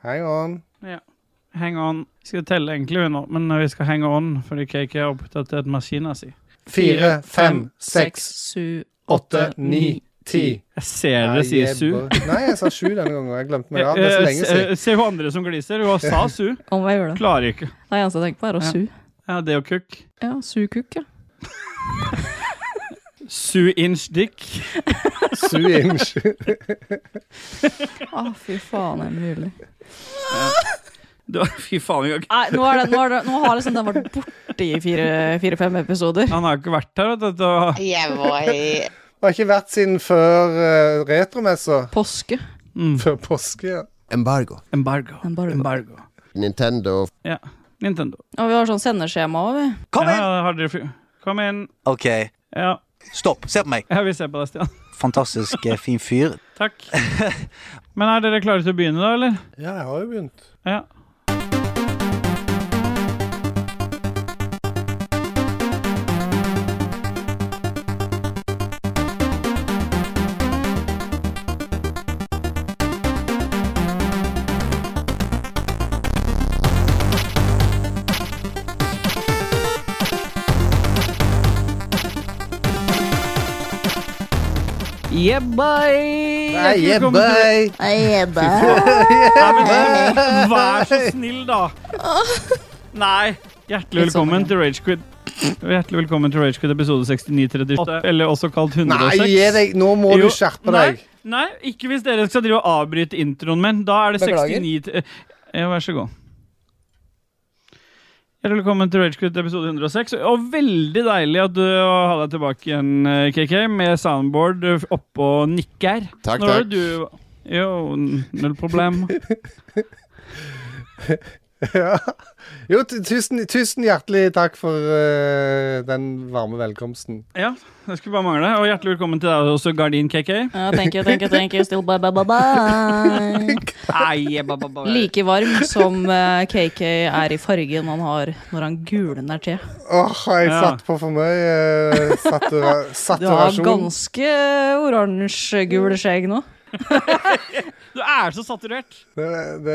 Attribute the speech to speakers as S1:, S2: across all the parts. S1: Hang on.
S2: Hang on. Vi skal telle enkle nå, men vi skal hang on fordi KK har oppdatert maskina si.
S1: Fire, fem, seks,
S3: sju,
S1: åtte, ni, ti.
S2: Jeg ser dere
S1: Nei,
S2: sier
S1: jeg
S2: su.
S1: bør- Nei, jeg sa sju denne gangen, og jeg glemte meg. Ja,
S2: Eh,
S1: det er så lenge
S2: eh,
S1: siden.
S2: se- Se hun andre som gliser. Hun har sa su.
S3: Om jeg gjør det.
S2: Klarer ikke.
S3: Det eneste jeg tenker på, er å
S2: Ja.
S3: su.
S2: Ja, det og kukk.
S3: Ja, su kukk, ja.
S2: Su inch dick.
S1: Su inch.
S3: Å, fy faen, er det mulig?
S2: Du, fy faen, jeg har ikke-
S3: Nei, nå, er det, nå, er det, nå har liksom den vært borte i fire- fire-fem episoder.
S2: Han har ikke vært her, vet du. og-
S4: Jeg var i
S1: Har ikke vært siden før eh, retromessa.
S3: Påske.
S2: Mm.
S1: Før påske, ja.
S5: Embargo.
S2: Embargo.
S3: Embargo.
S2: Embargo.
S5: Nintendo.
S2: Nintendo.
S3: Og vi har sånn sendeskjema òg, vi.
S6: Kom inn!
S2: Ja, har dere fy- Kom inn.
S6: OK,
S2: Ja,
S6: stopp. Se på meg.
S2: jeg vil se på deg, Stian.
S6: Fantastisk eh, fin fyr.
S2: Takk. Men er dere klare til å begynne, da, eller?
S1: Ja, jeg har jo begynt.
S2: Ja. Yeah, boy!
S1: Nei, yeah,
S2: Velkommen til-
S1: bye.
S2: Nei, men, vær så snill, da. Nei. Hjertelig
S3: Litt sånn,
S2: velkommen
S3: ja.
S2: til Ragequid. Hjertelig velkommen til Ragequid episode 6938, eller også kalt 106.
S1: Nei, gi deg. Nå må
S2: Jo.
S1: du skjerpe
S2: Nei.
S1: deg.
S2: Nei, ikke hvis dere skal drive og avbryte introen min. Da er det
S1: Beklager.
S2: 69 til- Ja, vær så god. Hjertelig velkommen til Ragequid episode 106. Og veldig deilig at du har deg tilbake igjen, eh, KK, med soundboard eh, oppe og nikker.
S5: Takk,
S2: Når var det
S5: takk.
S2: du Jo, n- null problem.
S1: Ja. Jo, tu- tusen, tusen hjertelig takk for eh, den varme velkomsten.
S2: Ja, det skulle bare mangle. Og hjertelig velkommen til deg også, Gardin KK.
S3: Ja, thank you, thank you, thank you. Still bye, bye, bye, bye.
S2: Nei, ba, ba, ba.
S3: Like varm som eh, KK er i fargen han har når han gulner til.
S1: Åh, jeg
S2: Ja.
S1: satt på for mye eh, satura
S3: Du har
S1: saturasjon.
S3: ganske oransje-gul skjegg nå.
S2: Du er så saturert.
S1: Det, det,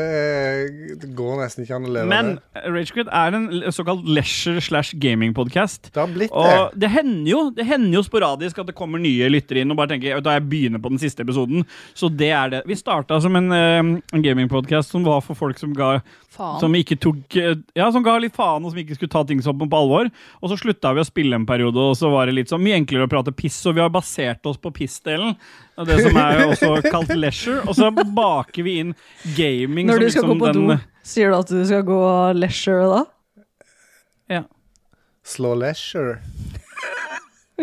S1: det går nesten ikke an å leve
S2: Men
S1: med.
S2: Ragequid er en l- såkalt leisure slash gaming-podkast.
S1: Det har blitt det.
S2: Og det hender jo det hender jo sporadisk at det kommer nye lyttere inn og bare tenker da jeg begynner på den siste episoden. Så det er det. Vi starta som en, eh, en gamingpodkast som var for folk som ga
S3: Faen.
S2: Som ikke tok eh, Ja, som ga litt faen, og som ikke skulle ta ting som på alvor. Og så slutta vi å spille en periode, og så var det litt sånn mye enklere å prate piss. Og vi har basert oss på pissdelen, og det som er jo også kalt leisure. Og så baker vi inn gaming
S3: Når
S2: som
S3: du skal gå
S2: liksom
S3: på do,
S2: den-
S3: sier du at du skal gå leisure da?
S2: Ja.
S1: Slå leisure.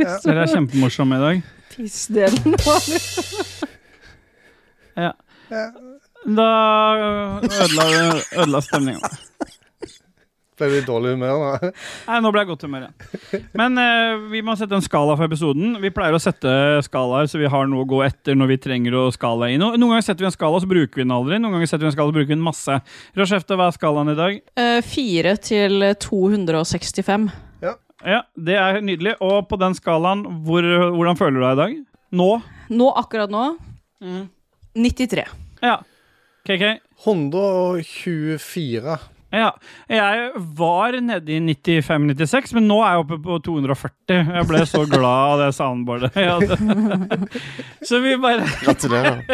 S2: Dere er kjempemorsomme i dag.
S3: Pissdelen.
S2: Ja.
S1: Ja.
S2: Da øh, ødela, ødela stemninga.
S1: Ble du i dårlig humør nå?
S2: Nei, nå ble jeg i godt humør igjen. Men eh, vi må sette en skala for episoden. Vi pleier å sette skalaer, så vi har noe å gå etter når vi trenger å skala i noe. Noen ganger setter vi en skala, så bruker vi den aldri. Noen ganger setter vi en skala, så bruker vi den masse. Rochefte, hva er skalaen i dag?
S3: Eh, Fire til 265.
S2: Ja, det er nydelig. Og på den skalaen, hvor, hvordan føler du deg i dag? Nå?
S3: Nå, akkurat nå, 93.
S2: Ja. KK?
S1: 124.
S2: Ja. Jeg var nede i 95-96, men nå er jeg oppe på 240. Jeg ble så glad av det soundboardet. Ja, det- Så vi bare
S5: Gratulerer.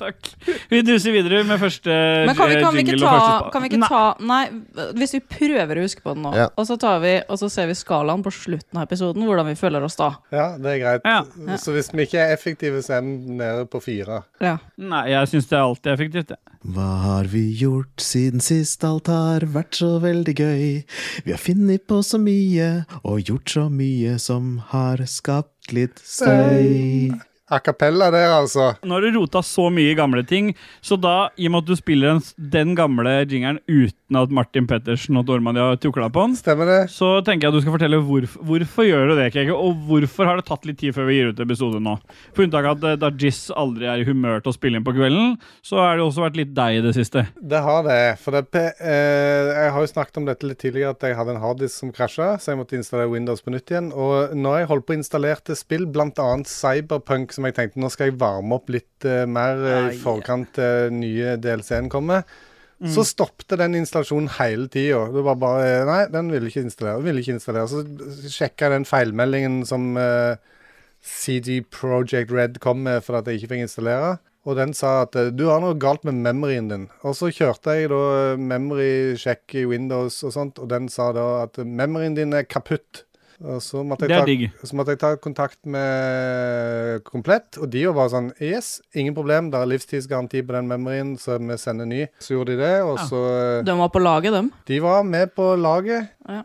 S2: Takk. Vi duser videre med første
S3: Men kan vi, kan vi ikke
S2: jingle og første
S3: ta,
S2: spa-
S3: kan vi ikke
S2: Nei.
S3: ta Nei, hvis vi prøver å huske på den nå,
S5: Ja.
S3: og så tar vi, og så ser vi skalaen på slutten av episoden, hvordan vi føler oss da.
S1: Ja, det er greit.
S2: Ja.
S3: Ja.
S1: Så hvis vi ikke er effektive, så er vi nede på fire.
S3: Ja.
S2: Nei, jeg syns det er alltid effektivt. jeg.
S7: Hva har vi gjort siden sist alt har vært så veldig gøy? Vi har funnet på så mye og gjort så mye som har skapt litt støy.
S1: A cappella der, altså.
S2: Nå har du rota så mye i gamle ting, så da, i og med at du spiller den, den gamle jingeren uten at Martin Pettersen og Dormani har tukla på den,
S1: Stemmer det?
S2: så tenker jeg at du skal fortelle hvorfor, hvorfor gjør du det, Keke, og hvorfor har det tatt litt tid før vi gir ut episode nå? For unntak av at eh, da Jizz aldri er i humør til å spille inn på kvelden, så har det også vært litt deg i det siste.
S1: Det har det. For det, er pe- eh, jeg har jo snakket om dette litt tidligere, at jeg hadde en harddisk som krasja, så jeg måtte installere Windows på nytt igjen. Og nå har jeg holdt på å installere spill, bl.a. Cyberpunk som jeg tenkte nå skal jeg varme opp litt eh, mer eh, i forkant til nye DLC-en kommer. Mm. Så stoppte den installasjonen hele tida. Det var bare eh, Nei, den ville ikke installere. den Ville ikke installere. Så sjekka jeg den feilmeldingen som eh, CD Project Red kom med for at jeg ikke fikk installere. Og den sa at eh, du har noe galt med memoryen din. Og så kjørte jeg da eh, memory-sjekk i Windows og sånt, og den sa da at eh, memoryen din er kaputt. Og så måtte,
S2: Det er
S1: jeg
S2: digg.
S1: ta, så måtte jeg ta kontakt med Komplett, og de var bare sånn Yes, ingen problem, det er livstidsgaranti på den memoryen, så vi sender ny. Så gjorde de det, og
S2: Ja.
S1: så eh,
S3: De var på laget, dem.
S1: De var med på laget,
S2: Ja.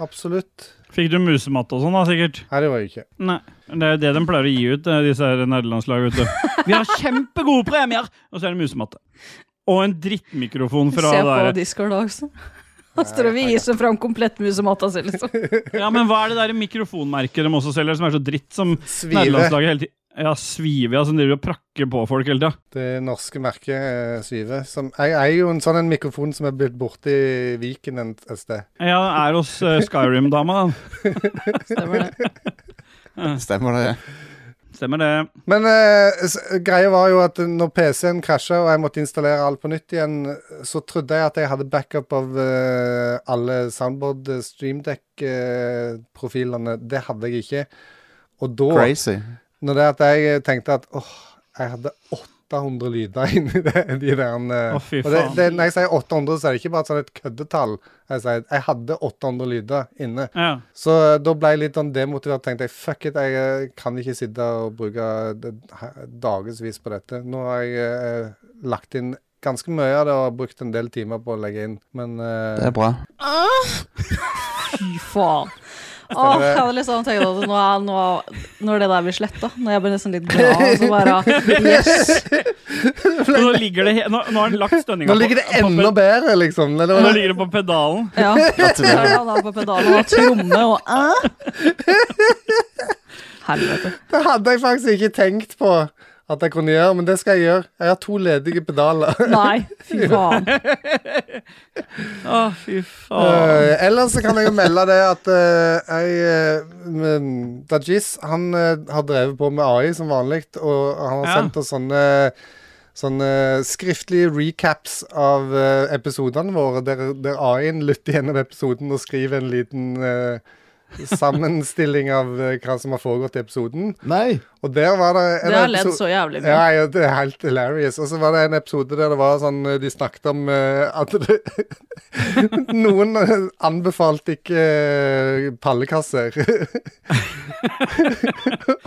S1: absolutt.
S2: Fikk du musematte og sånn, da, sikkert?
S1: Nei, det var jeg ikke.
S2: Nei. Det er jo det de pleier å gi ut, eh, disse her nederlandslagene, vet du. Vi har kjempegode premier! Og så er det musematte. Og en drittmikrofon fra
S3: Se på
S2: der.
S3: Discord også. Han står og viser fram komplett musematta si, liksom.
S2: Ja, men hva er det der mikrofonmerket de også selger, som er så dritt som
S1: Svive.
S2: nederlandslaget hele tiden Ja, Svivia, som driver og prakker på folk hele tida.
S1: Det norske merket eh, Svive. Som, jeg eier jo en sånn en mikrofon som er blitt borte i Viken en- et sted.
S2: Ja, er hos eh, Skyrim-dama, da.
S3: Stemmer det.
S4: Stemmer det?
S2: Stemmer det.
S1: Men eh, s- greia var jo at når PC-en krasja og jeg måtte installere alt på nytt igjen, så trodde jeg at jeg hadde backup av eh, alle soundboard eh, streamdeck-profilene. eh, Det hadde jeg ikke. Og da,
S4: Crazy.
S1: når det at jeg eh, tenkte at åh, jeg hadde 800 lyder inni det, de der eh,
S2: Å, fy
S1: Og det,
S2: faen.
S1: det, når jeg sier 800, så er det ikke bare et sånn et køddetall. Jeg sier at jeg hadde 800 lyder inne.
S2: Ja.
S1: Så da ble jeg litt sånn demotivert. Tenkte jeg fuck it, jeg eh, kan ikke sitte og bruke eh, det- he- dagevis på dette. Nå har jeg eh, lagt inn ganske mye av det og brukt en del timer på å legge inn, men eh,
S4: Det er bra.
S3: Fy faen. Åh, jeg hadde liksom tenkt at nå er, nå, når det der blir sletta, når jeg blir nesten litt glad, og så bare Yes!
S2: Og Nå, ligger det he nå, nå har han lagt stønninga
S1: Nå ligger det enda bedre, liksom. Nei, det
S2: Nå
S1: var-
S2: ligger det på pedalen.
S3: Ja.
S4: Gratulerer.
S3: Han er på pedalen og tromme og æ. Helvete.
S1: Det hadde jeg faktisk ikke tenkt på at jeg kunne gjøre, men det skal jeg gjøre. Jeg har to ledige pedaler.
S3: Nei, fy faen.
S2: Å, fy faen.
S1: Eh, ellers så kan jeg jo melde det at eh, jeg uh, Dajis han eh, har drevet på med AI som vanlig, og han har
S2: Ja.
S1: sendt oss sånne Sånne skriftlige recaps av eh, episodene våre, der, der AI-en lytter gjennom episoden og skriver en liten eh, sammenstilling av eh, hva som har foregått i episoden.
S7: Nei!
S1: Og der var det en
S3: Det har ledd
S1: episo-
S3: så jævlig
S1: ja,
S3: mye.
S1: ja, det er helt hilarious. Og så var det en episode der det var sånn eh, De snakket om eh, at det, Noen eh, anbefalte ikke eh, pallekasser.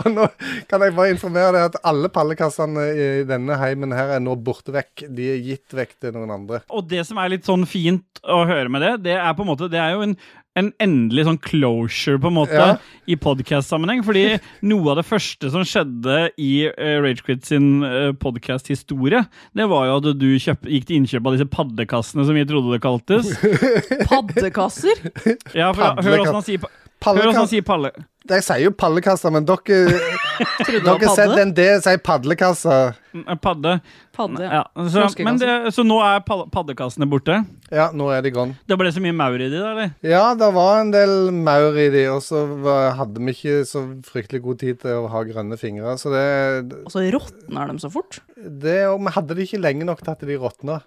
S1: Og nå kan jeg bare informere deg at alle pallekassene i denne heimen her er nå borte vekk. De er gitt vekk til noen andre.
S2: Og det som er litt sånn fint å høre med det, det er på en måte Det er jo en, en endelig sånn closure, på en måte,
S1: Ja.
S2: i podcast-sammenheng. Fordi noe av det første som skjedde i eh, Ragequit sin uh, podcast-historie, det var jo at du kjøp, gikk til innkjøp av disse paddekassene, som vi trodde det kaltes.
S3: Paddekasser?
S2: Ja, for, hør åssen han sier, pa- hør hvordan han
S1: Pallekass,
S2: sier palle...
S1: jeg sier jo pallekasser, men dere,
S3: Trodde det var
S1: dere setter
S3: padde?
S1: en D sier padlekasser.
S2: eh, Padde.
S3: Padde, ja.
S2: Ja, så, men det, så nå er pall- paddekassene borte.
S1: Ja, nå er de gone.
S2: Det ble så mye maur i de, da, eller?
S1: Ja, det var en del maur i de, og så var- hadde vi ikke så fryktelig god tid til å ha grønne fingre. Så det,
S3: Og så råtner de så fort.
S1: det Og vi hadde det ikke lenge nok til at de råtna.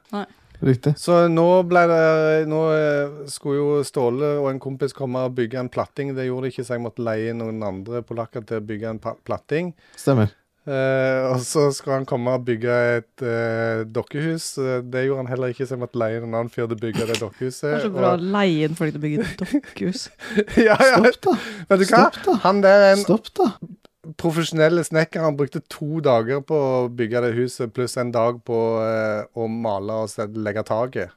S7: Riktig.
S1: Så nå ble det Nå eh, skulle jo Ståle og en kompis komme og bygge en platting. Det gjorde de ikke, så jeg måtte leie inn noen andre polakker til å bygge en pa- platting.
S7: Stemmer.
S1: Eh, og så skulle han komme og bygge et eh, dokkehus. Eh, Det gjorde han heller ikke, så jeg måtte leie inn en annen fyr til å bygge det dokkehuset.
S3: Det er så bra å
S1: Og-
S3: leie inn folk til å bygge et dokkehus.
S1: ja, ja,
S7: Stopp, da!
S1: vet du hva?
S7: Stopp, da!
S1: Han der er en
S7: Stopp, da!
S1: profesjonelle snekkeren brukte to dager på å bygge det huset, pluss en dag på eh, å male og sted- legge taket.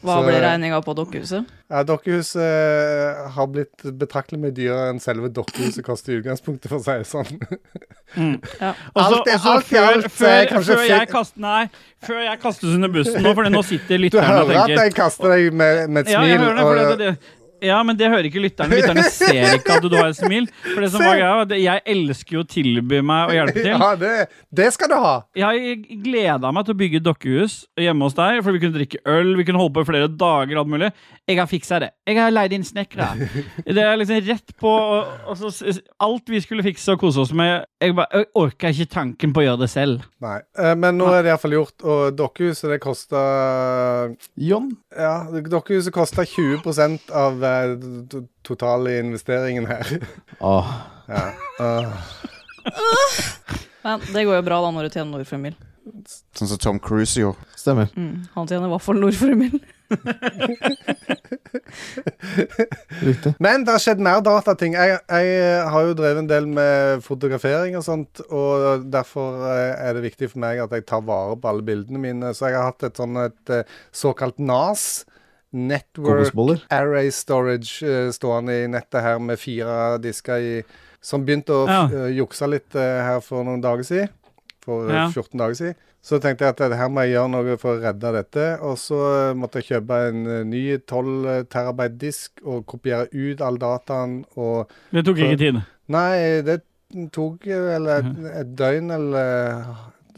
S3: Hva
S1: Så-
S3: blir regninga på dokkehuset?
S1: Ja, dokkehuset eh, har blitt betraktelig mye dyrere enn selve dokkehuset koster i utgangspunktet, for å si det sånn.
S2: Mm. Og så-
S1: Alt i-
S2: og så
S1: alt i alt, så
S2: før,
S1: jeg kanskje
S2: før jeg
S1: fikk-
S2: kast, Nei, før jeg kastes under bussen nå, for nå
S1: Du
S2: sitter lytterne og
S1: hører at
S2: tenker
S1: jeg kaster deg med, med et
S2: ja, jeg
S1: smil.
S2: hører det, for det, det, Ja, men det hører ikke lytterne. Lytterne ser ikke at du har et smil. For det som var greia, var at jeg elsker jo å tilby meg å hjelpe til.
S1: Ja, det, det skal du ha!
S2: Jeg gleda meg til å bygge et dokkehus hjemme hos deg, for vi kunne drikke øl, vi kunne holde på i flere dager, alt mulig. Jeg har fiksa det. Jeg har leid inn snekkere. Det er liksom rett på og, og så, s- Alt vi skulle fikse og kose oss med, jeg bare jeg orka ikke tanken på å gjøre det selv.
S1: Nei. Eh, Men nå er det iallfall gjort, og dokkehuset det kosta
S4: John?
S1: Ja, dokkehuset kosta 20 av eh, t- t- totale investeringen her.
S7: Åh,
S1: Ja. Ah.
S3: Men det går jo bra da når du tjener nord for en mil.
S4: Sånn som Tom Cruise gjorde.
S7: stemmer.
S3: Mm, han tjener i hvert fall nord for en mil.
S7: Riktig.
S1: Men det har skjedd mer datating. Jeg, jeg eh, har jo drevet en del med fotografering og sånt, og derfor eh, er det viktig for meg at jeg tar vare på alle bildene mine. Så jeg har hatt et sånn et eh, såkalt NAS. Network
S7: Kokosboller.
S1: Array Storage eh, stående i nettet her med fire disker i Som begynte å
S2: Ja.
S1: f- eh, jukse litt eh, her for noen dager siden. For eh,
S2: Ja.
S1: 14 dager siden. Så tenkte jeg at eh, her må jeg gjøre noe for å redde dette. Og så eh, måtte jeg kjøpe en eh, ny 12 terabyte disk og kopiere ut all dataen og
S2: Det tok ikke tid.
S1: Nei, det tok jo eller et, et døgn eller eh,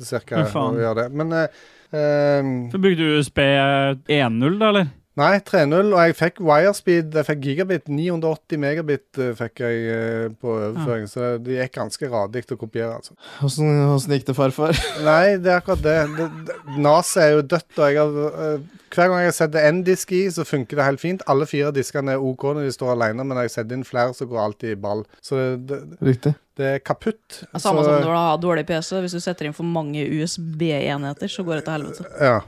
S1: cirka
S2: Men
S1: å
S2: Mhm. faen.
S1: gjøre det. Men eh, ehm,
S2: Så brukte du USB 1.0, da, eller?
S1: Nei, 3.0, og jeg fikk wirespeed, jeg fikk gigabit, 980 megabit eh, fikk jeg eh, på overføring, så det gikk ganske radig å kopiere, altså.
S7: Åssen åssen gikk det, farfar?
S1: Nei, det er akkurat det. det, det NAS er jo dødt, og jeg har, eh, hver gang jeg setter én disk i, så funker det helt fint. Alle fire diskene er OK når de står alene, men når jeg setter inn flere, så går alltid i ball. Så det, det,
S7: Riktig.
S1: det er kaputt.
S3: Samme
S1: så,
S3: som Altså, når du har dårlig PC. Hvis du setter inn for mange USB-enheter, så går det til helvete.
S1: Ja.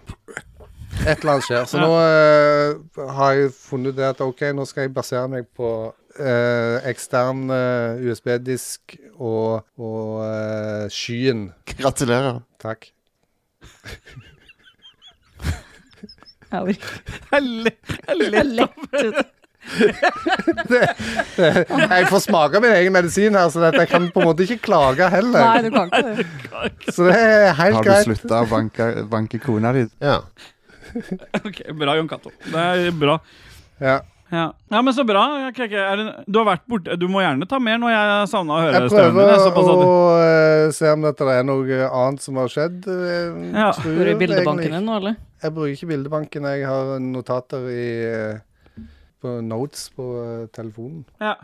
S1: Et eller annet skjer. Så nå eh, har jeg funnet det at OK, nå skal jeg basere meg på eh, ekstern eh, USB-disk og, og eh, skyen.
S4: Gratulerer.
S1: Takk.
S3: Jeg orker
S2: Eller?
S3: ikke lett ut.
S1: Jeg får smake min egen medisin her, så dette, jeg kan på en måte ikke klage
S3: Nei,
S1: heller.
S3: du kan ikke det.
S1: Så det er helt
S4: Har du
S1: greit.
S4: slutta å banke, banke kona di?
S1: Ja.
S2: Ok, bra, Jon Cato. Det er bra.
S1: ja.
S2: Ja. ja, men så bra. Jeg kan ikke- er det, du har vært borte Du må gjerne ta mer når jeg savna å høre
S1: Jeg
S2: stemmen din.
S1: prøver
S2: det er såpass
S1: å
S2: at du-
S1: eh, se om dette er noe annet som har skjedd. eh,
S2: Ja.
S1: tror
S3: Går du i
S1: jeg egentlig
S3: bildebanken din nå, eller?
S1: Jeg bruker ikke bildebanken. Jeg har notater i eh, på notes på eh, telefonen.
S2: Ja.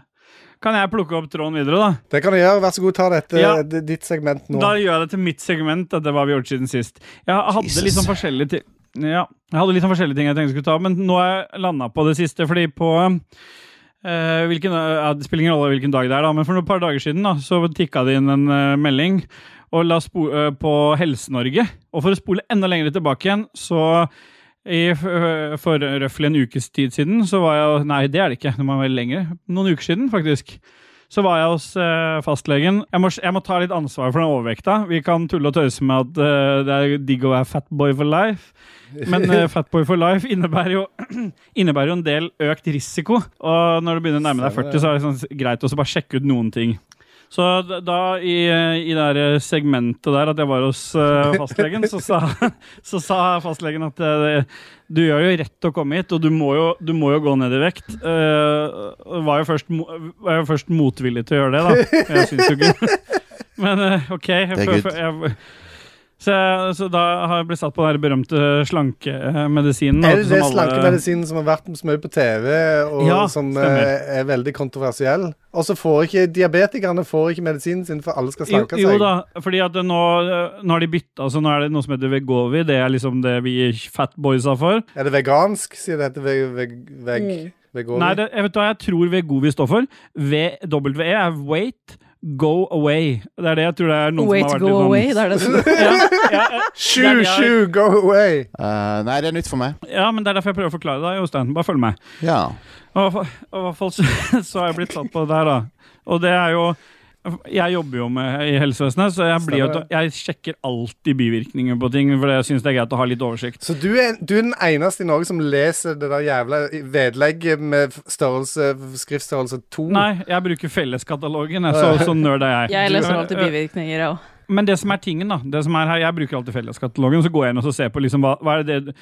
S2: Kan jeg plukke opp tråden videre, da?
S1: Det kan du gjøre. Vær så god, ta dette,
S2: Ja.
S1: d- ditt segment nå.
S2: Da gjør jeg det til mitt segment. Dette var vi gjort siden sist. Jeg hadde litt sånn forskjellige ting ja, jeg hadde litt sånn forskjellige ting jeg tenkte jeg skulle ta, men nå har jeg landa på det siste. Fordi på eh, hvilken, ja, Det spiller ingen rolle hvilken dag det er, da, men for et par dager siden da, så tikka det inn en eh, melding og la spo eh, på Helse-Norge. Og for å spole enda lenger tilbake igjen, så i, f- øh, for røftlig en ukes tid siden så var jeg Nei, det er det ikke. Det må være lenger. Noen uker siden, faktisk. Så var jeg hos eh, fastlegen. Jeg må, jeg må ta litt ansvar for den overvekta. Vi kan tulle og tøyse med at eh, det er digg å være fatboy for life, men eh, fatboy for life innebærer jo, innebærer jo en del økt risiko. Og når du begynner å nærme deg 40, så er det sånn, greit å så bare sjekke ut noen ting. Så d- da, i, eh, i det her segmentet der at jeg var hos eh, fastlegen, så sa, så sa fastlegen at eh, du gjør jo rett å komme hit, og du må jo, du må jo gå ned i vekt. Eh, var, jo først, mo- var jo først motvillig til å gjøre det, da. Jeg syns jo ikke Men eh, OK. Jeg,
S4: Det er
S2: fø-
S4: good.
S2: fø- jeg, så, jeg- så da har jeg blitt satt på den her berømte slankemedisinen.
S1: er det
S2: som
S1: det
S2: alle-
S1: slankemedisinen som har vært så mye på TV, og
S2: Ja,
S1: som eh,
S2: stemmer.
S1: er veldig kontroversiell? Og så får ikke diabetikerne får ikke medisinen sin, for alle skal slanke
S2: jo,
S1: seg.
S2: Jo da, fordi at nå, nå har de bytta, så nå er det noe som heter Vegovi. Det er liksom det vi fatboysa for.
S1: Er det vegansk, sier det heter veg... veg, veg vegovi?
S2: Nei, det, jeg vet hva jeg tror Vegovi står for. V, W E er wait, go away. Det er det jeg tror det er noen
S3: Wait,
S2: som har vært
S3: go
S2: litt
S3: away. Det er det som
S2: sånn, ja, ja,
S1: Shoo,
S2: det er-
S1: shoo, go away!
S4: Eh, nei, det er nytt for meg.
S2: ja, men det er derfor jeg prøver å forklare det, Jostein. Bare følg med.
S4: Ja.
S2: Og og i hvert fall så, så har jeg blitt tatt på det her, da. Og det er jo Jeg jobber jo med, i helsevesenet, så jeg, blir, jo-
S1: Stemmer det.
S2: jeg sjekker alltid bivirkninger på ting. For jeg syns det er greit å ha litt oversikt.
S1: Så du er, du er den eneste i Norge som leser det der jævla vedlegget med størrelse, skriftstørrelse 2.
S2: Nei, jeg bruker felleskatalogen. jeg, Så, så nerd er jeg.
S3: Jeg leser alltid
S2: Eh,
S3: bivirkninger, jeg òg.
S2: Men det som er tingen, da det som er her, Jeg bruker alltid felleskatalogen, så går jeg inn og så ser på liksom hva, hva er det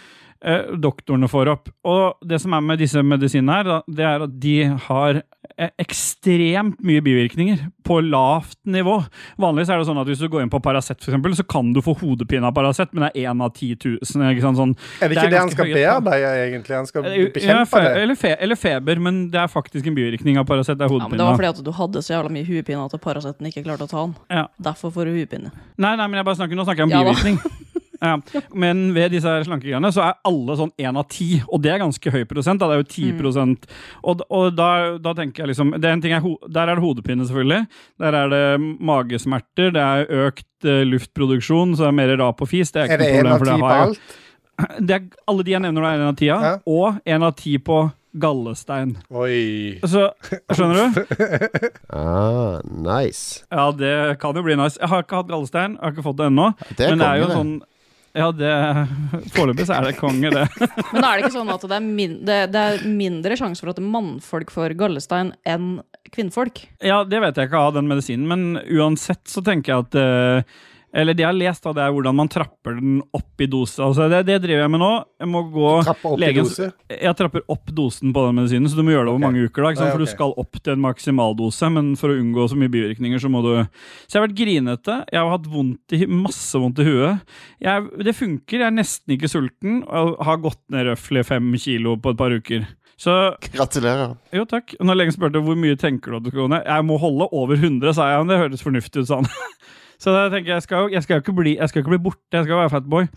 S2: eh, doktorene får opp. Og det som er med disse medisinene her, da, det er at de har eh, ekstremt mye bivirkninger på lavt nivå. Vanligvis er det sånn at hvis du går inn på Paracet, for eksempel, så kan du få hodepine av Paracet, men det er én av 10 000. Ikke sant? Sånn,
S1: Er det ikke det, han
S2: ganske
S1: skal
S2: høye tall.
S1: bearbeide, egentlig? Han skal
S2: Ja, fe
S1: bekjempe det?
S2: eller, fe eller feber, men det er faktisk en bivirkning av Paracet. Det er
S3: Ja, men det var
S2: hodepine.
S3: fordi at du hadde så jævla mye huepine at Paraceten ikke klarte å ta den.
S2: Ja.
S3: Derfor får du huepine.
S2: Nei, nei, men jeg bare snakker, nå snakker jeg om
S3: Ja da.
S2: bivirkning. Ja, men ved disse her slankegreiene så er alle sånn én av ti, og det er ganske høy prosent. Da. Det er jo
S1: Mm.
S2: 10 prosent. Og, og da, da tenker jeg liksom det er en ting jeg, ho- Der er det hodepine, selvfølgelig. Der er det magesmerter. Det er økt eh, luftproduksjon, så det er mer rap og fis. Det
S1: Er
S2: er ikke
S1: det
S2: noe
S1: én
S2: problem,
S1: av
S2: for
S1: ti
S2: det
S1: på
S2: har jeg.
S1: alt?
S2: Det er, alle de jeg nevner, nå er en av ti, ja.
S1: Ja.
S2: Og en av ti på gallestein.
S1: Oi.
S2: Så, skjønner du?
S5: Ah, nice.
S2: Ja, det kan jo bli nice. Jeg har ikke hatt gallestein, jeg har ikke fått det ennå.
S4: Det er
S2: Men det er jo
S4: konge, det.
S2: sånn Ja, det Foreløpig så er det konge, det.
S3: Men er det ikke sånn at det er, min, det, det er mindre sjanse for at mannfolk får gallestein enn kvinnfolk?
S2: Ja, det vet jeg ikke av den medisinen, men uansett så tenker jeg at eh, Eller det jeg har lest, da, det er hvordan man trapper den opp i dose. Altså, det, det driver jeg med nå. Jeg må gå
S1: Trappe opp i
S2: legen-
S1: dose?
S2: Jeg trapper opp dosen på den medisinen, så du må gjøre det over
S1: Ok.
S2: mange uker. da, ikke sant?
S1: Ja,
S2: For
S1: ok.
S2: du skal opp til en maksimaldose, men for å unngå så mye bivirkninger, så må du Så jeg har vært grinete. Jeg har hatt vondt i, masse vondt i huet. Jeg, det funker. Jeg er nesten ikke sulten og har gått ned røftlig fem kilo på et par uker. Så
S4: Gratulerer.
S2: jo, takk. Når legen spurte hvor mye tenker du at du skal gå ned, jeg må holde over 100, sa jeg, men det høres fornuftig ut, sa han. Så da tenker jeg, jeg skal, jeg skal, jo ikke, bli, jeg skal ikke bli borte, jeg skal være fatboy.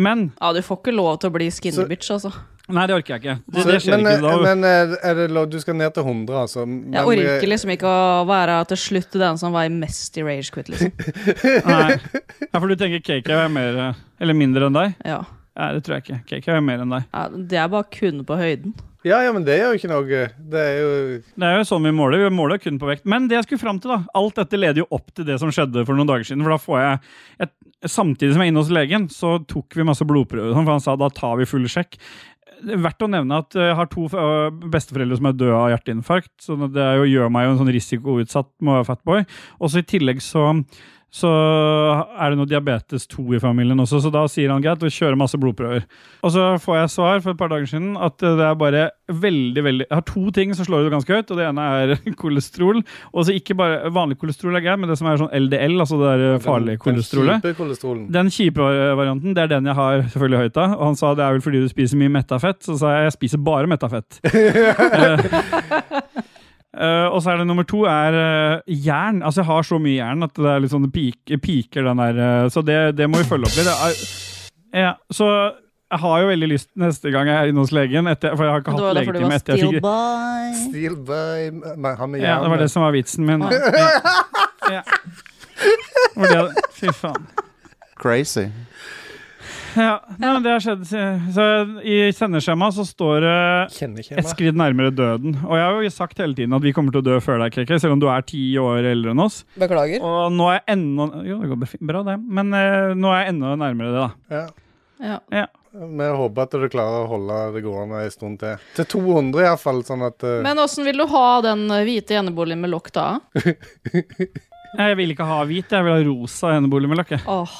S2: Men
S3: Ja, du får ikke lov til å bli skinny
S1: Så-
S3: bitch, altså.
S2: Nei, det orker jeg ikke. Det,
S1: Så-
S2: det skjer
S1: men,
S2: ikke da.
S1: men eh, er det lov Du skal ned til 100, altså? Men,
S3: Jeg orker liksom ikke å være til slutt den som var mest i rage quit, liksom.
S2: Nei. Ja, for du tenker KK er mer eh, eller mindre enn deg?
S3: Ja.
S2: Nei, det tror jeg ikke. KK er mer enn deg.
S3: Ja, Det er bare kun på høyden.
S1: Ja, ja, men det gjør jo ikke noe. eh, Det er jo
S2: Det er jo sånn vi måler. Vi måler kun på vekt. Men det jeg skulle fram til, da. Alt dette leder jo opp til det som skjedde for noen dager siden. For da får jeg et, Samtidig som jeg er inne hos legen, så tok vi masse blodprøver, sånn, for han sa da tar vi full sjekk. Det er Verdt å nevne at jeg har to eh, besteforeldre som er døde av hjerteinfarkt. Så det er jo, gjør meg jo en sånn risikoutsatt med å være fatboy. Og så i tillegg så så er det noe diabetes 2 i familien også, så da sier han greit, vi kjører masse blodprøver. Og så får jeg svar for et par dager siden at eh, det er bare veldig, veldig Jeg har to ting som slår ut ganske høyt, og det ene er kolesterol. Og så ikke bare vanlig kolesterol er greit, men det som er sånn LDL, altså det der farlige
S1: Den
S2: kolesterolet.
S1: kjipe kolesterolen.
S2: Den kjipe varianten, det er den jeg har selvfølgelig høyt av. Og han sa det er vel fordi du spiser mye metta fett. Så sa jeg jeg spiser bare metta fett. Eh, og så er det nummer to er eh, jern. Altså jeg har så mye jern at det er litt sånn det pik, piker den der. eh, så det, det må vi følge opp litt. Det er- Ja, så jeg har jo veldig lyst neste gang jeg er inne hos legen, etter, for jeg har ikke
S3: Men det
S2: hatt
S3: var derfor du
S2: legetime
S3: var
S2: etter jeg fikk
S3: still boy.
S1: Steel by men Han med
S2: ja, det var det
S1: jernet.
S2: som var vitsen min. Ja. Ja. For det, fy faen.
S4: Crazy.
S2: Ja, nei, men det har skjedd. Så I sendeskjemaet så står det
S1: Kjenner ikke
S2: et
S1: meg.
S2: skritt nærmere døden. Og jeg har jo sagt hele tiden at vi kommer til å dø før deg, KK, selv om du er ti år eldre enn oss.
S3: Beklager.
S2: Og nå er jeg enda Jo, det går bef- bra, det. Men eh, nå er jeg enda nærmere det, da.
S1: Ja.
S3: Ja.
S1: Vi håper at du klarer å holde det gående en stund til. Til 200 iallfall, sånn at eh,
S3: Men åssen vil du ha den hvite eneboligen med lokk da?
S2: Nei, Jeg vil ikke ha hvit, jeg vil ha rosa enebolig med lakke.
S3: Åh,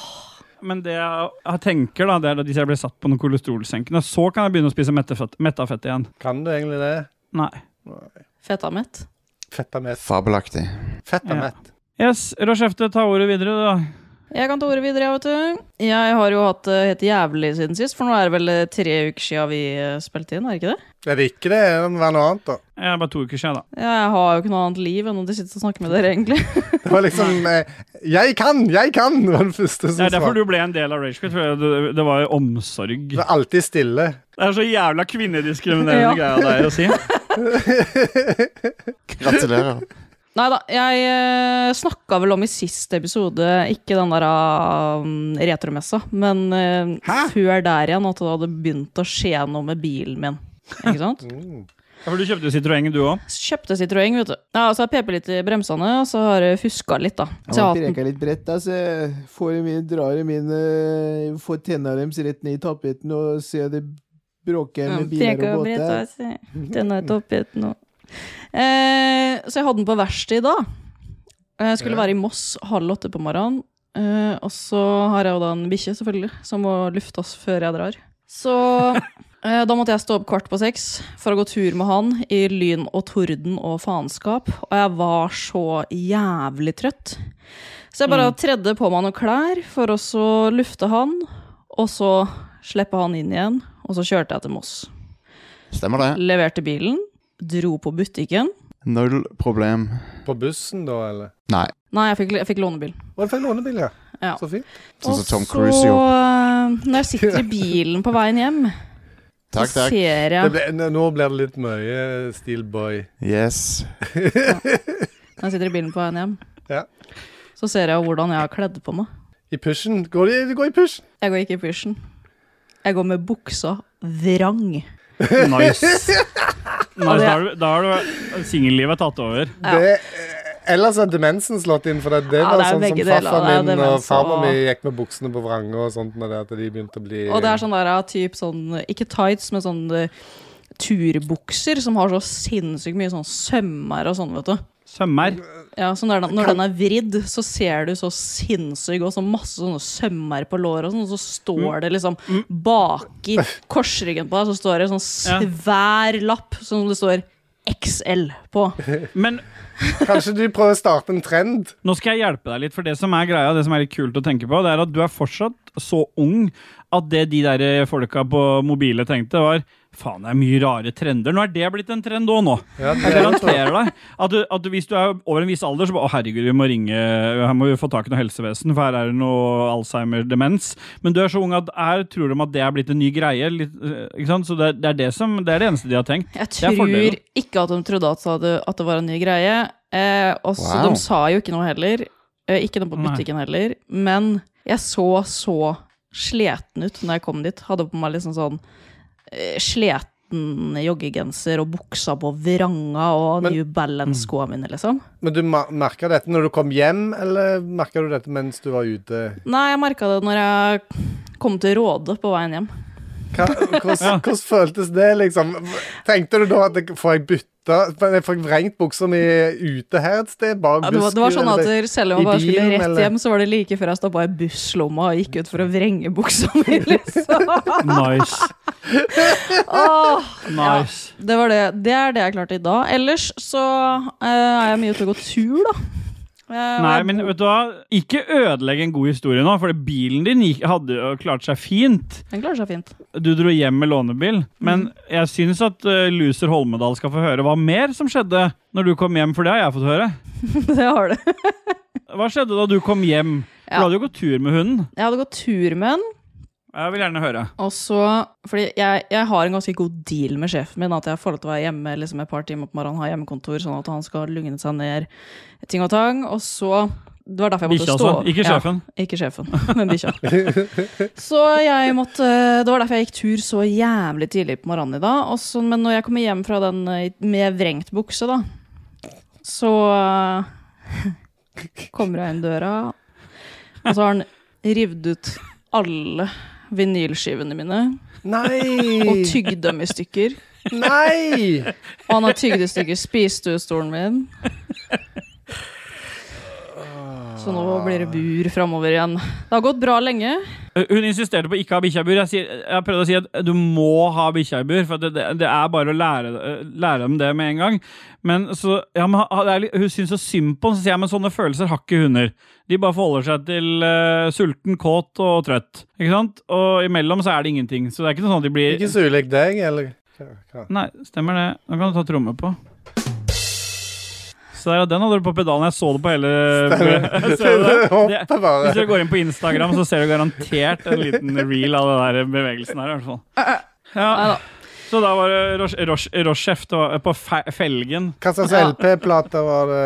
S2: Men det jeg jeg tenker, da, det er at hvis jeg blir satt på noen kolesterolsenkende, så kan jeg begynne å spise mettefett, mettafett igjen.
S1: Kan du egentlig det?
S2: Nei.
S3: fetta mitt.
S1: Fetta mett.
S4: Fabelaktig.
S1: Fetta
S2: Ja.
S1: mett.
S2: Yes, Rochefte, ta ordet videre, da.
S3: Jeg kan ta ordet videre, jeg, vet du. Jeg har jo hatt det helt jævlig siden sist, for nå er det vel eh, tre uker siden vi eh, spilte inn, er det ikke det?
S1: Er det ikke det? Det må være noe annet, da.
S2: Jeg er bare to uker siden, da.
S3: Ja, jeg har jo ikke noe annet liv enn å sitte og snakke med dere, egentlig.
S1: Det var liksom eh, Jeg kan! Jeg kan! var den første som
S2: Det er derfor
S1: svarte.
S2: du ble en del av Rage Quit. for Det, det var jo omsorg.
S1: Du er alltid stille.
S2: Det er så jævla kvinnediskriminerende
S3: Ja.
S2: greia det er å si.
S4: Gratulerer.
S3: Nei da, jeg uh, snakka vel om i siste episode, ikke den der uh, retromessa, men eh, før der igjen at det hadde begynt å skje noe med bilen min. Ikke sant?
S8: Mm.
S2: Ja, For du kjøpte jo Citroën, du òg.
S3: Så Kjøpte Citroën, vet du. Ja, og så har jeg pepet litt i bremsene, og så har jeg fuska litt, da. Så jeg har
S8: Han
S3: hatt den.
S8: pirker litt bredt, da, så jeg får i min, drar i min eh, Får tenna deres rett ned i tapeten og ser det bråker med biler
S3: Peker
S8: og
S3: og bretter,
S8: båter.
S3: sier jeg. Den er toppet nå. Eh, så jeg hadde den på verksted i dag. Jeg skulle være i Moss halv åtte på morgenen. Eh, og så har jeg jo da en bikkje, selvfølgelig, som må luftes før jeg drar. Så eh, da måtte jeg stå opp kvart på seks for å gå tur med han i lyn og torden og faenskap. Og jeg var så jævlig trøtt. Så jeg bare
S4: Mm.
S3: tredde på meg noen klær for å så lufte han, og så slippe han inn igjen. Og så kjørte jeg til Moss.
S4: Stemmer det.
S3: Leverte bilen, dro på butikken.
S4: Null problem.
S1: På bussen, da, eller?
S4: Nei.
S3: Nei, jeg fikk, jeg fikk lånebil.
S1: Å, jeg fikk lånebil, ja.
S3: Ja.
S1: Så fint.
S4: Sånn som Tom
S3: Og
S4: Cruise
S3: så,
S4: gjorde.
S3: eh, når jeg sitter i bilen på veien hjem, så
S4: Takk, takk.
S3: ser
S1: Det
S3: jeg
S1: ble, n- nå blir det litt mye Steelboy.
S4: Yes.
S3: Når jeg sitter i bilen på veien hjem,
S1: Ja.
S3: så ser jeg jo hvordan jeg har kledd på meg.
S1: I pushen. Går de, de går i pushen?
S3: Jeg går ikke i pysjen. Jeg går med buksa vrang.
S2: Nice. nice. Da har du, da har du singellivet tatt over.
S3: Ja.
S1: Det, eh, ellers er demensen slått inn, for det, det
S3: Ja,
S1: var
S3: det er
S1: sånn som
S3: begge deler.
S1: farfar
S3: Det er
S1: min og
S3: demens
S1: farmor
S3: og-
S1: mi gikk med buksene på vrange og sånt når det, at de begynte å bli
S3: Og det er sånn der ja, typ sånn Ikke tights, men sånn eh, turbukser som har så sinnssykt mye sånn sømmer og sånn, vet du.
S2: Sømmer.
S3: Ja, så når den, når den er vridd, så ser du så sinnssykt og så masse sånne sømmer på låret og sånn, og så står det liksom baki korsryggen på deg, så står det en sånn
S2: Ja.
S3: svær lapp som det står XL på.
S2: Men
S3: sånn-
S1: Kanskje de prøver å starte en trend?
S2: nå skal jeg hjelpe deg litt, for det som er greia, det som er litt kult å tenke på, det er at du er fortsatt så ung at det de der folka på mobile tenkte, var Faen, det er mye rare trender. Nå er det blitt en trend òg, nå.
S1: Ja, det
S2: Jeg
S1: er
S2: garanterer deg at, du, at du, hvis du er over en viss alder, så bare Å, herregud, vi må ringe Her må vi få tak i noe helsevesen, for her er det noe Alzheimer-demens. Men du er så ung at her tror de at det er blitt en ny greie. Litt, eh, ikke sant? Så det, det er det som Det er det eneste de har tenkt.
S3: Jeg
S2: Det er fordelen.
S3: tror ikke at de trodde at, sa det- at det var en ny greie. Eh, og så
S4: Wow.
S3: De sa jo ikke noe heller. Eh, ikke noe på
S2: Nei.
S3: butikken heller. Men jeg så så sliten ut når jeg kom dit. Hadde på meg liksom sånn eh, sleten joggegenser og buksa på vranga og
S1: Men-
S3: New
S2: Mm.
S3: Balance-skoa mine, liksom.
S1: Men du ma merka dette når du kom hjem, eller merka du dette mens du var ute?
S3: Nei, jeg merka det når jeg kom til Råde på veien hjem.
S1: Hva, hvordan, hvordan føltes det, liksom? Tenkte du da at det- får jeg bytta men jeg Får jeg vrengt buksa mi ute her et sted? Bak
S3: Ja, det, var, det var sånn at
S1: eller-
S3: selv om jeg
S1: i
S3: bare skulle
S1: bilen,
S3: rett
S1: eller?
S3: hjem, så var det like før jeg stoppa i busslomma og gikk ut for å vrenge buksa mi, liksom.
S2: Nice.
S3: Åh,
S2: Nice.
S3: det, var det. det er det jeg klarte i dag. Ellers så eh, er jeg mye ute og går tur, da. Eh, og
S2: Nei,
S3: jeg-
S2: men vet du hva? Ikke ødelegg en god historie nå, for bilen din gikk, hadde jo klart seg fint.
S3: Den klarer seg fint.
S2: Du dro hjem med lånebil, men
S3: Mhm.
S2: jeg syns at eh, Luser Holmedal skal få høre hva mer som skjedde når du kom hjem, for det har jeg fått høre.
S3: Det har du.
S2: Hva skjedde da du kom hjem? For
S3: Ja.
S2: Du hadde jo gått tur med hunden.
S3: Jeg hadde gått tur med den,
S2: Jeg vil gjerne høre.
S3: og så Fordi jeg, jeg har en ganske god deal med sjefen min, at jeg får lov til å være hjemme liksom et par timer på morgenen, ha hjemmekontor, sånn at han skal lugne seg ned ting og tang. Og så Det var derfor jeg måtte
S2: Bikkja,
S3: stå
S2: altså. Ikke
S3: Ja.
S2: sjefen.
S3: Ikke sjefen, men bikkja. Så jeg måtte Det var derfor jeg gikk tur så jævlig tidlig på morgenen i dag. Og så- men når jeg kommer hjem fra den eh, med vrengt bukse, da, så eh, kommer jeg inn døra, og så har han revet ut alle vinylskivene mine og
S1: Nei!
S3: tygd dem i stykker.
S1: Nei!
S3: Og han har tygd i stykker spisestuestolen min. Så nå blir det bur framover igjen. Det har gått bra lenge.
S2: Eh, Hun insisterte på ikke å ha bikkjebur. Jeg, sier, jeg prøvde å si at du må ha bikkjebur, for at det, det, det er bare å lære, eh, lære dem det med en gang. Men så, ja, men, ha- det er, litt- Hun syns så synd på den, så sier jeg men sånne følelser har ikke hunder. De bare forholder seg til eh, sulten, kåt og trøtt. Ikke sant? Og imellom så er det ingenting. Så det er ikke noe sånn at de blir
S1: Ikke så ulik deg, eller? Hva- hva?
S2: Nei, stemmer det. Nå kan du ta tromme på. Så der, ja, den hadde du på pedalen. Jeg så det på hele Ser du det? det?
S1: Hoppet
S2: Hvis
S1: bare.
S2: dere går inn på Instagram, så ser du garantert en liten reel av den der bevegelsen her. i hvert fall. Ja.
S3: Neida.
S2: Så da var det Rosh- Rosh- Roshef det var på fe felgen.
S1: Hva slags
S3: Ja.
S1: LP-plater var det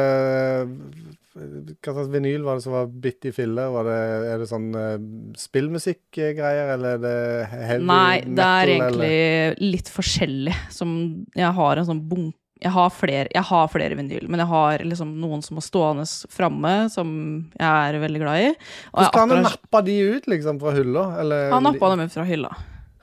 S1: Hva slags vinyl var det som var bitt i filler? Var det, er det sånn eh, spillmusikkgreier, eller er det heavy
S3: Nei, det
S1: metal,
S3: er
S1: eller?
S3: egentlig litt forskjellig. Som jeg har en sånn bunk... Jeg har, flere, jeg har flere vinyl, men jeg har liksom noen som er stående framme, som jeg er veldig glad i. Og jeg
S1: Hvordan skal han
S3: akkurat-
S1: nappe de ut liksom fra hylla? Eller,
S3: han nappa dem ut fra hylla.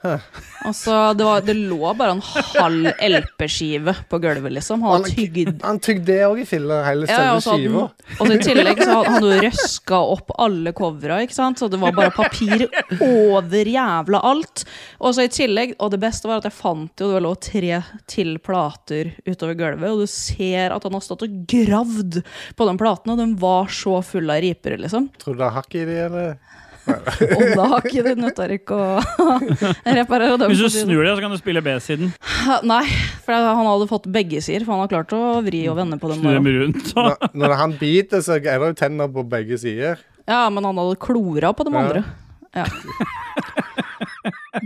S3: Altså, det, var, det lå bare en halv LP-skive på gulvet, liksom. Han hadde tygd
S1: Han tygde det òg i filler, hele
S3: Ja, ja,
S1: selve
S3: og så hadde
S1: skiva.
S3: den- Og så i tillegg så hadde han jo røska opp alle covera, ikke sant? så det var bare papir over jævla alt. Og så i tillegg, og det beste var at jeg fant jo det lå tre til plater utover gulvet, og du ser at han har stått og gravd på den platen, og den var så full av riper, liksom.
S1: Tror du det er hakk i de, eller?
S3: Og da har ikke det nytter ikke å reparere dem.
S2: Hvis
S3: for å
S2: du
S3: si det
S2: snur deg, så kan du spille B-siden.
S3: sånn. Nei, for han hadde fått begge sider, for han har klart å vri og vende på dem.
S2: Snur
S3: der.
S2: dem rundt.
S1: Når, når han biter, så er det jo tenner på begge sider.
S3: Ja, men han hadde klora på de
S1: Ja.
S3: andre. Ja.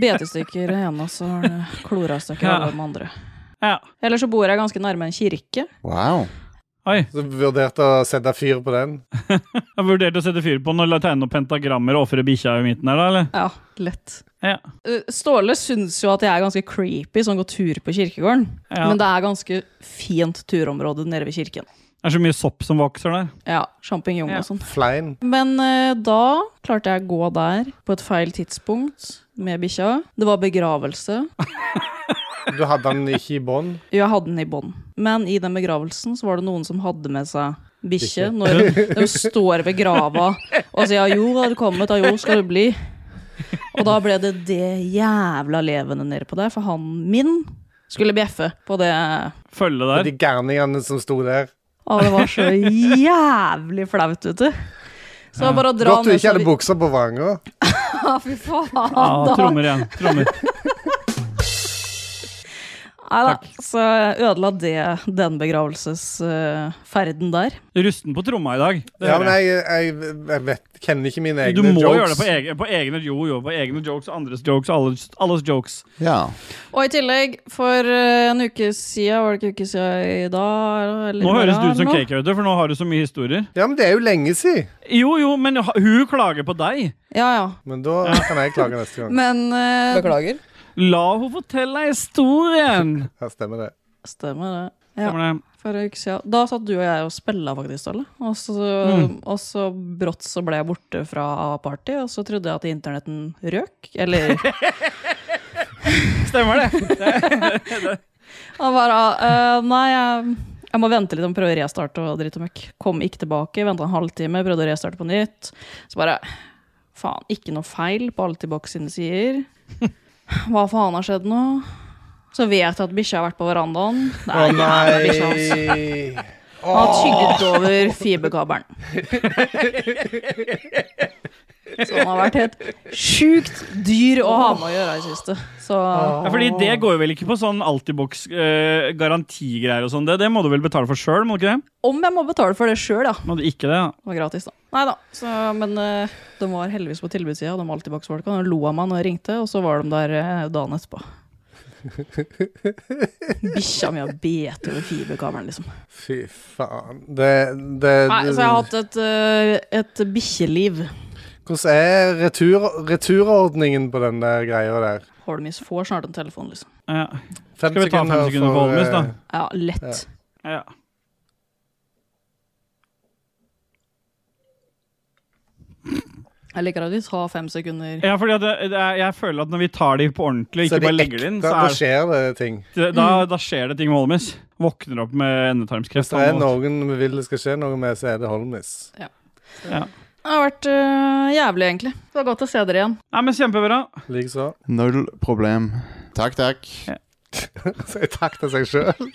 S3: Betestykker ene, og så har det klorastykker
S2: Ja.
S3: alle de andre.
S2: Ja.
S3: Ellers så bor jeg ganske nærme en kirke.
S4: Wow.
S2: Oi.
S1: Så vurderte å sette fyr på den.
S2: Jeg vurderte å sette fyr på den og la tegne opp pentagrammer og ofre bikkja i midten her, da, eller?
S3: Ja, lett.
S2: Ja.
S3: Uh, Ståle syns jo at jeg er ganske creepy som går tur på kirkegården,
S2: Ja.
S3: men det er ganske fint turområde nede ved kirken.
S2: Det er så mye sopp som vokser der.
S3: Ja, Sjampinjong
S2: Ja.
S3: og sånn.
S1: Flein.
S3: Men eh, da klarte jeg å gå der på et feil tidspunkt med bikkja. Det var begravelse.
S1: Du hadde den ikke i bånd.
S3: Jo, jeg hadde den i bånd. Men i den begravelsen så var det noen som hadde med seg
S1: Bikkje.
S3: bikkje. Når de står ved grava og sier 'jo, har du kommet', ja, 'jo, skal du bli'. Og da ble det det jævla levende nede på der, for han min skulle bjeffe på det.
S2: Følge
S1: Og
S2: der.
S1: de gærningene som sto der.
S3: Og det var så jævlig flaut, vet du. Så det var bare å dra
S1: Godt du
S3: ned
S1: ikke
S3: så
S1: hadde
S3: vi-
S1: buksa på vanga.
S3: Ja, fy faen.
S2: Ah,
S3: da.
S2: trommer igjen. Trommer.
S3: Nei da. Så jeg ødela det, den begravelsesferden der.
S2: Rusten på tromma i dag. Det
S1: Ja,
S2: hører
S1: men jeg, jeg, jeg vet, kjenner ikke mine
S2: jeg.
S1: egne
S2: Du må
S1: jokes.
S2: gjøre det på egne, på egne jo, jo, på egne jokes, andres jokes, alles, alles jokes.
S4: Ja.
S3: Og i tillegg, for eh, en uke siden, var det ikke uke siden i dag? Eller,
S2: Nå
S3: i
S2: høres du
S3: morgen,
S2: ut som
S3: eller noe?
S2: cakehøyde, for nå har du så mye historier.
S1: Ja, men det er jo lenge siden.
S2: Jo, jo, men ha- hun klager på deg.
S3: Ja, ja.
S1: Men da kan jeg klage neste gang.
S3: Men eh, Beklager.
S2: La hun fortelle historien!
S1: Ja, stemmer det.
S3: Stemmer det. Ja,
S2: Kommer det.
S3: for en uke siden. Da satt du og jeg og spilla, faktisk, Ståle. Og så,
S2: Mm.
S3: og så brått så ble jeg borte fra party, og så trodde jeg at internetten røk. Eller
S2: Stemmer det.
S3: Han bare eh, Nei, jeg, jeg må vente litt og prøve å restarte og dritt og møkk. Kom ikke tilbake, venta en halvtime, prøvde å restarte på nytt. Så bare Faen, ikke noe feil på Altibox sine sider. Hva faen har skjedd nå? Så vet jeg at bikkja har vært på verandaen. Det
S1: Å
S3: er jævla bikkja hans.
S1: nei!
S3: Han har tygget over fiberkabelen. Så han har vært helt sjukt dyr å ha med å gjøre i det siste. Så
S2: Ja, fordi det går jo vel ikke på sånn Altibox-garantigreier og sånn. Det, det må du vel betale for sjøl, må du ikke det?
S3: om jeg må betale for det sjøl, ja.
S2: Må du ikke det? ja.
S3: Det var gratis, da. Nei da. Så, men eh, de var heldigvis på tilbudssida, og de var alltid bak svolka. De lo av meg når jeg ringte, og så var de der eh, dagen etterpå. Bikkja mi har bet over fiberkabelen, liksom. Nei,
S1: Fy faen. Det, det,
S3: så jeg har hatt et, eh, et bikkjeliv.
S1: Hvordan er retur, returordningen på den der greia der?
S3: Holmis får snart en telefon, liksom.
S2: Ja.
S1: Fem eh,
S2: Skal vi ta fem sekunder på Holmis, da?
S3: Ja, lett.
S2: Ja.
S3: Jeg liker at vi tar fem sekunder.
S2: ja, fordi at det, det er, jeg føler at når vi tar de på ordentlig, ikke bare legger det inn, så
S1: Da
S2: er
S1: skjer det ting.
S2: det, da, da skjer det ting med Holmis. Våkner opp med
S1: Hvis
S2: endetarmskreft.
S1: det er
S2: han må-
S1: noen vi vil det skal skje noe med, så er det Holmis.
S3: Det har vært eh, jævlig, egentlig. Det var godt å se dere igjen.
S2: Nei, men Kjempebra.
S1: Likeså.
S4: Null problem. Takk, takk.
S1: Så jeg takk til seg sjøl.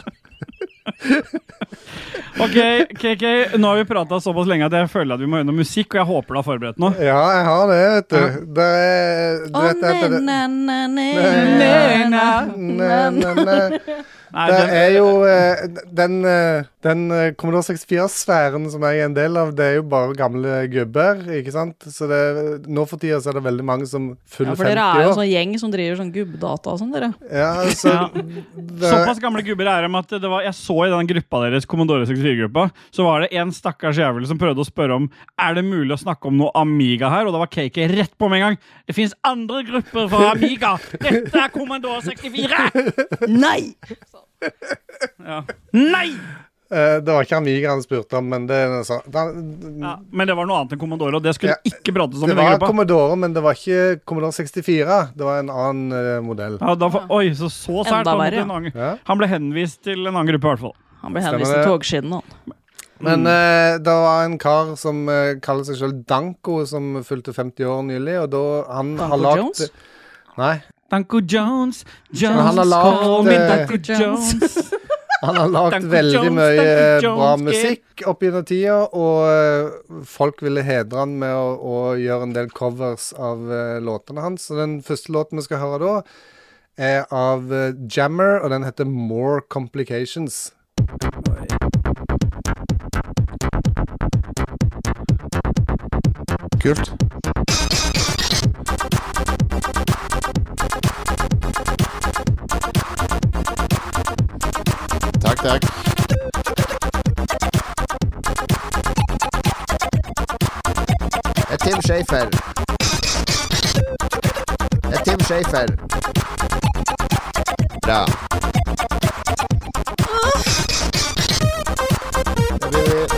S2: Ok, KK, nå har vi prata såpass lenge at jeg føler at vi må gjennom musikk, og jeg håper du har forberedt noe.
S1: Ja, jeg har det, vet du. Det er du
S3: Å,
S1: vet,
S3: nei,
S1: det- det-
S3: nei, nei, nei, nei,
S1: Nei,
S3: nei.
S1: Nei, nei, nei.
S2: Nei,
S1: Det
S2: den,
S1: er jo eh, den, eh, den eh, Commodore 64-sfæren som jeg er en del av, det er jo bare gamle gubber, ikke sant? Så det, nå for tida så er det veldig mange som
S3: Ja,
S1: fyller
S3: for dere er
S1: 50
S3: jo en
S1: år.
S3: sånn gjeng som driver sånn gubbdata og sånn, dere.
S1: Ja, så
S2: Ja.
S1: det,
S2: Såpass gamle gubber er de at det var, jeg så i den gruppa deres, Commodore 64-gruppa, så var det en stakkars jævel som prøvde å spørre om er det mulig å snakke om noe Amiga her, og da var KK rett på med en gang. Det fins andre grupper for Amiga! Dette er Commodore 64!
S3: Nei!
S2: Ja. Nei!
S1: Eh, Det var ikke Amiga han spurte om, men det er sånn- noe sånt. Han-
S2: Ja, men det var noe annet enn Commodore, og det skulle ikke prates om
S1: Det
S2: i den
S1: var
S2: gruppa.
S1: Commodore, men det var ikke Commodore 64. Det var en annen eh, modell.
S2: Ja, da, fa- oi, så så sært. Han,
S3: Enda
S2: måtte
S3: verre,
S2: i en annen-
S1: Ja.
S2: han ble henvist til en annen gruppe, i hvert fall.
S3: Han ble
S1: Stemmer
S3: henvist til
S1: det.
S3: togskinnene, han.
S1: Men
S2: Mm.
S1: eh, det var en kar som eh, kaller seg selv Danko, som fylte 50 år nylig, og da han
S3: Danko
S1: har lagt
S3: Jones?
S1: Nei.
S2: Danko Jones, Jones,
S1: han har lagd,
S2: call me
S1: eh,
S2: Danko
S3: Jones.
S2: Jones.
S1: Han har lagd
S2: Danko
S1: veldig
S2: Jones,
S1: mye
S2: Danko Jones,
S1: bra
S2: eh.
S1: musikk opp gjennom tida, og eh, folk ville hedre han med å, å gjøre en del covers av eh, låtene hans. Så den første låten vi skal høre da, er av eh, Jammer, og den heter More Complications.
S4: Kult. Takk, takk.
S5: Det er Tim Schafer. Det er Tim Schafer. Bra. Det blir-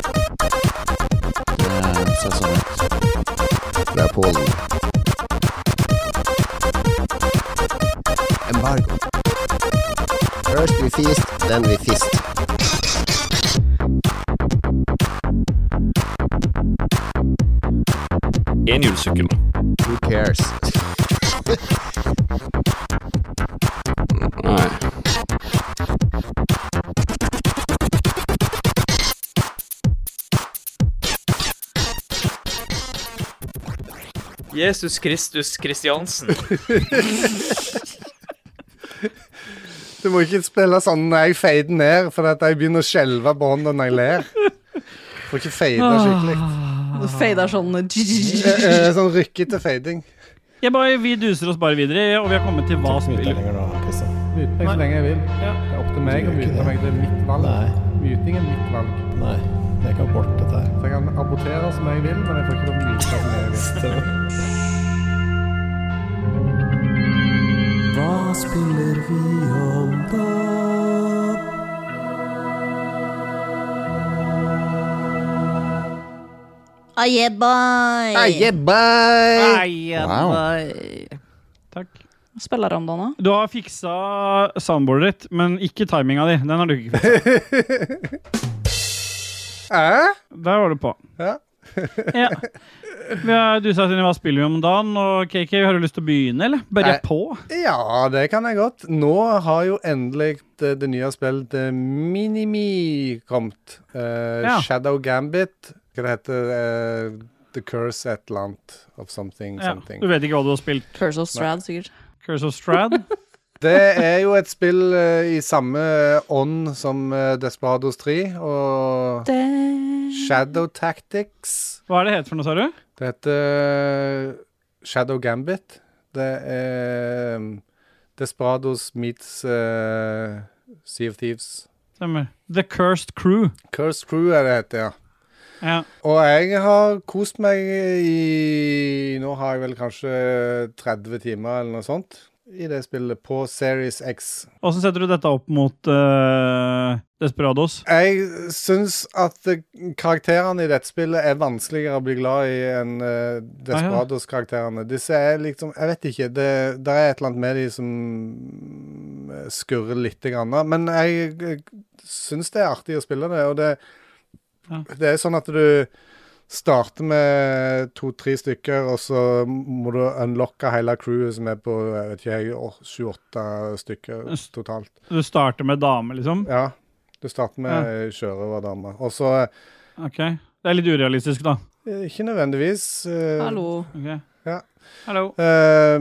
S4: Det ser sånn ut.
S5: Fra Polen.
S6: Embargo.
S5: First we feast, then we fist.
S9: Enhjulssykkel.
S5: Who cares?
S9: Nei.
S10: Jesus Kristus Kristiansen.
S1: Du må ikke spille sånn når jeg fader ned, for at jeg begynner å skjelve på hånda når jeg ler. Får ikke fade
S2: Ah.
S1: skikkelig. Ah.
S3: Det fader sånn
S1: Eh, eh, Sånn rykkete fading.
S2: Jeg bare, vi duser oss bare videre, og vi har kommet til hva spiller.
S7: lenger nå, Kristian.
S1: Mute meg så lenge jeg vil. Det er opp til meg å mute meg. Det er mitt valg.
S7: Nei,
S1: Muting er mitt valg.
S7: nei. Det er ikke abort, dette her.
S1: Så jeg kan abortere som jeg vil, men jeg får ikke lov å mute som jeg vil.
S7: Hva spiller vi om da?
S4: Wow.
S2: Takk.
S3: Spiller han da nå?
S2: Du har fiksa soundboardet ditt, men ikke timinga di. Den har du ikke fiksa.
S1: Hæ?
S2: Der var du på.
S1: Ja.
S2: Ja. Vi har dusa oss inn i hva spiller vi om dagen, og KK, har du lyst til å begynne, eller? Bør jeg
S1: Nei.
S2: på?
S1: Ja, det kan jeg godt. Nå har jo endelig det, det nye spillet eh, Minimi kommet. Eh,
S2: Ja.
S1: Shadow Gambit. Hva det heter eh, The Curse et eller annet of something,
S2: Ja.
S1: something.
S2: Du vet ikke hva du har spilt?
S3: Curse of Strad, sikkert.
S2: Curse of Strad?
S1: Det er jo et spill eh, i samme ånd som eh, Desperados 3 og Shadow Tactics.
S2: Hva er det het for noe, sa du?
S1: Det heter eh, Shadow Gambit. Det er um, Desperados meets eh, Sea of Thieves.
S2: Stemmer. The Cursed Crew.
S1: Curse Crew er det heter, ja.
S2: Ja.
S1: Og jeg har kost meg i Nå har jeg vel kanskje 30 timer eller noe sånt i det spillet på Series X.
S2: Åssen setter du dette opp mot eh, Desperados?
S1: Jeg syns at eh, karakterene i dette spillet er vanskeligere å bli glad i enn eh, Desperados-karakterene. Disse er liksom Jeg vet ikke. Det, det er et eller annet med de som eh, skurrer lite grann. da. Men jeg eh, syns det er artig å spille det, og det,
S2: Ja.
S1: det er sånn at du starter med to-tre stykker, og så må du unlocke hele crewet, som er på jeg vet ikke, jeg, åh, 28 stykker
S2: S-
S1: totalt.
S2: Du starter med dame, liksom?
S1: Ja. Du starter med ja. sjørøverdame. Og så
S2: Ok. Det er litt urealistisk, da.
S1: eh, Ikke nødvendigvis. eh,
S3: Hallo.
S2: Ok.
S1: Ja.
S2: Hallo.
S1: eh,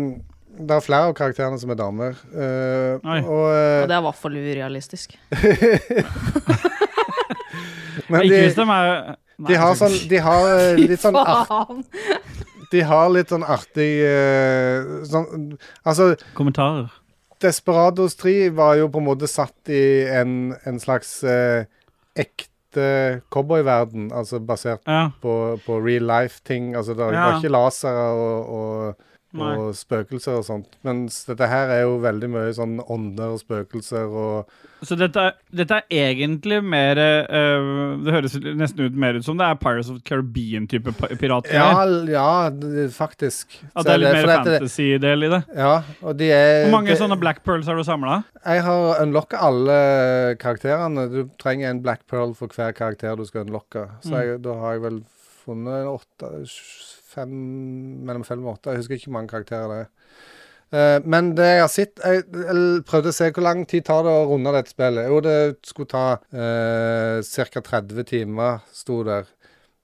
S1: det er flere av karakterene som er damer. eh,
S2: Oi.
S1: og,
S3: Ja,
S1: eh,
S3: det er i hvert fall urealistisk.
S1: men
S2: ikke
S1: de,
S2: hvis de er Nei, altså,
S1: de har sånn
S2: jeg skal ikke-
S1: De har eh, litt sånn art,
S3: Faen!
S1: De har litt sånn artig eh, sånn, Altså,
S2: Kommentarer.
S1: Desperados 3 var jo på en måte satt i en, en slags eh, ekte cowboyverden, altså basert
S2: Ja.
S1: på, på real life-ting. Altså, det
S2: Ja.
S1: var ikke lasere og, og og spøkelser og sånt. Mens dette her er jo veldig mye sånn ånder og spøkelser og
S2: Så dette, er- dette er egentlig mer eh, Det høres nesten ut, mer ut som det er Pirates of the Caribbean-type pa-
S1: Ja,
S2: piratgreier.
S1: l- ja d- faktisk. Så
S2: At det er litt
S1: for
S2: mer
S1: dette-
S2: fantasy-del i det.
S1: Ja, og de er
S2: Hvor mange
S1: det-
S2: sånne Black Pearls har du samla?
S1: Jeg har unlocka alle karakterene. Du trenger en Black Pearl for hver karakter du skal unlocke. Så
S2: Mm.
S1: jeg, da har jeg vel funnet en åtte sj- fem, Mellom fem og åtte. Jeg husker ikke hvor mange karakterer det er. Eh, men det jeg har sett Jeg jeg prøvde å se hvor lang tid tar det å runde dette spillet. Jo, det skulle ta uh, ca. 30 timer, sto der.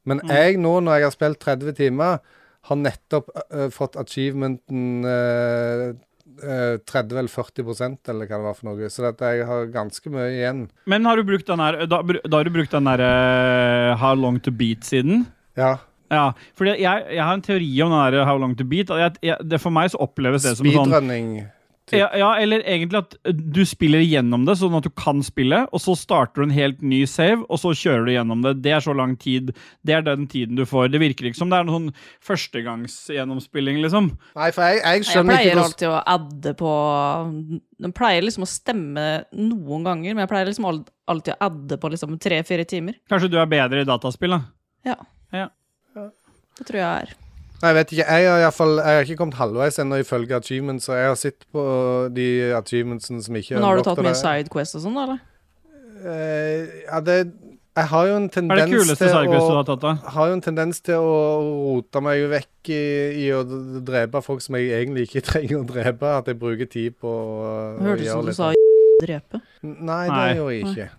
S1: Men jeg nå, når jeg har spilt 30 timer, har nettopp eh, fått achievementen eh, eh, 30 eller 40 eller hva det var for noe. Så dette, jeg har ganske mye igjen.
S2: Men har du brukt den her, da, br- da har du brukt den der eh, How Long To Beat-siden?
S1: Ja.
S2: Ja, fordi jeg, jeg har en teori om den der How Long To Beat. At jeg, jeg, det for meg så oppleves det som en sånn
S1: Speedrunning.
S2: ja, ja, eller egentlig at eh, du spiller gjennom det, sånn at du kan spille, og så starter du en helt ny save, og så kjører du gjennom det. Det er så lang tid. Det er den tiden du får. Det virker ikke som det er noen sånn førstegangsgjennomspilling, liksom.
S1: Nei, for jeg, jeg
S3: Jeg
S1: skjønner ikke
S3: pleier
S1: hvordan
S3: alltid å adde på Den pleier liksom å stemme noen ganger, men jeg pleier liksom al- alltid å adde på liksom tre-fire timer.
S2: Kanskje du er bedre i dataspill, da?
S3: Ja.
S2: Ja.
S3: Det tror jeg er.
S1: Nei, jeg vet ikke. Jeg har, i hvert fall, jeg har ikke kommet halvveis ennå ifølge achievements, så jeg har sett på de achievementsene som ikke
S3: Men har du
S1: unlocked,
S3: tatt mye
S1: og det-
S3: sidequest og sånn, da, eller?
S1: Eh, ja, det Jeg har jo en
S2: Hva er det
S1: tendens
S2: kuleste
S1: til
S2: sidequest du
S1: å
S2: har tatt, da?
S1: har jo en tendens til å rote meg vekk i, i å d- drepe folk som jeg egentlig ikke trenger å drepe. At jeg bruker tid på å
S3: Det
S1: å
S3: hørtes ut
S1: gjøre
S3: som du
S1: litt
S3: sa
S1: av-
S3: drepe.
S1: Nei, det
S2: Nei.
S1: gjorde jeg ikke.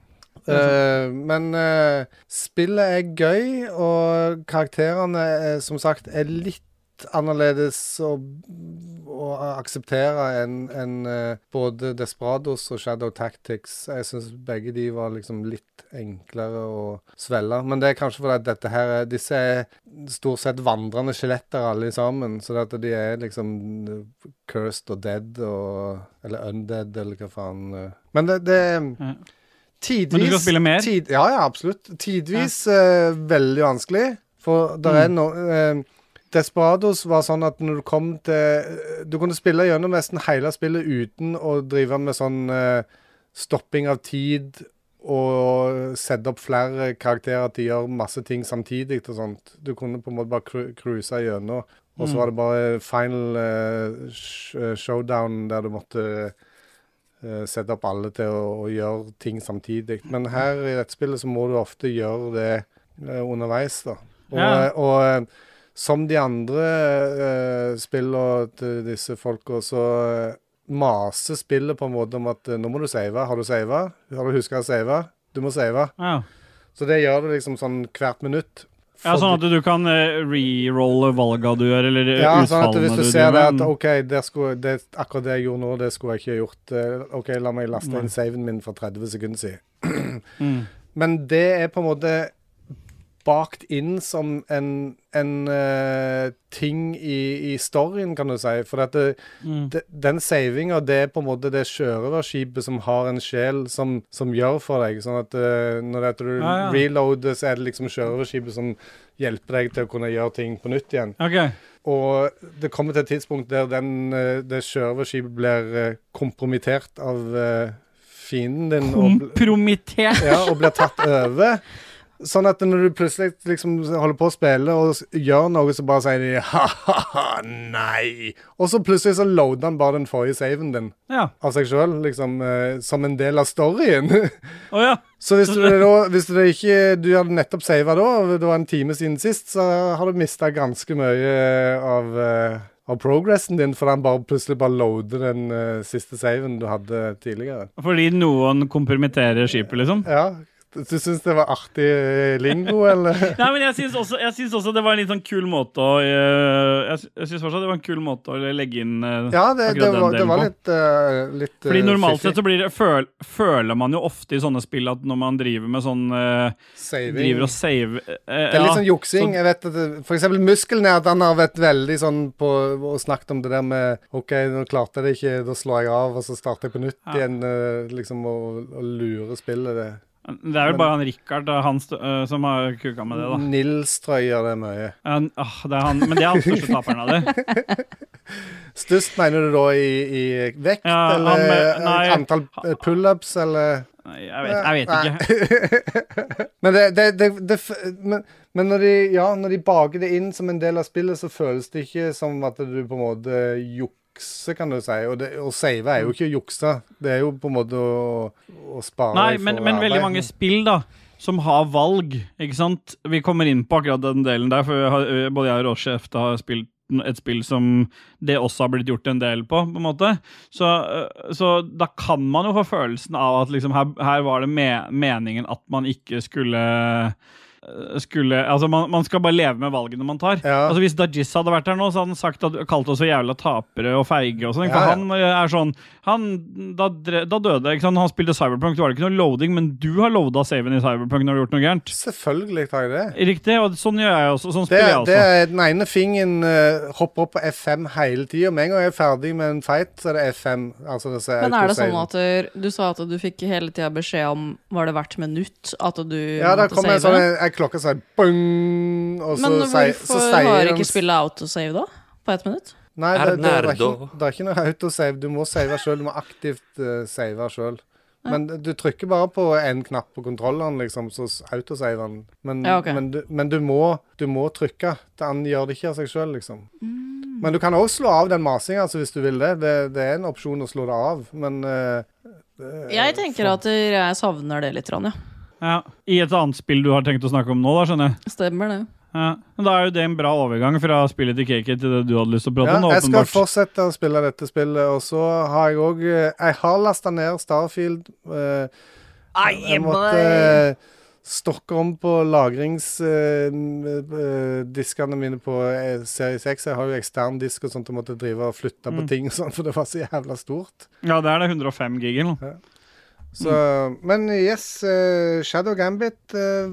S3: Nei.
S1: Eh, men eh, spillet er gøy, og karakterene er, som sagt er litt annerledes å, å akseptere enn enn, eh, både Desperados og Shadow Tactics. Jeg syns begge de var liksom litt enklere å svelge. Men det er kanskje fordi at dette her er- Disse er stort sett vandrende skjeletter alle sammen, så det at de er liksom cursed og dead og Eller undead, eller hva faen. eh. Men det, det
S2: Ja.
S1: Tidvis,
S2: Men du skal spille mer?
S1: Tid, ja, ja, absolutt. Tidvis eh, veldig vanskelig. For der
S2: Mm.
S1: er no, eh, Desperados var sånn at når du kom til Du kunne spille gjennom nesten hele spillet uten å drive med sånn eh, stopping av tid og sette opp flere karakterer til å gjøre masse ting samtidig og sånt. Du kunne på en måte bare cru- cruise gjennom. Og
S2: Mm.
S1: så var det bare final eh, sh- showdown der du måtte eh, sette opp alle til å, å gjøre ting samtidig. Men her i dette spillet så må du ofte gjøre det eh, underveis, da. Og,
S2: Ja.
S1: og eh, som de andre eh, spillene til disse folka, så eh, maser spillet på en måte om at eh, nå må du save. Har du sava? Har du huska å save? Du må save.
S2: Ja.
S1: Så det gjør du liksom sånn hvert minutt.
S2: Ja, sånn at du kan eh, rerolle valga du gjør, eller eh,
S1: Ja, sånn at
S2: utfallene
S1: hvis du
S2: du
S1: ser det
S2: driver
S1: at
S2: med.
S1: OK, det skulle, det, akkurat det jeg gjorde nå, det skulle jeg ikke gjort. eh, OK, la meg laste inn saven min for 30 sekunder siden.
S2: Mm.
S1: Men det er på en måte bakt inn som en, en eh, ting i, i storyen, kan du si. For at eh, det,
S2: Mm.
S1: de- den savinga, det er på en måte det sjørøverskipet som har en sjel som, som gjør for deg. Sånn at eh, når det er at du
S2: Ja, ja.
S1: reloader, så er det liksom sjørøverskipet som hjelper deg til å kunne gjøre ting på nytt igjen.
S2: Ok.
S1: Og det kommer til et tidspunkt der den, eh, det sjørøverskipet blir eh, kompromittert av eh, fienden din. og bl-
S2: Kompromittert.
S1: ja, og blir tatt over. Sånn at når du plutselig liksom holder på å spille og s- gjør noe, så bare sier de ha-ha-ha, nei. Og så plutselig så loader han bare den forrige saven din
S2: Ja.
S1: av seg sjøl, liksom, eh, som en del av storyen.
S2: Å ja.
S1: Så hvis du, da, hvis du da ikke Du hadde nettopp sava da, og det var en time siden sist, så har du mista ganske mye av, eh, av progressen din, for han bare plutselig bare loader den eh, siste saven du hadde tidligere.
S2: Fordi noen kompromitterer skipet, liksom.
S1: Ja, du syns det var artig eh, lingo, eller?
S2: Nei, men jeg syns også, jeg syns også det var en litt sånn kul måte å eh, Jeg, sy- jeg syns fortsatt det var en kul måte å legge inn eh,
S1: Ja, det,
S2: akkurat
S1: det,
S2: den
S1: var, det
S2: delen
S1: var
S2: på.
S1: litt, eh, litt eh,
S2: Fordi normalt sett
S1: fiffig.
S2: så blir det, føl, føler man jo ofte i sånne spill at når man driver med sånn eh,
S1: Saving.
S2: Driver og save eh,
S1: Det er
S2: ja,
S1: litt sånn juksing.
S2: sånn-
S1: Jeg vet at det- For eksempel muskelnerdene har vært veldig sånn på og snakket om det der med OK, nå klarte jeg det ikke, da slår jeg av, og så starter jeg på nytt
S2: Ja.
S1: igjen. eh, Liksom og, og lurer spillet. Det.
S2: Det er vel bare han Richard eh, han, st- eh, som har kuka
S1: Mm.
S2: med det, da.
S1: Nils tror jeg gjør det mye.
S2: Ja, n- ah, det er han, men det er han største taperen av det.
S1: Størst mener du da i, i vekt,
S2: Ja, han
S1: eller
S2: med- nei.
S1: antall eh, pullups, eller
S2: Nei, Jeg vet, jeg vet ikke.
S1: Men, det, det, det, det, f- men, men når, de, ja, når de baker det inn som en del av spillet, så føles det ikke som at du på en måte jukser, kan du si. Og det, å save er jo ikke å jukse. Det er jo på en måte å, å spare
S2: Nei,
S1: for
S2: men, men veldig
S1: arbeid.
S2: mange spill, da. Som har valg, ikke sant. Vi kommer inn på akkurat den delen der, for jeg har, ø, både jeg og Råsjef da har spilt et spill som det også har blitt gjort en del på, på en måte. Så, ø, så da kan man jo få følelsen av at liksom her, her var det me meningen at man ikke skulle ø, skulle, altså man, man skal bare leve med valgene man tar.
S1: Ja.
S2: Altså Hvis Dajis hadde vært her nå, så hadde han sagt at, kalt oss for jævla tapere og feige. og sånn, ikke?
S1: Ja, ja.
S2: For han ø, er sånn han, da, dre- da døde ikke sant? Han spilte Cyberpunk, det var det ikke noe loading, men du har loada saven i Cyberpunk når du har gjort noe gærent.
S1: Selvfølgelig tar jeg det.
S2: Riktig, og sånn gjør jeg også. Sånn
S1: Det,
S2: spiller jeg
S1: det
S2: også.
S1: er den ene fingeren eh, hopper opp på F5 hele tida. Med en gang jeg er ferdig med en fight, så er det F5. Altså, det ser
S3: Men er det sånn
S1: autosave.
S3: at du, du sa at du fikk hele tida beskjed om Var det hvert minutt at du
S1: Ja, da
S3: måtte
S1: kommer en
S3: save?
S1: sånn en, en klokke som sier bong, og så
S3: Men
S1: sier- så
S3: hvorfor
S1: sier
S3: har
S1: den-
S3: ikke spillet autosave, da? På ett minutt?
S1: Nei, det,
S10: Er
S1: det, det, er
S10: nerdo.
S1: ikke, det er ikke noe autosave. Du må save sjøl. Du må aktivt eh, save sjøl. Men du trykker bare på én knapp på kontrolleren, liksom, så s- autosaver den. Men,
S3: Ja, ok.
S1: men, du, men du, må, du må trykke. Den gjør det ikke av seg sjøl, liksom.
S3: Mm.
S1: Men du kan òg slå av den masinga altså, hvis du vil det. det. Det er en opsjon å slå det av, men eh,
S3: Jeg tenker at jeg savner det litt, Ronja.
S2: Ja. I et annet spill du har tenkt å snakke om nå, da, skjønner jeg.
S3: Stemmer det.
S2: Ja. Men Da er jo det en bra overgang fra spillet til Kiki til det du hadde lyst til å prate
S1: Ja,
S2: om. da,
S1: jeg skal
S2: åpenbart.
S1: fortsette å spille dette spillet, og så har jeg òg Jeg har lasta ned Starfield. eh, jeg måtte eh, stokke om på eh, lagringsdiskene mine på eh, Series X. Jeg har jo ekstern disk og sånt, og måtte drive og flytte på ting, og sånt, for det var så jævla stort.
S2: Ja, det er det 105 gigen. da.
S1: Så, Men yes, eh, Shadow Gambit eh,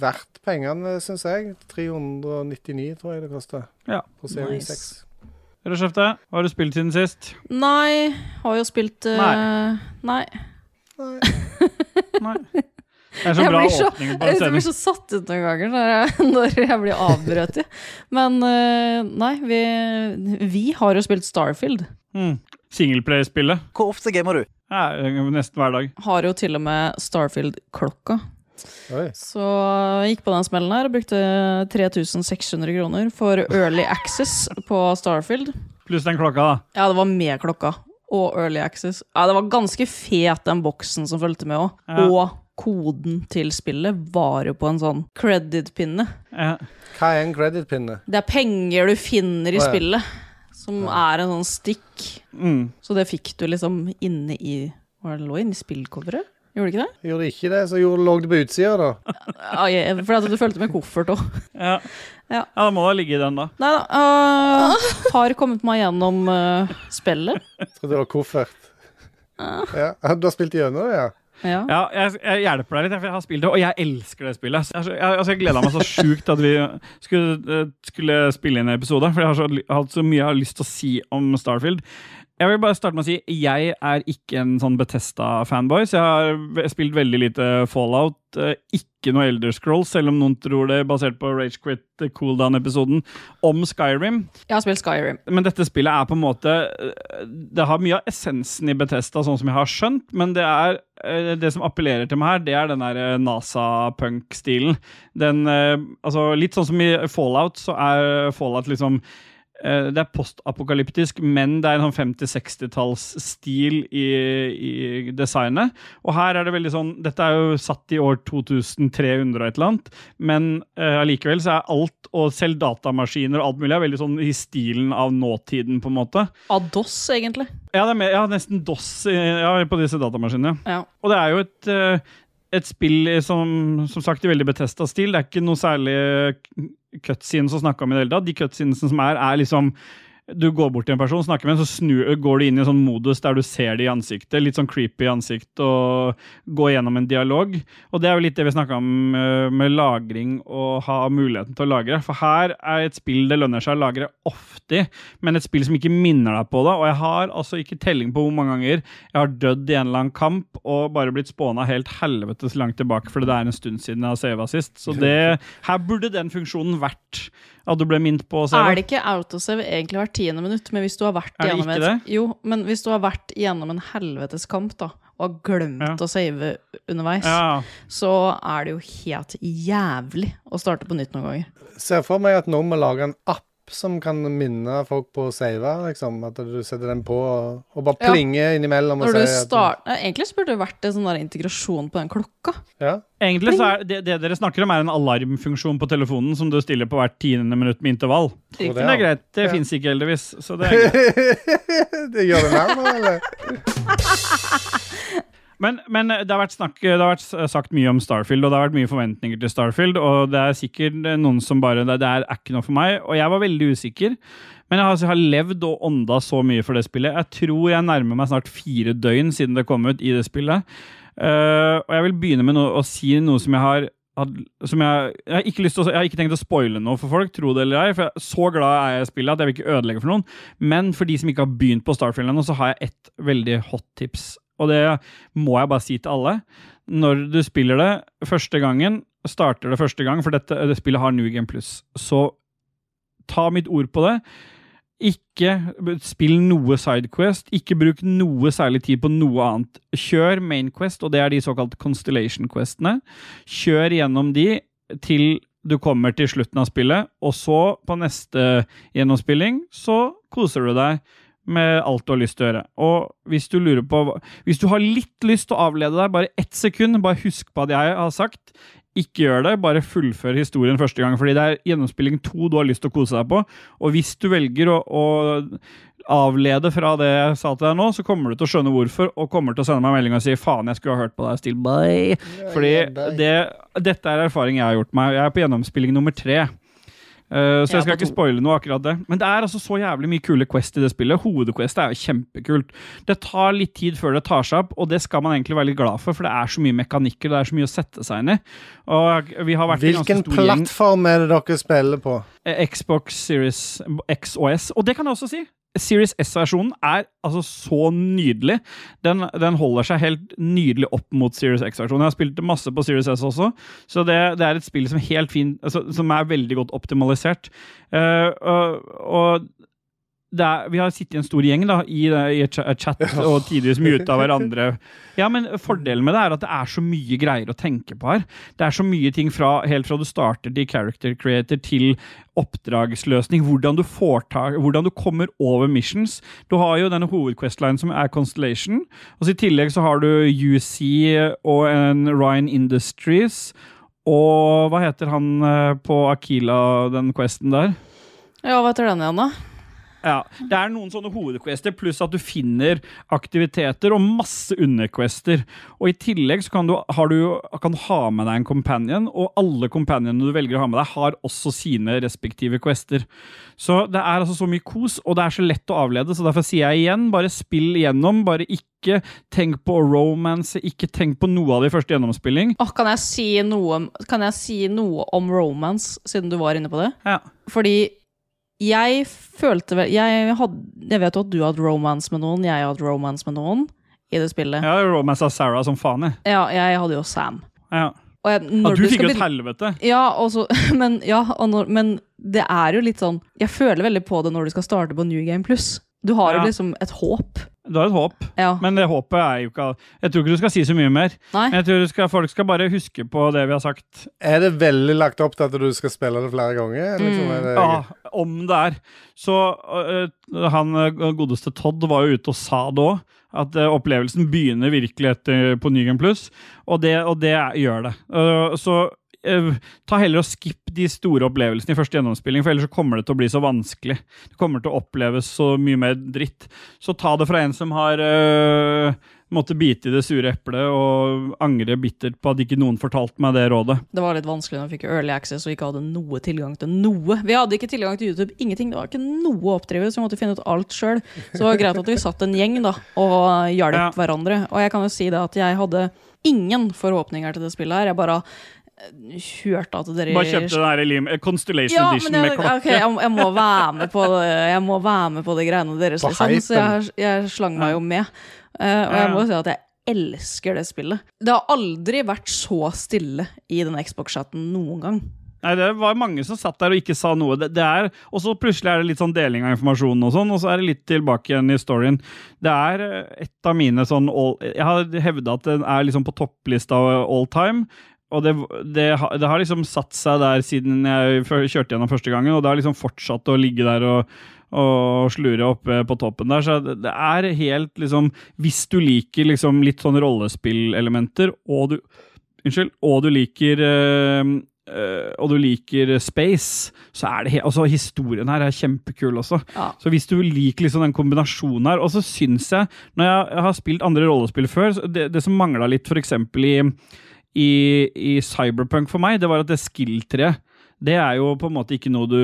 S1: verdt pengene, syns jeg. 399, tror jeg det koster.
S2: Ja.
S1: På Series
S3: Nice.
S1: X.
S2: Rødskjefte, hva har du spilt siden sist?
S3: Nei, har jo spilt eh,
S2: Nei.
S3: nei.
S2: Nei. Det er så
S3: Jeg
S2: bra
S3: blir så-
S2: åpning på en
S3: Jeg blir
S2: sending.
S3: så satt ut noen ganger når jeg, når jeg blir avbrøt. i. Men eh, nei, vi, vi har jo spilt Starfield.
S2: Mm. Singleplay-spillet.
S6: Hvor ofte gamer du?
S2: Ja, nesten hver dag.
S3: Har jo til og med Starfield-klokka.
S1: Oi.
S3: Så jeg gikk på den smellen her og brukte 3600 kroner for early access på Starfield.
S2: Pluss den klokka, da.
S3: Ja, det var med klokka og early access. Ja, det var ganske fet, den boksen som fulgte med òg.
S2: Ja.
S3: Og koden til spillet var jo på en sånn credit-pinne.
S2: Ja.
S1: Hva er en credit-pinne?
S3: Det er penger du finner
S1: Å,
S3: i
S1: ja.
S3: spillet, som er en sånn stikk.
S2: Mm.
S3: Så det fikk du liksom inne i Hva det lå inni spillcoveret? Gjorde det ikke det?
S1: Gjorde ikke det, så gjorde, lå det på utsida, da.
S3: Ja, jeg- for at du fulgte med koffert òg.
S2: Ja.
S3: Ja.
S2: ja, da må det ligge i den, da.
S3: Nei da. øh, har kommet meg gjennom øh, spillet.
S1: Trodde det var koffert.
S3: Ah.
S1: Ja. Du har spilt gjennom det, ja?
S3: Ja.
S2: Ja, jeg, jeg hjelper deg litt, for jeg har spilt det, og jeg elsker det spillet. Så Jeg, er så- jeg, altså, jeg gleda meg så sjukt at vi skulle, eh, skulle spille inn en episode, for jeg har så, ly- hatt så mye jeg har lyst til å si om Starfield. Jeg vil bare starte med å si jeg er ikke en sånn Betesta-fanboy, så jeg har ve- spilt veldig lite Fallout. eh, Ikke noe Elder Scrolls, selv om noen tror det, basert på Ragequit Cooldown-episoden om Skyrim
S3: Jeg har spilt Skyrim.
S2: men dette spillet er på en måte eh, Det har mye av essensen i Bethesda, sånn som jeg har skjønt, men det er eh, det som appellerer til meg her, det er den der eh, NASA-punk-stilen. Den eh, Altså, litt sånn som i Fallout, så er Fallout liksom eh, det er postapokalyptisk, men det er en sånn 50-60-tallsstil i, i designet. Og her er det veldig sånn Dette er jo satt i år 2300 og et eller annet, men eh, allikevel så er alt, og selv datamaskiner og alt mulig, er veldig sånn i stilen av nåtiden, på en måte.
S3: Ados, egentlig.
S2: Ja, det er mer, ja nesten DOS i- ja, på disse datamaskinene.
S3: Ja.
S2: Og det er jo et, eh, et spill i som, som sagt i veldig Betesta-stil. Det er ikke noe særlig eh, k- cutscenes å snakke om i det hele tatt. De cutscenesene som er, er liksom du går bort til en person, snakker med en, så snur, går du inn i en sånn modus der du ser det i ansiktet. Litt sånn creepy ansikt, og går gjennom en dialog. Og det er jo litt det vi snakka om eh, med lagring, og ha muligheten til å lagre. For her er et spill det lønner seg å lagre ofte, i, men et spill som ikke minner deg på det. Og jeg har altså ikke telling på hvor mange ganger jeg har dødd i en eller annen kamp og bare blitt spåna helt helvetes langt tilbake fordi det er en stund siden jeg har sava sist. Så det, her burde den funksjonen vært at du ble minnet på å save.
S3: Er det ikke autosave egentlig hvert tiende minutt, men hvis du har vært
S2: Er det
S3: gjennom
S2: ikke
S3: et, jo, men hvis du har vært gjennom en helvetes kamp da, og har glemt
S2: Ja.
S3: å save underveis,
S2: Ja.
S3: så er det jo helt jævlig å starte på nytt noen ganger.
S1: Ser for meg at nå må lage en app som kan minne folk på å save, liksom. At du setter den på og, og bare
S3: Ja.
S1: plinger innimellom og
S3: Når du
S1: sier at-
S3: start... Nei, Egentlig så burde det vært en sånn der integrasjon på den klokka.
S1: ja.
S2: Egentlig så er det, det dere snakker om, er en alarmfunksjon på telefonen som du stiller på hvert tiende minutt med intervall.
S1: Tror det,
S2: Men det er
S1: ja.
S2: greit. Det
S1: Ja.
S2: fins ikke, heldigvis. Så det er greit.
S1: Det gjør det mer nå, eller?
S2: Men, men det, har vært snakk, det har vært sagt mye om Starfield, og det har vært mye forventninger til Starfield. Og det er sikkert eh, noen som bare Det, det er ikke noe for meg. Og jeg var veldig usikker. Men jeg har, altså, jeg har levd og ånda så mye for det spillet. Jeg tror jeg nærmer meg snart fire døgn siden det kom ut i det spillet. Eh, og jeg vil begynne med noe, å si noe som jeg har had- som jeg, jeg, har ikke lyst til å, jeg har ikke tenkt å spoile noe for folk, tro det eller ei. For jeg, så glad er jeg i spillet at jeg vil ikke ødelegge for noen. Men for de som ikke har begynt på Starfield ennå, så har jeg ett veldig hot tips. Og det må jeg bare si til alle. Når du spiller det første gangen, starter det første gang, for dette det spillet har New Game Plus, så ta mitt ord på det. Ikke spill noe sidequest. Ikke bruk noe særlig tid på noe annet. Kjør mainquest, og det er de såkalt constellation questene. Kjør gjennom de til du kommer til slutten av spillet, og så, på neste gjennomspilling, så koser du deg med alt du har lyst til å gjøre. Og hvis du lurer på hva- Hvis du har litt lyst til å avlede deg, bare ett sekund, bare husk på at jeg har sagt ikke gjør det, bare fullfør historien første gang, fordi det er gjennomspilling to du har lyst til å kose deg på. Og hvis du velger å, å avlede fra det jeg sa til deg nå, så kommer du til å skjønne hvorfor, og kommer til å sende meg en melding og si 'faen, jeg skulle ha hørt på deg', still bye. Fordi det, dette er erfaring jeg har gjort meg. Jeg er på gjennomspilling nummer tre. Eh, så
S3: Jeg er
S2: jeg skal
S3: på
S2: ikke spoile noe akkurat det. Men det er altså så jævlig mye kule quest i det spillet. Hovedquestet er jo kjempekult. Det tar litt tid før det tar seg opp, og det skal man egentlig være litt glad for, for det er så mye mekanikker, det er så mye å sette seg inn i. Og vi har vært en ganske
S1: Hvilken
S2: stor gjeng-
S1: plattform er det dere spiller på?
S2: eh, Xbox Series X og S. Og det kan jeg også si. Series S-versjonen er altså så nydelig. Den, den holder seg helt nydelig opp mot Series X-versjonen. Jeg har spilt masse på Series S også, så det, det er et spill som, helt fin, altså, som er veldig godt optimalisert. Eh, og, og det er, vi har sittet i en stor gjeng da, i, det- i et cha- chat og tidvis mye av hverandre. Ja, men Fordelen med det er at det er så mye greier å tenke på her. Det er så mye ting fra, helt fra du starter til character creator til oppdragsløsning. Hvordan du, får tak, hvordan du kommer over missions. Du har jo denne hovedquestline som er Constellation. og så I tillegg så har du UC og en Ryan Industries. Og hva heter han eh, på Akila, den questen der?
S3: Ja, hva heter den igjen, da?
S2: Ja, Det er noen sånne hovedquester, pluss at du finner aktiviteter og masse underquester. Og I tillegg så kan du, har du kan du ha med deg en companion, og alle companionene du velger å ha med deg, har også sine respektive quester. Så det er altså så mye kos, og det er så lett å avlede, så derfor sier jeg igjen, bare spill igjennom. Bare ikke tenk på romance, ikke tenk på noe av det i første gjennomspilling.
S3: Åh, kan, jeg si noe, om- kan jeg si noe om romance, siden du var inne på det?
S2: Ja.
S3: Fordi jeg følte vel Jeg, hadde, jeg vet jo at du hadde romance med noen, jeg hadde romance med noen i det spillet.
S2: Jeg har romance av Sarah som faen, jeg.
S3: Ja, jeg hadde jo Sam.
S2: Ja.
S3: Og jeg,
S2: Ja,
S3: når
S2: du fikk
S3: skal
S2: jo et
S3: begyn-
S2: helvete.
S3: Ja, og så- men, ja og når, men det er jo litt sånn Jeg føler veldig på det når du skal starte på New Game Plus. Du har
S2: Ja.
S3: jo liksom et håp.
S2: Du har et håp.
S3: Ja.
S2: Men det håpet er jo ikke Jeg tror ikke du skal si så mye mer.
S3: Nei.
S2: Men Jeg tror du skal, folk skal bare huske på det vi har sagt.
S1: Er det veldig lagt opp til at du skal spille det flere ganger?
S3: Mm.
S1: Liksom, er det,
S2: Ja, ah, om det er. Så øh, han øh, godeste Todd var jo ute og sa det òg. At øh, opplevelsen begynner virkelig etter på Nygen Pluss, og det, og det er, gjør det. Øh, så øh, ta heller og skipp de store opplevelsene i første gjennomspilling, for ellers så kommer det til å bli så vanskelig. Det kommer til å oppleves så mye mer dritt. Så ta det fra en som har øh, måtte bite i det sure eplet og angre bittert på at ikke noen fortalte meg det rådet.
S3: Det var litt vanskelig når vi fikk early access og ikke hadde noe tilgang til noe. Vi hadde ikke tilgang til YouTube, ingenting. Det var ikke noe å oppdrive, så vi måtte finne ut alt sjøl. Så det var greit at vi satt en gjeng da, og hjalp
S2: Ja.
S3: hverandre. Og jeg kan jo si det at jeg hadde ingen forhåpninger til det spillet her. Jeg bare eh, hørte at dere
S2: Bare kjøpte den her lim, eh, Constellation
S3: ja,
S2: Edition
S3: men jeg,
S2: med klokke.
S3: ok, jeg, jeg, må være med på det, jeg må være med på de greiene deres,
S1: På
S3: liksom. Så jeg,
S1: hypen.
S3: jeg slang meg jo med. Eh, og
S2: Ja,
S3: jeg
S2: ja.
S3: må si at jeg elsker det spillet. Det har aldri vært så stille i den Xbox-chatten noen gang.
S2: Nei, det var mange som satt der og ikke sa noe. Det, det er, og så plutselig er det litt sånn deling av informasjonen, og sånn, og så er det litt tilbake igjen i storyen. Det er eh, et av mine sånn all, Jeg har hevda at den er liksom på topplista all time. Og det, det, har- det har liksom satt seg der siden jeg fø- kjørte gjennom første gangen, og det har liksom fortsatt å ligge der og, og slure oppe på toppen der. Så det det er helt liksom Hvis du liker liksom litt sånn rollespillelementer, og du Unnskyld. Og du liker eh, eh, Og du liker space, så er det he også historien her er kjempekul også.
S3: Ja.
S2: Så hvis du liker liksom den kombinasjonen her Og så syns jeg, når jeg, jeg har spilt andre rollespill før, så det, det som mangla litt f.eks. I, i, i Cyberpunk for meg, det var at det skill-treet det er jo på en måte ikke noe du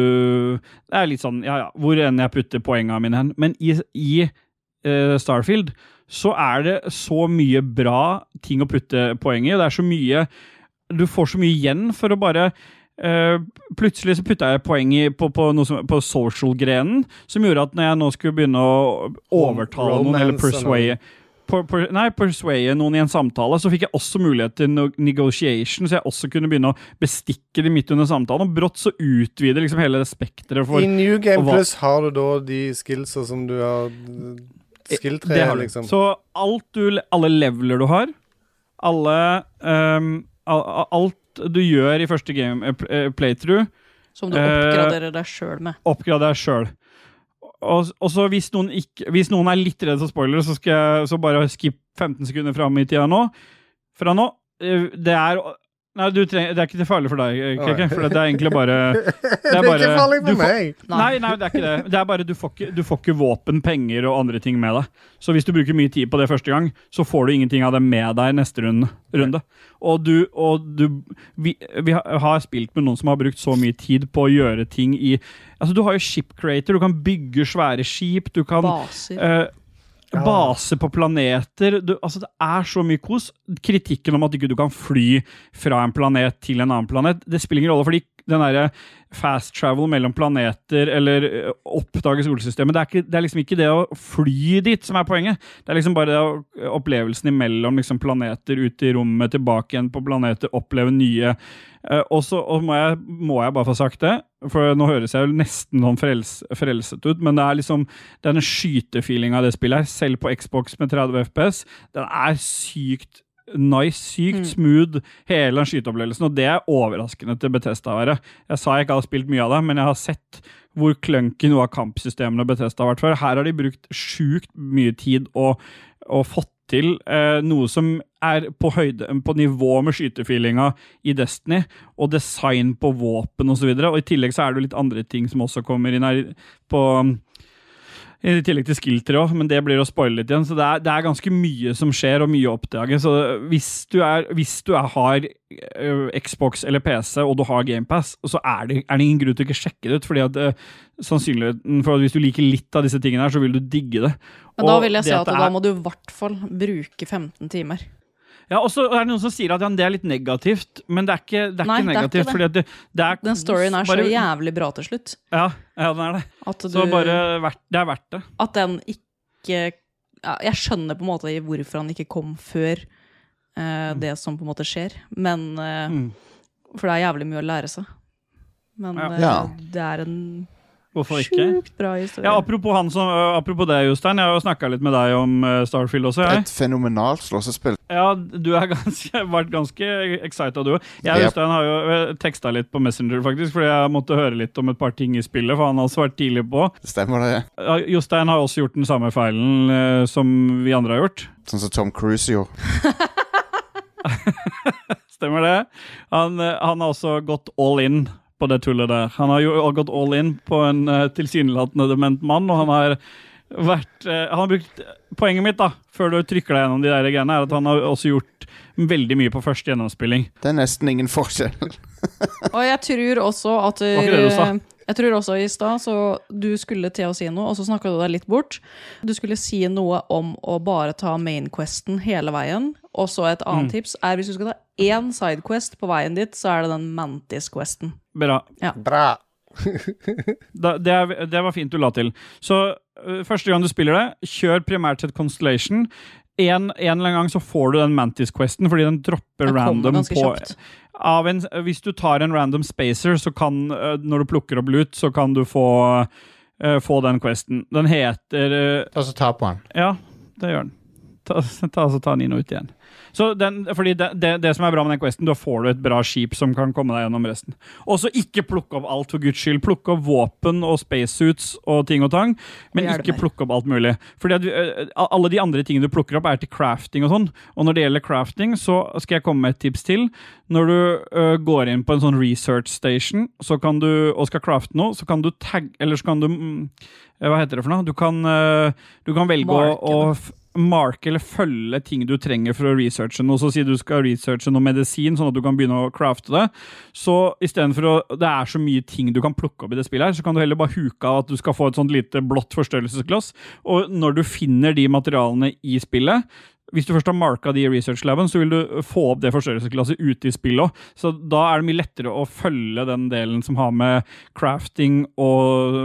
S2: Det er litt sånn, ja ja, hvor enn jeg putter poengene mine hen. Men i, i eh, Starfield, så er det så mye bra ting å putte poeng i. og Det er så mye Du får så mye igjen for å bare eh, plutselig så putta jeg poeng i, på, på, noe som, på social-grenen, som gjorde at når jeg nå skulle begynne å overtale noen, eller
S1: Romance
S2: persuade
S1: eller-
S2: per, per, Nei, persuade noen i en samtale, så fikk jeg også mulighet til no negotiation, så jeg også kunne begynne å bestikke de midt under samtalen. Og brått så utvider liksom hele det spekteret for
S1: I New Game
S2: og hva-
S1: Plus har du da de skillsa som du har eh,
S2: Det
S1: Skill-treet,
S2: har du.
S1: liksom.
S2: Så alt du, alle leveler du har, alle ehm, al- al- Alt du gjør i første game, eh, pl- eh, playthrough,
S3: Som du
S2: Eh,
S3: oppgraderer deg sjøl med.
S2: oppgrader deg sjøl. Og, og så hvis noen, ikke, hvis noen er litt redd for spoilere, så, skal jeg, så bare skipp 15 sekunder fram i tida nå. Fra nå. Eh, Det er Nei, du trenger, det er ikke farlig for deg, eh, Keke, for det er egentlig bare
S1: Det er
S2: bare-
S1: ikke farlig
S2: du
S1: for
S2: får-
S1: meg!
S2: Nei, nei, det er ikke det. Det er bare Du får ikke, du får ikke våpen, penger og andre ting med deg. Så hvis du bruker mye tid på det første gang, så får du ingenting av det med deg neste runde. runde. Og du, og du vi, vi har- har spilt med noen som har brukt så mye tid på å gjøre ting i Altså, du har jo Ship Creator, du kan bygge svære skip, du kan
S3: Baser.
S2: eh, Base på planeter du, altså Det er så mye kos. Kritikken om at ikke du kan fly fra en planet til en annen planet, det spiller ingen rolle, fordi den derre fast travel mellom planeter eller eh, oppdage solsystemet det er, ikke, det er liksom ikke det å fly dit som er poenget. Det er liksom bare det å, opplevelsen imellom liksom planeter, ut i rommet, tilbake igjen på planeter, oppleve nye Eh, og så og må, jeg, må jeg bare få sagt det, for nå høres jeg jo nesten sånn frels, frelset ut, men det er liksom denne skytefeelinga av det spillet her, selv på Xbox med 30 FPS, den er sykt nice, sykt smooth, hele den skyteopplevelsen, og det er overraskende til Bethesda å være. Jeg sa jeg ikke har spilt mye av det, men jeg har sett hvor clunky noe av kampsystemene Bethesda har vært før. Her har de brukt sjukt mye tid og, og fått til eh, noe som er på høyde, på nivå med skytefeelinga i Destiny, og design på våpen osv. Og i tillegg så er det jo litt andre ting som også kommer inn her på i tillegg til skill-tre òg, men det blir å spoile litt igjen. Så det er, det er ganske mye som skjer, og mye å oppdage. Så hvis du, er, hvis du er, har øh, Xbox eller PC, og du har GamePass, så er det, er det ingen grunn til å ikke sjekke det ut. fordi at øh, sannsynligheten for at hvis du liker litt av disse tingene her, så vil du digge det.
S3: Men da
S2: Og
S3: vil jeg si
S2: det
S3: at
S2: det
S3: da
S2: er-
S3: må du i hvert fall bruke 15 timer.
S2: Ja, og så er det noen som sier at ja, men det er litt negativt, men det er ikke, det er
S3: Nei,
S2: ikke
S3: det er ikke
S2: negativt. fordi at det, det er
S3: Den
S2: kos,
S3: storyen er så
S2: bare-
S3: jævlig bra til slutt
S2: Ja, ja, den er det.
S3: at, du,
S2: Så bare verdt, det er verdt det.
S3: at den ikke ja, Jeg skjønner på en måte hvorfor han ikke kom før eh, det som på en måte skjer, men eh,
S2: Mm.
S3: For det er jævlig mye å lære seg. Men
S2: Ja.
S3: eh,
S5: Ja.
S3: det er en
S2: Hvorfor ikke?
S3: sjukt bra historie.
S2: Ja, apropos, han som, øh, apropos det, Jostein. Jeg har jo snakka litt med deg om øh, Starfield også. Jeg.
S4: Et fenomenalt slåssespill.
S2: Ja, du har vært ganske excited, du òg. Jeg og
S4: Yep.
S2: Jostein har jo teksta litt på Messenger, faktisk, fordi jeg måtte høre litt om et par ting i spillet, for han har også vært tidlig på.
S4: Stemmer det?
S2: Ja, Jostein har også gjort den samme feilen øh, som vi andre har gjort.
S4: Sånn som Tom Cruise gjorde.
S2: Stemmer det. Han, eh, han har også gått all in på det tullet der. Han har jo gått all in på en eh, tilsynelatende dement mann, og han har vært eh, Han har brukt Poenget mitt, da, før du trykker deg gjennom de der greiene, er at han har også gjort veldig mye på første gjennomspilling.
S4: Det er nesten ingen forskjell.
S3: Og jeg tror også at eh,
S2: var ikke det du sa.
S3: Jeg tror også i stad så du skulle til å si noe, og så snakka du deg litt bort. Du skulle si noe om å bare ta mainquesten hele veien. Og så et
S2: Mm.
S3: annet tips er hvis du skal ta én sidequest på veien dit, så er det den Mantis-questen.
S2: Bra.
S1: Bra.
S2: Da, det, eh, er, det var fint du la til. Så øh, første gang du spiller det, kjør primært sett Constellation. en, en eller annen gang så får du den Mantis Questen, fordi den dropper
S3: Den kommer
S2: random
S3: ganske
S2: på
S3: kjapt.
S2: av en, Hvis du tar en random spacer, så kan eh, når du plukker opp loot, så kan du få eh, få den questen. Den heter eh,
S9: Ta så ta på den.
S2: Ja, det gjør den. Ta, ta, altså, ta Nino ut igjen. Så den, fordi det, det, det som er bra med den questen, da får du et bra skip som kan komme deg gjennom resten. Og så ikke plukke opp alt, for guds skyld. Plukke opp våpen og spacesuits og ting og tang, men
S3: Og hjelmer.
S2: ikke plukke opp alt mulig. Fordi at, vi- eh, alle de andre tingene du plukker opp, er til crafting og sånn. Og når det gjelder crafting, så skal jeg komme med et tips til. Når du eh, går inn på en sånn research station så kan du, og skal crafte noe, så kan du tagge Eller så kan du mm, eh, Hva heter det for noe? Du kan, eh, du kan velge
S3: Marke
S2: å, å f- marke eller følge ting du trenger for å researche noe. Så si du skal researche noe medisin, sånn at du kan begynne å crafte det. Så istedenfor å Det er så mye ting du kan plukke opp i det spillet her, så kan du heller bare huke av at du skal få et sånt lite blått forstørrelsesglass. Og når du finner de materialene i spillet hvis du først har marka de i research-laben, så vil du få opp det forstørrelsesglasset ute i spillet òg. Så da er det mye lettere å følge den delen som har med crafting og,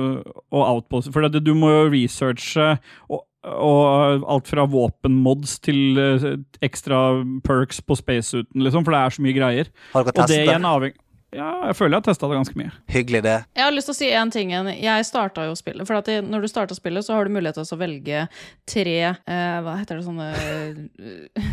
S2: og outpost For det, du må jo researche og, og alt fra våpenmods til eh, ekstra perks på spacesuiten, liksom, for det er så mye greier.
S6: Har dere
S2: Og det
S6: testet?
S2: igjen avheng... Ja, jeg føler jeg har testa det ganske mye.
S6: Hyggelig, det.
S3: Jeg har lyst til å si én ting. igjen. Jeg starta jo spillet. For at i- når du starter spillet, så har du mulighet til å velge tre eh, Hva heter det sånne eh,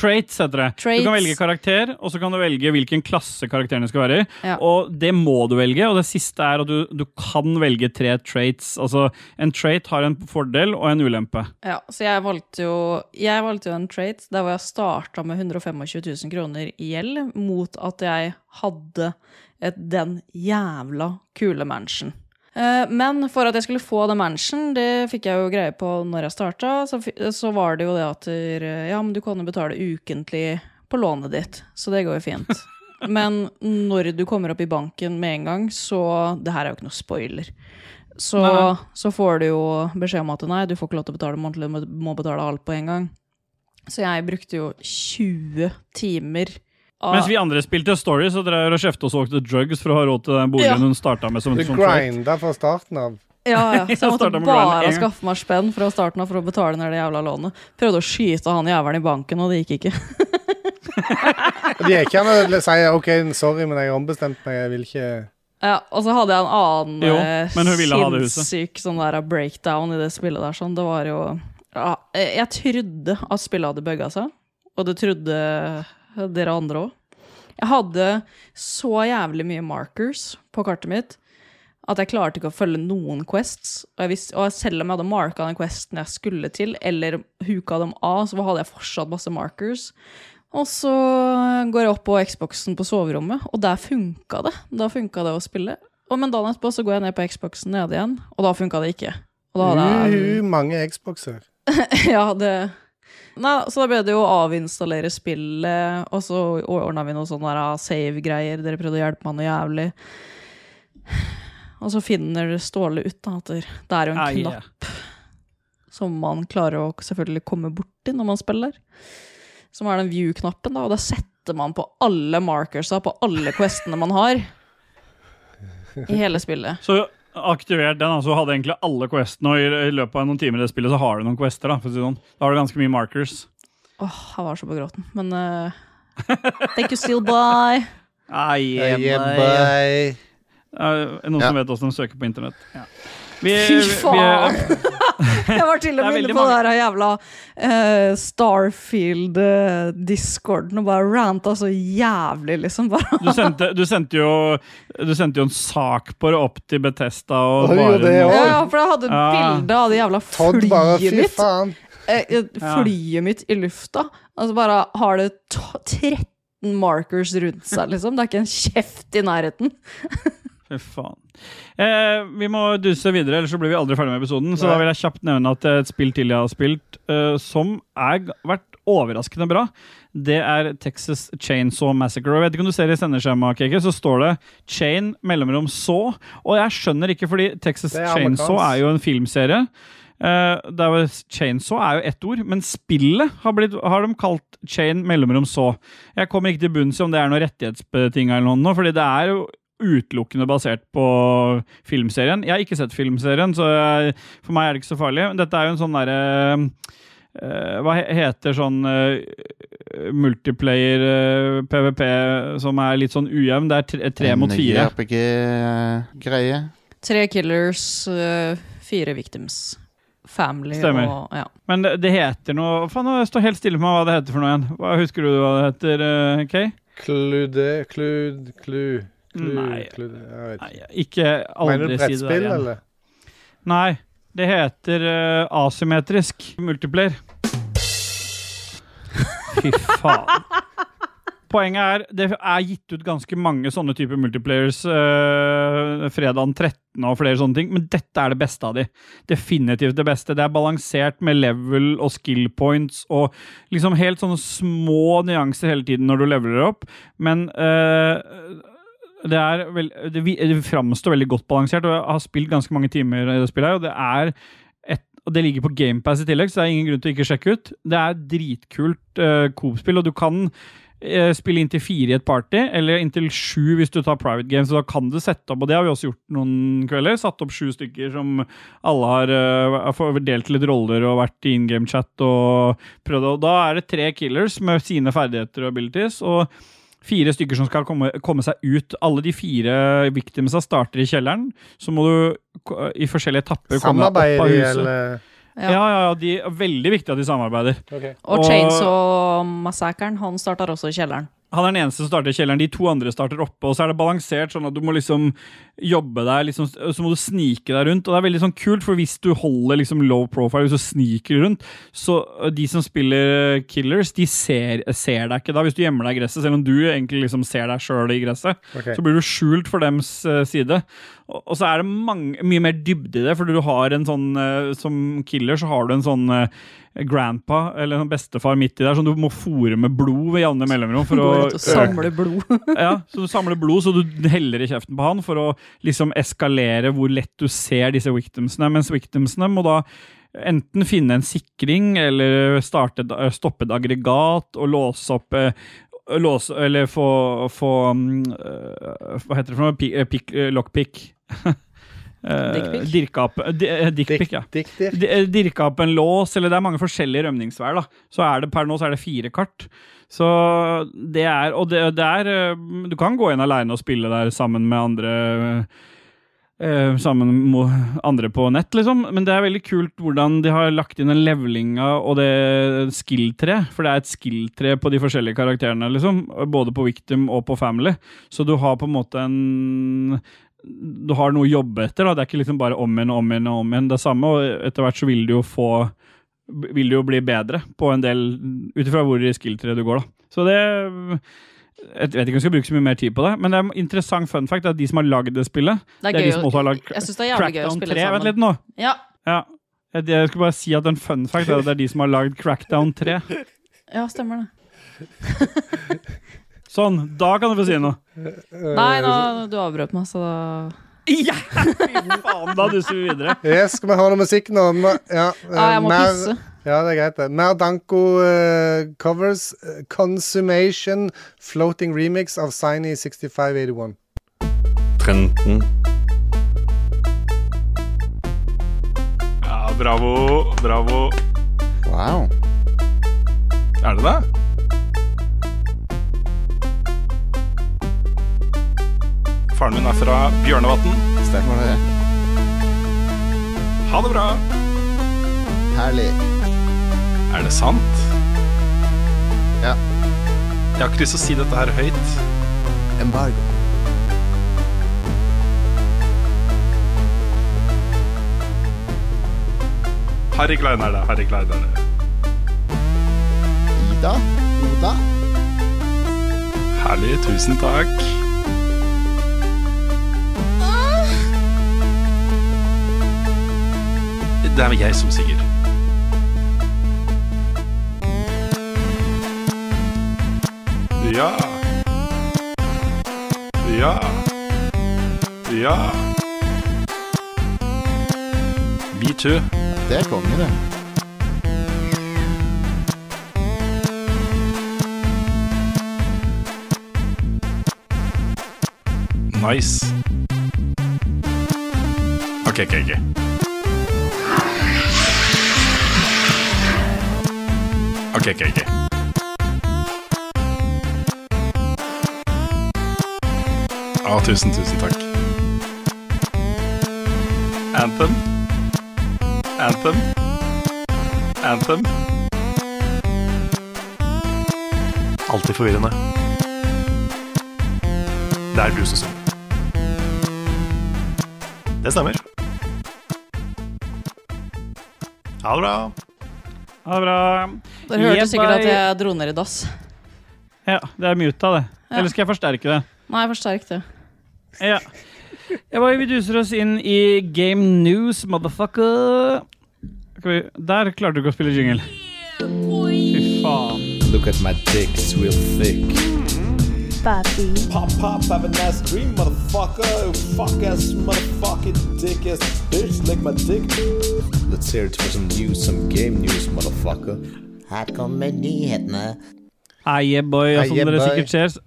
S2: Traits heter det. Du kan
S3: Traits.
S2: velge karakter, og så kan du velge hvilken klasse karakterene skal være i.
S3: Ja.
S2: Og det må du velge, og det siste er at du, du kan velge tre traits. Altså, en trait har en fordel og en ulempe.
S3: Ja, så jeg valgte jo Jeg valgte jo en trait der hvor jeg starta med 125 000 kroner i gjeld mot at jeg hadde et, den jævla kule mansion. Eh, Men for at jeg skulle få den mansion, det fikk jeg jo greie på når jeg starta, så, fi- så var det jo det at eh, ja, men du kan jo betale ukentlig på lånet ditt, så det går jo fint. Men når du kommer opp i banken med en gang, så Det her er jo ikke noe spoiler. Så,
S2: Nei.
S3: så får du jo beskjed om at nei, du får ikke lov til å betale månedlig, du må- må betale alt på en gang. Så jeg brukte jo 20 timer av
S2: Mens vi andre spilte Story, så drev dere og kjefta og solgte drugs for å ha råd til den boligen
S3: Ja.
S2: hun starta med. som
S1: Du
S2: en sånn trait.
S1: grinda fra starten av.
S3: Ja, ja. Så
S2: Jeg
S3: jeg måtte
S2: startet med Ryan
S3: bare
S2: en gang.
S3: skaffe meg spenn fra starten av for å betale ned det jævla lånet. Prøvde å skyte han jævelen i banken, og det gikk ikke.
S1: Det gikk ikke an å si OK, sorry, men jeg har ombestemt meg, jeg vil ikke
S3: Ja, og så hadde jeg en annen
S2: Jo,
S3: eh,
S2: men hun ville ha det huset.
S3: sinnssyk sånn der breakdown i det spillet der. Sånn. Det var jo ja, eh, Jeg trodde at spillet hadde bugga seg, og det trodde eh, dere andre òg. Jeg hadde så jævlig mye markers på kartet mitt at jeg klarte ikke å følge noen quests. Og, jeg visste, og selv om jeg hadde marka den questen jeg skulle til, eller huka dem av, så hadde jeg fortsatt masse markers. Og så går jeg opp på Xboxen på soverommet, og der funka det. Da funka det å spille. Og men dagen etterpå så går jeg ned på Xboxen nede igjen, og da funka det ikke. Og da hadde jeg
S1: Uhu, mange Xboxer.
S3: ja, det Nei, så da ble det jo å avinstallere spillet, og så ordna vi noe sånn der ah, save-greier. Dere prøvde å hjelpe meg noe jævlig. Og så finner Ståle ut da at det er jo en
S2: Ai,
S3: knapp som man klarer å selvfølgelig komme borti når man spiller. Som er den view-knappen, da, og da setter man på alle markersa på alle questene man har. I hele spillet.
S2: Så aktivert den, altså hadde egentlig alle questene, og i, i løpet av noen timer i det spillet så har du noen quester. Da for å si det sånn. Da har du ganske mye markers.
S3: Åh, jeg var så på gråten. Men eh, Thank you, still bye.
S2: Ai, Er det noen som vet hvordan de søker på internett? Vi, Eh,
S3: Fy
S2: vi-
S3: faen!
S2: vi-
S3: Jeg var til
S2: Det er
S3: og med
S2: veldig
S3: inne på den der jævla eh, Starfield-discorden og bare ranta så jævlig, liksom. Bare.
S2: du, sendte, du, sendte jo, du sendte jo en sak på det opp til Betesta. Og
S1: Oi,
S2: bare
S1: og det
S2: noe-
S1: også.
S3: Ja, for jeg hadde et
S2: Ja.
S3: bilde av det jævla
S1: Todd bare
S3: flyet
S1: Fy
S3: mitt.
S1: faen.
S3: Eh, eh,
S2: Ja.
S3: flyet mitt i lufta. Altså bare har det to- 13 markers rundt seg, liksom. Det er ikke en kjeft i nærheten.
S2: Fy faen. Eh, vi må duse videre, ellers så blir vi aldri ferdig med episoden. Så da vil jeg kjapt nevne at eh, et spill til jeg har spilt, eh, som har vært overraskende bra, det er Texas Chainsaw Massacre. Og Jeg vet ikke om du ser i sendeskjemaet, Kiki, så står det 'Chain mellomrom så'. Og jeg skjønner ikke, fordi Texas
S1: Det er
S2: Chainsaw
S1: amerikansk.
S2: er jo en filmserie. Eh, der var Chainsaw er jo ett ord, men spillet har, blitt, har de kalt Chain mellomrom så. Jeg kommer ikke til bunns i om det er noe rettighetsbetinga eller noe, nå, fordi det er jo utelukkende basert på filmserien. Jeg har ikke sett filmserien, så jeg, for meg er det ikke så farlig. Dette er jo en sånn derre eh, Hva he- heter sånn eh, multiplayer eh, PVP som er litt sånn ujevn? Det er tre, tre mot fire.
S4: RPG-greie.
S3: Tre killers, øh, fire victims. Family
S2: Stemmer.
S3: og ja.
S2: Men det, det heter noe Faen, nå står helt stille med hva det heter for noe igjen. Hva, husker du hva det heter, eh, Kay?
S1: Klude, klud, klu, klu,
S2: Nei.
S1: klud Jeg vet ikke.
S2: Nei, ikke
S1: Mener du
S2: aldri si det der
S1: brettspill,
S2: igjen.
S1: eller?
S2: Nei, det heter eh, asymmetrisk multiplayer. Fy faen. Poenget er, det er gitt ut ganske mange sånne typer multiplayers eh, fredagen 13 og flere sånne ting, men dette er det beste av de. Definitivt det beste. Det er balansert med level og skill points og liksom helt sånne små nyanser hele tiden når du leveler opp, men eh, det, er vel, det, vi- det framstår veldig godt balansert, og jeg har spilt ganske mange timer i det spillet. her, Og det er et, og det ligger på GamePass i tillegg, så det er ingen grunn til å ikke sjekke ut. Det er dritkult uh, Coop-spill, og du kan eh, spille inntil fire i et party, eller inntil sju hvis du tar private games. Så da kan du sette opp, og det har vi også gjort noen kvelder, satt opp sju stykker som alle har eh, får delt litt roller og vært i in game-chat og prøvd. Og da er det tre killers med sine ferdigheter og abilities. og Fire stykker som skal komme, komme seg ut. Alle de fire victimsa starter i kjelleren. Så må du ko- i forskjellige etapper komme deg
S1: Samarbeider
S2: opp av
S1: de,
S2: huset.
S1: eller
S2: Ja, ja, ja, de er veldig viktig at de samarbeider.
S3: Og
S2: Og-
S3: Chainsaw-massakren, han starter også i kjelleren.
S2: Han er den eneste som starter i kjelleren, de to andre starter oppe, og så er det balansert sånn at du må liksom jobbe deg, liksom, så må du snike deg rundt, og det er veldig sånn kult, for hvis du holder liksom low profile, hvis du sniker rundt, så øh, de som spiller killers, de ser, ser deg ikke da, hvis du gjemmer deg i gresset, selv om du egentlig liksom ser deg selv i gresset,
S1: Ok.
S2: så blir du skjult for dems øh, side, og, og så er det mange, mye mer dybde i det, for du har en sånn, øh, som killer, så har du en sånn øh, grandpa, eller en bestefar midt i der, som du må fôre med blod ved jevne mellomrom for å
S3: Går ut og samler blod.
S2: ja, så du samler blod, så du heller i kjeften på han for å liksom eskalere hvor lett du ser disse victimsene. Mens victimsene må da enten finne en sikring eller starte, et- øh, stoppe et aggregat og låse opp eh, Låse, eller få, få mm, øh, Hva heter det for noe? Pi- eh, pick- eh, Lockpick. Eh,
S3: Dickpic?
S2: Dirkeape. di- eh, Dickpic, ja.
S1: Dikter?
S2: D- eh, Dirka opp en lås, eller det er mange forskjellige rømningsveier. da. Så er det Per nå så er det fire kart. Så det er Og det, det er eh, Du kan gå inn aleine og spille der sammen med andre eh, Sammen med andre på nett, liksom. Men det er veldig kult hvordan de har lagt inn den levelinga og det skill-tre. For det er et skill-tre på de forskjellige karakterene, liksom. Både på Victim og på Family. Så du har på en måte en du har noe å jobbe etter. Da. Det er ikke liksom bare om igjen og om igjen og om igjen det samme. Og etter hvert så vil du jo få Vil du jo bli bedre på en del ut ifra hvor i skill-treet du går, da. Så det Jeg vet ikke om jeg skal bruke så mye mer tid på det, men det er en interessant fun fact at de som har lagd det spillet
S3: Det
S2: Det er
S3: er
S2: de som
S3: gøy.
S2: også
S3: å-
S2: har lagd
S3: Jeg
S2: Cra-
S3: syns det er jævlig gøy å
S2: Crackdown 3.
S3: spille
S2: Vent
S3: sammen.
S2: litt nå.
S3: Ja,
S2: Ja. Jeg jeg skulle bare si at en fun fact er at det er de som har lagd Crackdown 3.
S3: ja, stemmer det.
S2: Sånn. Da kan du få si noe.
S1: Eh,
S3: Nei, nå, du avbrøt meg, så da
S2: Ja! Fy faen, da duser vi videre.
S1: Yes, skal vi ha noe musikk nå? Ma- Ja,
S3: Ja,
S1: eh,
S3: jeg må
S1: mer-
S3: pisse.
S1: Ja, det er greit, det. Mer Danko-covers. eh, Consummation floating remix av Signy 6581.
S9: Trenden. Ja, bravo, bravo.
S4: Wow.
S9: Er det det? Faren min er fra Bjørnevatn.
S4: Stemmer det.
S9: Ha det bra.
S4: Herlig.
S9: Er det sant?
S4: Ja.
S9: Jeg har ikke lyst til å si dette her høyt.
S4: Embargo.
S9: Harry Klein er det. Harry Klein er det.
S4: Ida? Oda?
S9: Herlig. Tusen takk. Det er jeg som synger. Ja. Ja. Ja. Metoo.
S4: Det er konge, det.
S9: Nice. Ok, ok, ok. OK, OK. ok Ja, tusen, tusen takk. Anthem. Anthem. Anthem. Alltid forvirrende. Det er blusesøvn. Det stemmer. Ha det bra.
S2: Ha det bra.
S3: Dere hørte
S2: Yeah,
S3: sikkert at
S2: bye.
S3: jeg dro ned i dass.
S2: Ja, det er muta, det.
S3: Ja.
S2: Eller skal jeg forsterke det?
S3: Nei, forsterk det.
S2: Ja. Jeg bare, vi duser oss inn i Game News, motherfucker. Skal vi, der klarte du ikke å spille jingle. Fy faen.
S11: Look at my dick, it's real thick. Pop, pop, have a nice dream, motherfucker. Fuck ass, motherfucking dick ass bitch, lick my dick. Let's hear it for some news, some game news, motherfucker. Her kommer nyhetene.
S2: Heie boy, og som
S11: Heie
S2: dere
S11: boy.
S2: sikkert ser s-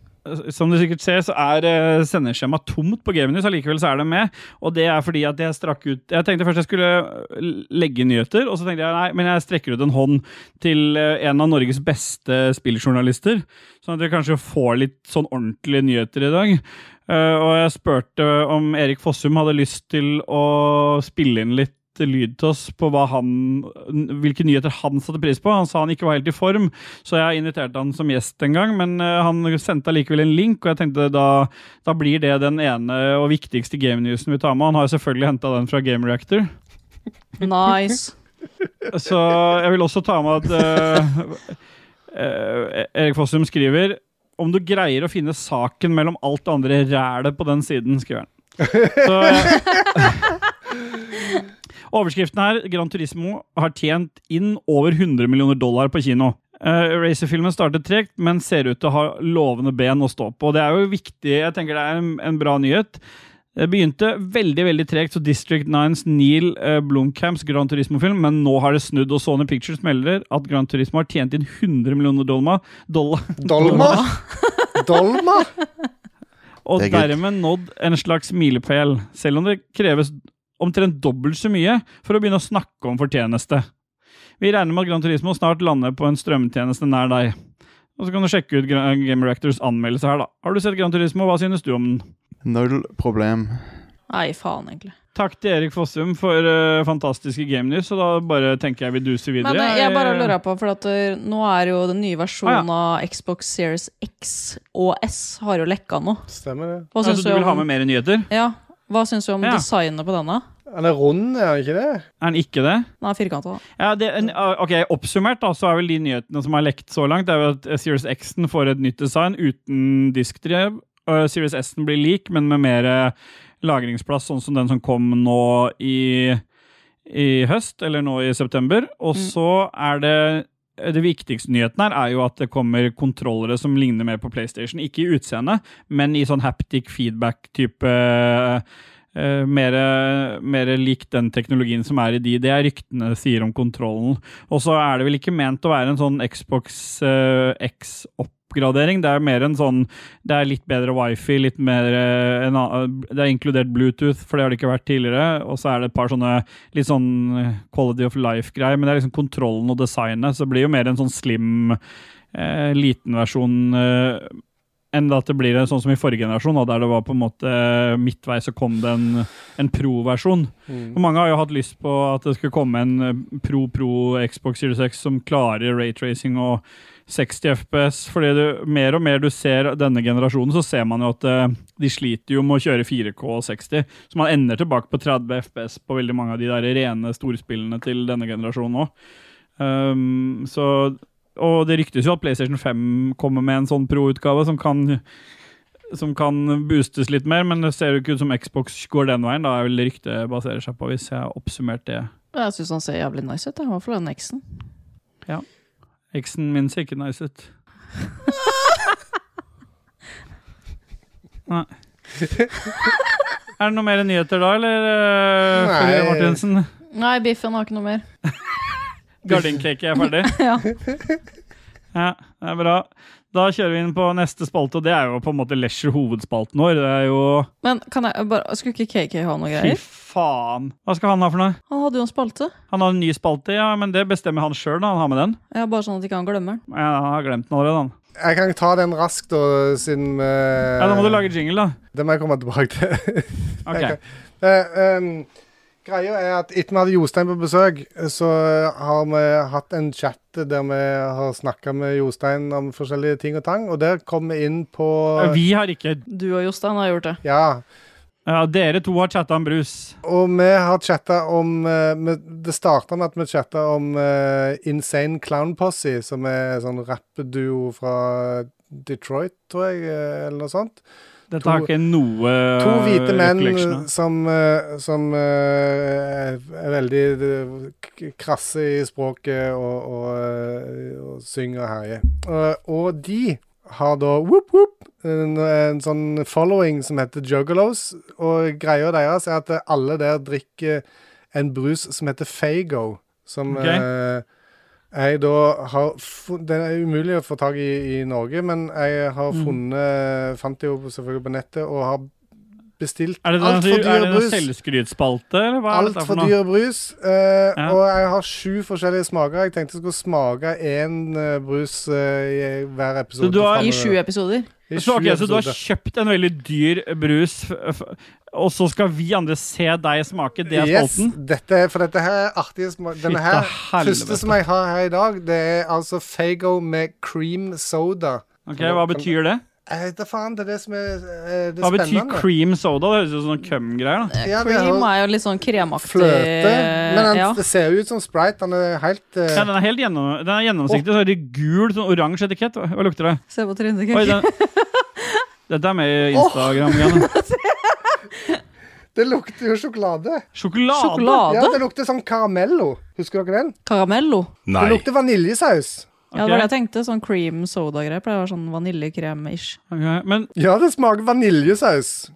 S2: som dere sikkert ser, så er eh, sendeskjemaet tomt på Gamenews. Allikevel så er det med. Og det er fordi at jeg strakk ut Jeg tenkte først jeg skulle eh, legge nyheter, og så tenkte jeg nei, men jeg strekker ut en hånd til eh, en av Norges beste spilljournalister. Sånn at dere kanskje får litt sånn ordentlige nyheter i dag. Eh, og jeg spurte om Erik Fossum hadde lyst til å spille inn litt lyd til oss på hva han, hvilke nyheter han satte pris på. Han sa han ikke var helt i form, så jeg inviterte han som gjest en gang. Men eh, han sendte allikevel en link, og jeg tenkte da, da blir det den ene og viktigste game-newsen vi tar med. Han har jo selvfølgelig henta den fra Game Reactor.
S3: Nice.
S2: Så jeg vil også ta med at eh, eh, Erik Fossum skriver om du greier å finne saken mellom alt det andre rælet på den siden, skriver han. Så, eh, overskriften her, Gran Turismo har tjent inn over 100 millioner dollar på kino. Eh, Racer-filmen startet tregt, men ser ut til å ha lovende ben å stå på. Og det er jo viktig, jeg tenker det er en, en bra nyhet. Det Eh, begynte veldig veldig tregt, så District 9s Neil eh, Blomkamps Gran Turismo-film, men nå har det snudd, og Sony Pictures melder at Gran Turismo har tjent inn 100 millioner dolma, dolla- dollar.
S1: Dolma?
S2: Og
S1: Det er good.
S2: dermed nådd en slags milepæl, selv om det kreves omtrent dobbelt så mye for å begynne å snakke om fortjeneste. Vi regner med at Gran Turismo snart lander på en strømtjeneste nær deg. Og så kan du sjekke ut Gra- Game Reactors anmeldelse her, da. Har du sett Gran Turismo? Hva synes du om den?
S7: Null problem.
S3: Nei, faen, egentlig.
S2: Takk til Erik Fossum for eh, fantastiske Game News, og da bare tenker jeg vi duser videre.
S3: Men eh, jeg bare
S2: Eh,
S3: lurer på, for at eh, nå er jo den nye versjonen
S2: Ah,
S3: av Xbox Series X og S har jo lekka nå.
S1: Stemmer det.
S3: Hva syns
S2: altså, du vil
S3: om-
S2: ha med mer nyheter?
S3: Ja. Hva syns du om
S2: Ja.
S3: designet på denne?
S1: Han er rund, er han ikke det?
S2: Er den ikke det?
S3: Den er firkanta.
S2: Ja, det, en- ah, ok, Oppsummert da, så er vel de nyhetene som er lekt så langt, det er jo at eh, Series X-en får et nytt design uten diskdrev. og Series S-en blir lik, men med mer eh, lagringsplass, sånn som den som kom nå i, i høst, eller nå i september. Og
S3: Mm.
S2: så er det eh, det viktigste nyheten her er jo at det kommer kontrollere som ligner mer på PlayStation. Ikke i utseende, men i sånn haptic feedback-type eh, mer, mer lik den teknologien som er i de. Det er ryktene sier om kontrollen. Og så er det vel ikke ment å være en sånn Xbox eh, X oppgradering. Det er mer en sånn Det er litt bedre wifi, litt mer eh, en, annen- Det er inkludert Bluetooth, for det har det ikke vært tidligere. Og så er det et par sånne litt sånn eh, quality of life-greier. Men det er liksom kontrollen og designet, så det blir jo mer en sånn slim, eh, liten versjon. Eh, enn at det blir en sånn som i forrige generasjon, da, der det var på en måte eh, midtvei så kom det en, en pro-versjon.
S1: Mm.
S2: Og Mange har jo hatt lyst på at det skulle komme en eh, pro-pro Xbox Series X som klarer raytracing og 60 FPS. Fordi du, mer og mer du ser denne generasjonen, så ser man jo at eh, de sliter jo med å kjøre 4K og 60. Så man ender tilbake på 30 FPS på veldig mange av de der rene storspillene til denne generasjonen òg. Um, så Og det ryktes jo at PlayStation 5 kommer med en sånn pro-utgave som kan som kan boostes litt mer, men det ser jo ikke ut som Xbox går den veien. Da er vel ryktet baserer seg på, hvis jeg har oppsummert det.
S3: Jeg syns han ser jævlig nice ut, jeg, i hvert fall den X-en.
S2: X-en min ser ikke nice ut. Nei. Er det noe mer nyheter da, eller? eh,
S1: Nei.
S2: Følge Martinsen?
S3: Nei, biffen har ikke noe mer.
S2: Gardincake er ferdig?
S3: ja.
S2: Ja, det er bra. Da kjører vi inn på neste spalte, og det er jo på en måte Lesher-hovedspalten vår. Det er jo
S3: Men kan jeg bare, skulle ikke KK ha noe
S2: Fy
S3: greier?
S2: faen! Hva skal han ha for noe?
S3: Han hadde jo en spalte.
S2: Han har en ny spalte, ja, men det bestemmer han sjøl, da. Han har med den.
S3: Ja, bare sånn at ikke han glemmer den.
S2: Ja, han har glemt den allerede, han.
S1: Jeg kan ta den raskt, da, siden vi
S2: Ja, Da må du lage jingle, da.
S1: Det må jeg komme tilbake til.
S2: Ok.
S1: Jeg kan- Eh, em, greia er at etter vi hadde Jostein på besøk, så har vi hatt en chat der vi har snakka med Jostein om forskjellige ting og tang, og der kom vi inn på
S2: Eh, Vi har ikke
S3: Du og Jostein har gjort det.
S1: Ja.
S2: Ja, dere to har chatta om brus.
S1: Og vi har chatta om eh, vi- Det starta med at vi chatta om eh, Insane Clown Posse, som er en sånn rappeduo fra Detroit, tror jeg, eh, eller noe sånt.
S2: Dette
S1: To-
S2: har ikke noe
S1: To hvite menn
S2: recollection av.
S1: som, eh, som eh, er veldig eh, k- krasse i språket og, og, eh, og synger og herjer. Eh, Og de har da whoop, whoop, en, en sånn following som heter Juggalos. Og greia deres er at alle der drikker en brus som heter Fago. Som
S2: Ok.
S1: eh, jeg da har fun- Den er umulig å få tak i i Norge, men jeg har
S2: Mm.
S1: funnet Fant det jo selvfølgelig på nettet og har bestilt
S2: Er det den,
S1: altfor
S2: er
S1: dyr
S2: det en
S1: brus.
S2: selvskrytspalte, eller hva er dette for
S1: Altfor
S2: noe?
S1: dyr brus. eh,
S2: Ja.
S1: Og jeg har sju forskjellige smaker. Jeg tenkte jeg skulle smake én eh, brus eh, i hver episode.
S2: Så du har-
S3: I
S1: fremover.
S3: sju episoder.
S1: I
S2: Så, ok,
S1: sju
S2: så du har
S1: episoder.
S2: kjøpt en veldig dyr brus, f- f- og så skal vi andre se deg smake? Det er
S1: Yes,
S2: spalten?
S1: dette, er- for dette her er artige smak. Denne
S2: Fytte
S1: her,
S2: helvete.
S1: første som jeg har her i dag, det er altså Fago med cream soda.
S2: Ok, Hva betyr det?
S1: Jeg vet da faen, det er det som er, eh, det
S2: Hva betyr
S1: spennende.
S2: cream soda? Det høres ut som noen cum-greier. da.
S1: Ja, det er
S3: Cream
S1: jo
S3: er jo litt sånn kremaktig.
S1: fløte. Men den,
S3: ja.
S1: det ser jo ut som Sprite. Den er helt eh,
S2: Ja, den er helt gjennom, den er gjennomsiktig. Så er det gul, sånn oransje etikett. Hva hva lukter det?
S3: Se på trynet.
S2: Oi,
S3: Kake.
S2: den... Dette er med i Instagram. igjen.
S1: Det lukter jo sjokolade.
S2: Sjokolade!
S3: Sjokolade?
S1: Ja, det lukter sånn caramello. Husker dere den?
S3: Karamello.
S1: Det lukter vaniljesaus.
S3: Ja, det var det
S2: Ok.
S3: jeg tenkte. Sånn cream soda-greier. Pleier å være sånn vaniljekrem-ish.
S2: Ok, Men,
S1: Ja, det smaker vaniljesaus.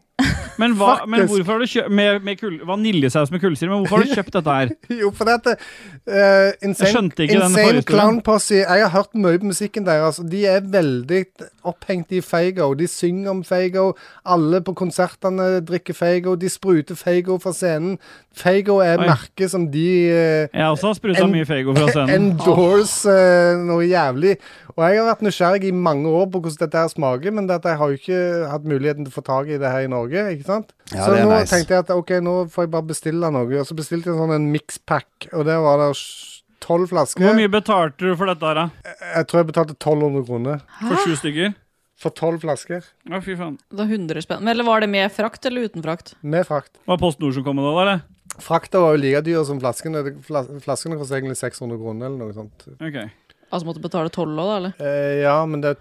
S2: men, hva, men
S1: Faktisk.
S2: hvorfor har du kjøpt med, med kull, vaniljesaus med kullsyre? Men hvorfor har du kjøpt dette her?
S1: Jo, for dette eh,
S2: Jeg
S1: Insane,
S2: skjønte ikke den
S1: insane
S2: forhistorien.
S1: Clown Posse Jeg har hørt mye på musikken deres, og de er veldig opphengt i Faygo. De synger om Faygo. Alle på konsertene drikker Faygo. De spruter Faygo fra scenen. Faygo er
S2: Oi.
S1: merket som de eh,
S2: Jeg har også spruta
S1: En-
S2: mye Fego fra scenen.
S1: Endorse eh, noe jævlig. Og jeg har vært nysgjerrig i mange år på hvordan dette her smaker, men dette jeg har jo ikke hatt muligheten til å få tak i det her i Norge. ikke sant?
S6: Ja,
S1: så
S6: det er
S1: nå
S6: nice.
S1: tenkte jeg at ok, nå får jeg bare bestille noe. Og så bestilte jeg en sånn en mixpack, og der var det sj- tolv flasker.
S2: Hvor mye betalte du for dette her, da?
S1: Jeg tror jeg betalte 1200 kroner
S2: For sju stykker?
S1: for tolv flasker.
S2: Å, fy faen.
S3: Det var 100 spenn. Men Eller var det med frakt eller uten frakt?
S1: Med frakt.
S2: Var Post Nord som kom med det, da, eller?
S1: Frakta var jo like dyr som flaskene. Fla- Flaskene koster egentlig 600 kroner eller noe sånt.
S2: Ok.
S3: Altså måtte betale 12 òg, da? eller?
S1: Eh, ja, men det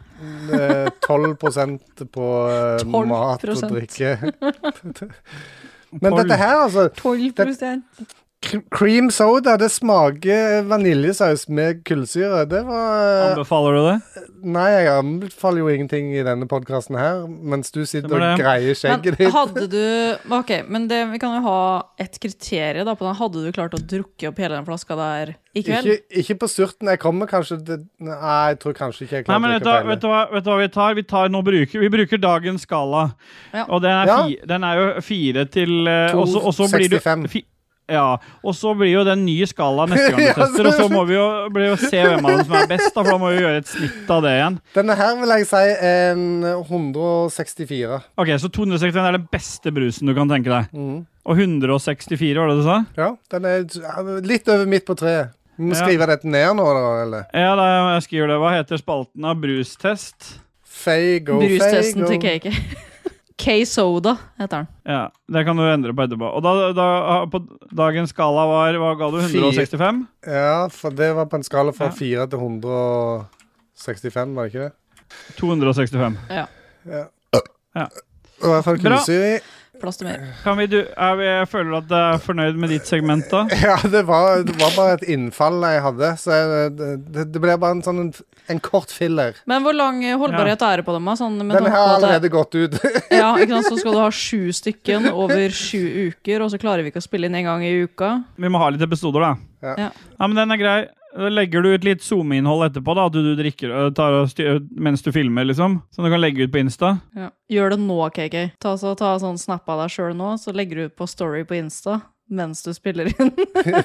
S1: er eh, 12 på eh, mat og
S3: 12%.
S1: drikke. Men dette her, altså
S3: 12
S1: kr- Cream soda, det smaker vaniljesaus med kullsyre. Det var eh,
S2: Anbefaler du det?
S1: Nei, jeg anbefaler jo ingenting i denne podkasten her, mens du sitter
S2: Det var
S1: og
S2: det.
S1: greier skjegget
S3: Men
S1: ditt.
S3: hadde du Ok, men det, vi kan jo ha et kriterium da på den. Hadde du klart å drukke opp hele den flaska der i kveld?
S1: Ikke, ikke på surten. Jeg kommer kanskje til Nei, jeg tror kanskje ikke jeg
S2: Nei,
S1: klarer
S2: men
S1: å
S2: vet du,
S1: drikke opp
S2: hva- vet,
S1: hele.
S2: du hva, vet du hva vi tar? Vi, tar nå bruker, vi bruker dagens skala.
S3: Ja.
S2: Og den er,
S1: Ja.
S2: fi, den er jo fire til eh, og så- og så blir du-
S1: 2,65.
S2: fi- Ja, og så blir jo den nye skala neste gang vi
S1: Ja,
S2: tester, og så må vi jo, blir jo se hvem av dem som er best, da, for da må vi gjøre et snitt av det igjen.
S1: Denne her vil jeg si en 164.
S2: Ok, Så 261 er den beste brusen du kan tenke deg. Og 164, var det du sa?
S1: Mm. Ja, den er litt over midt på treet. Vi må
S2: Ja.
S1: skrive dette ned nå, da, eller?
S2: Ja, da, jeg skriver det. Hva heter spalten av brustest?
S1: Faygo,
S3: Brustesten til
S1: Faygo.
S3: cake. K-soda heter den.
S2: Ja, Det kan du endre på etterpå. Og da, da, på dagens skala var Hva ga du? 165?
S1: Ja, for det var på en skala fra 4 til 165, var det ikke det?
S2: 265.
S3: Ja.
S1: Ja.
S2: Ja.
S1: Det var i hvert fall
S2: Bra.
S1: kullsyre i.
S3: Plass til mer.
S2: Kan vi, du, er vi, jeg føler at jeg er fornøyd med ditt segment, da.
S1: Ja, det var, det var bare et innfall jeg hadde. Så jeg, det, det ble bare en sånn en, en kort filler.
S3: Men hvor lang eh, holdbarhet er det på dem? da? Sånn, med
S1: Den
S3: tanke
S1: har
S3: på at det-
S1: allerede gått ut.
S3: Ja, ikke sant? Så skal du ha sju stykken over sju uker, og så klarer vi ikke å spille inn en gang i uka.
S2: Vi må ha litt episoder, da.
S1: Ja.
S3: Ja.
S2: men den er grei. Legger du ut litt SoMe-innhold etterpå, da? At du, du drikker ø, tar og styr, mens du filmer, liksom? Som du kan legge ut på Insta?
S3: Ja. Gjør det nå, KK. Ta, så, ta sånn snap av deg sjøl nå, så legger du ut på story på Insta mens du spiller inn.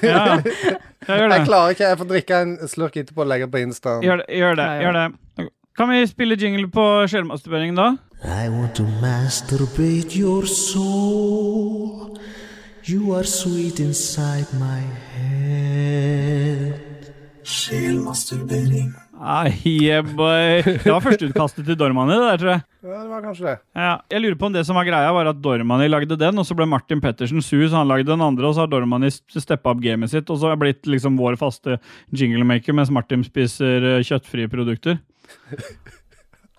S2: Ja, jeg gjør det.
S1: Jeg klarer ikke. Jeg får drikke en slurk etterpå og legge på Insta.
S2: Gjør det. Gjør det.
S1: Ja, ja.
S2: Gjør det. Kan vi spille jingle på sjelmasturberingen, da?
S11: I want to masturbate your soul. You are sweet inside my head. Sjelmasturbering.
S2: Ah, yeah, boy. Det var førsteutkastet til Dormani, det der, tror jeg.
S1: Ja, det var kanskje det.
S2: Ja, jeg lurer på om det som var greia, var at Dormani lagde den, og så ble Martin Pettersen sur, så han lagde den andre, og så har Dormani steppa opp gamet sitt, og så har jeg blitt liksom vår faste jinglemaker, mens Martin spiser eh, kjøttfrie produkter.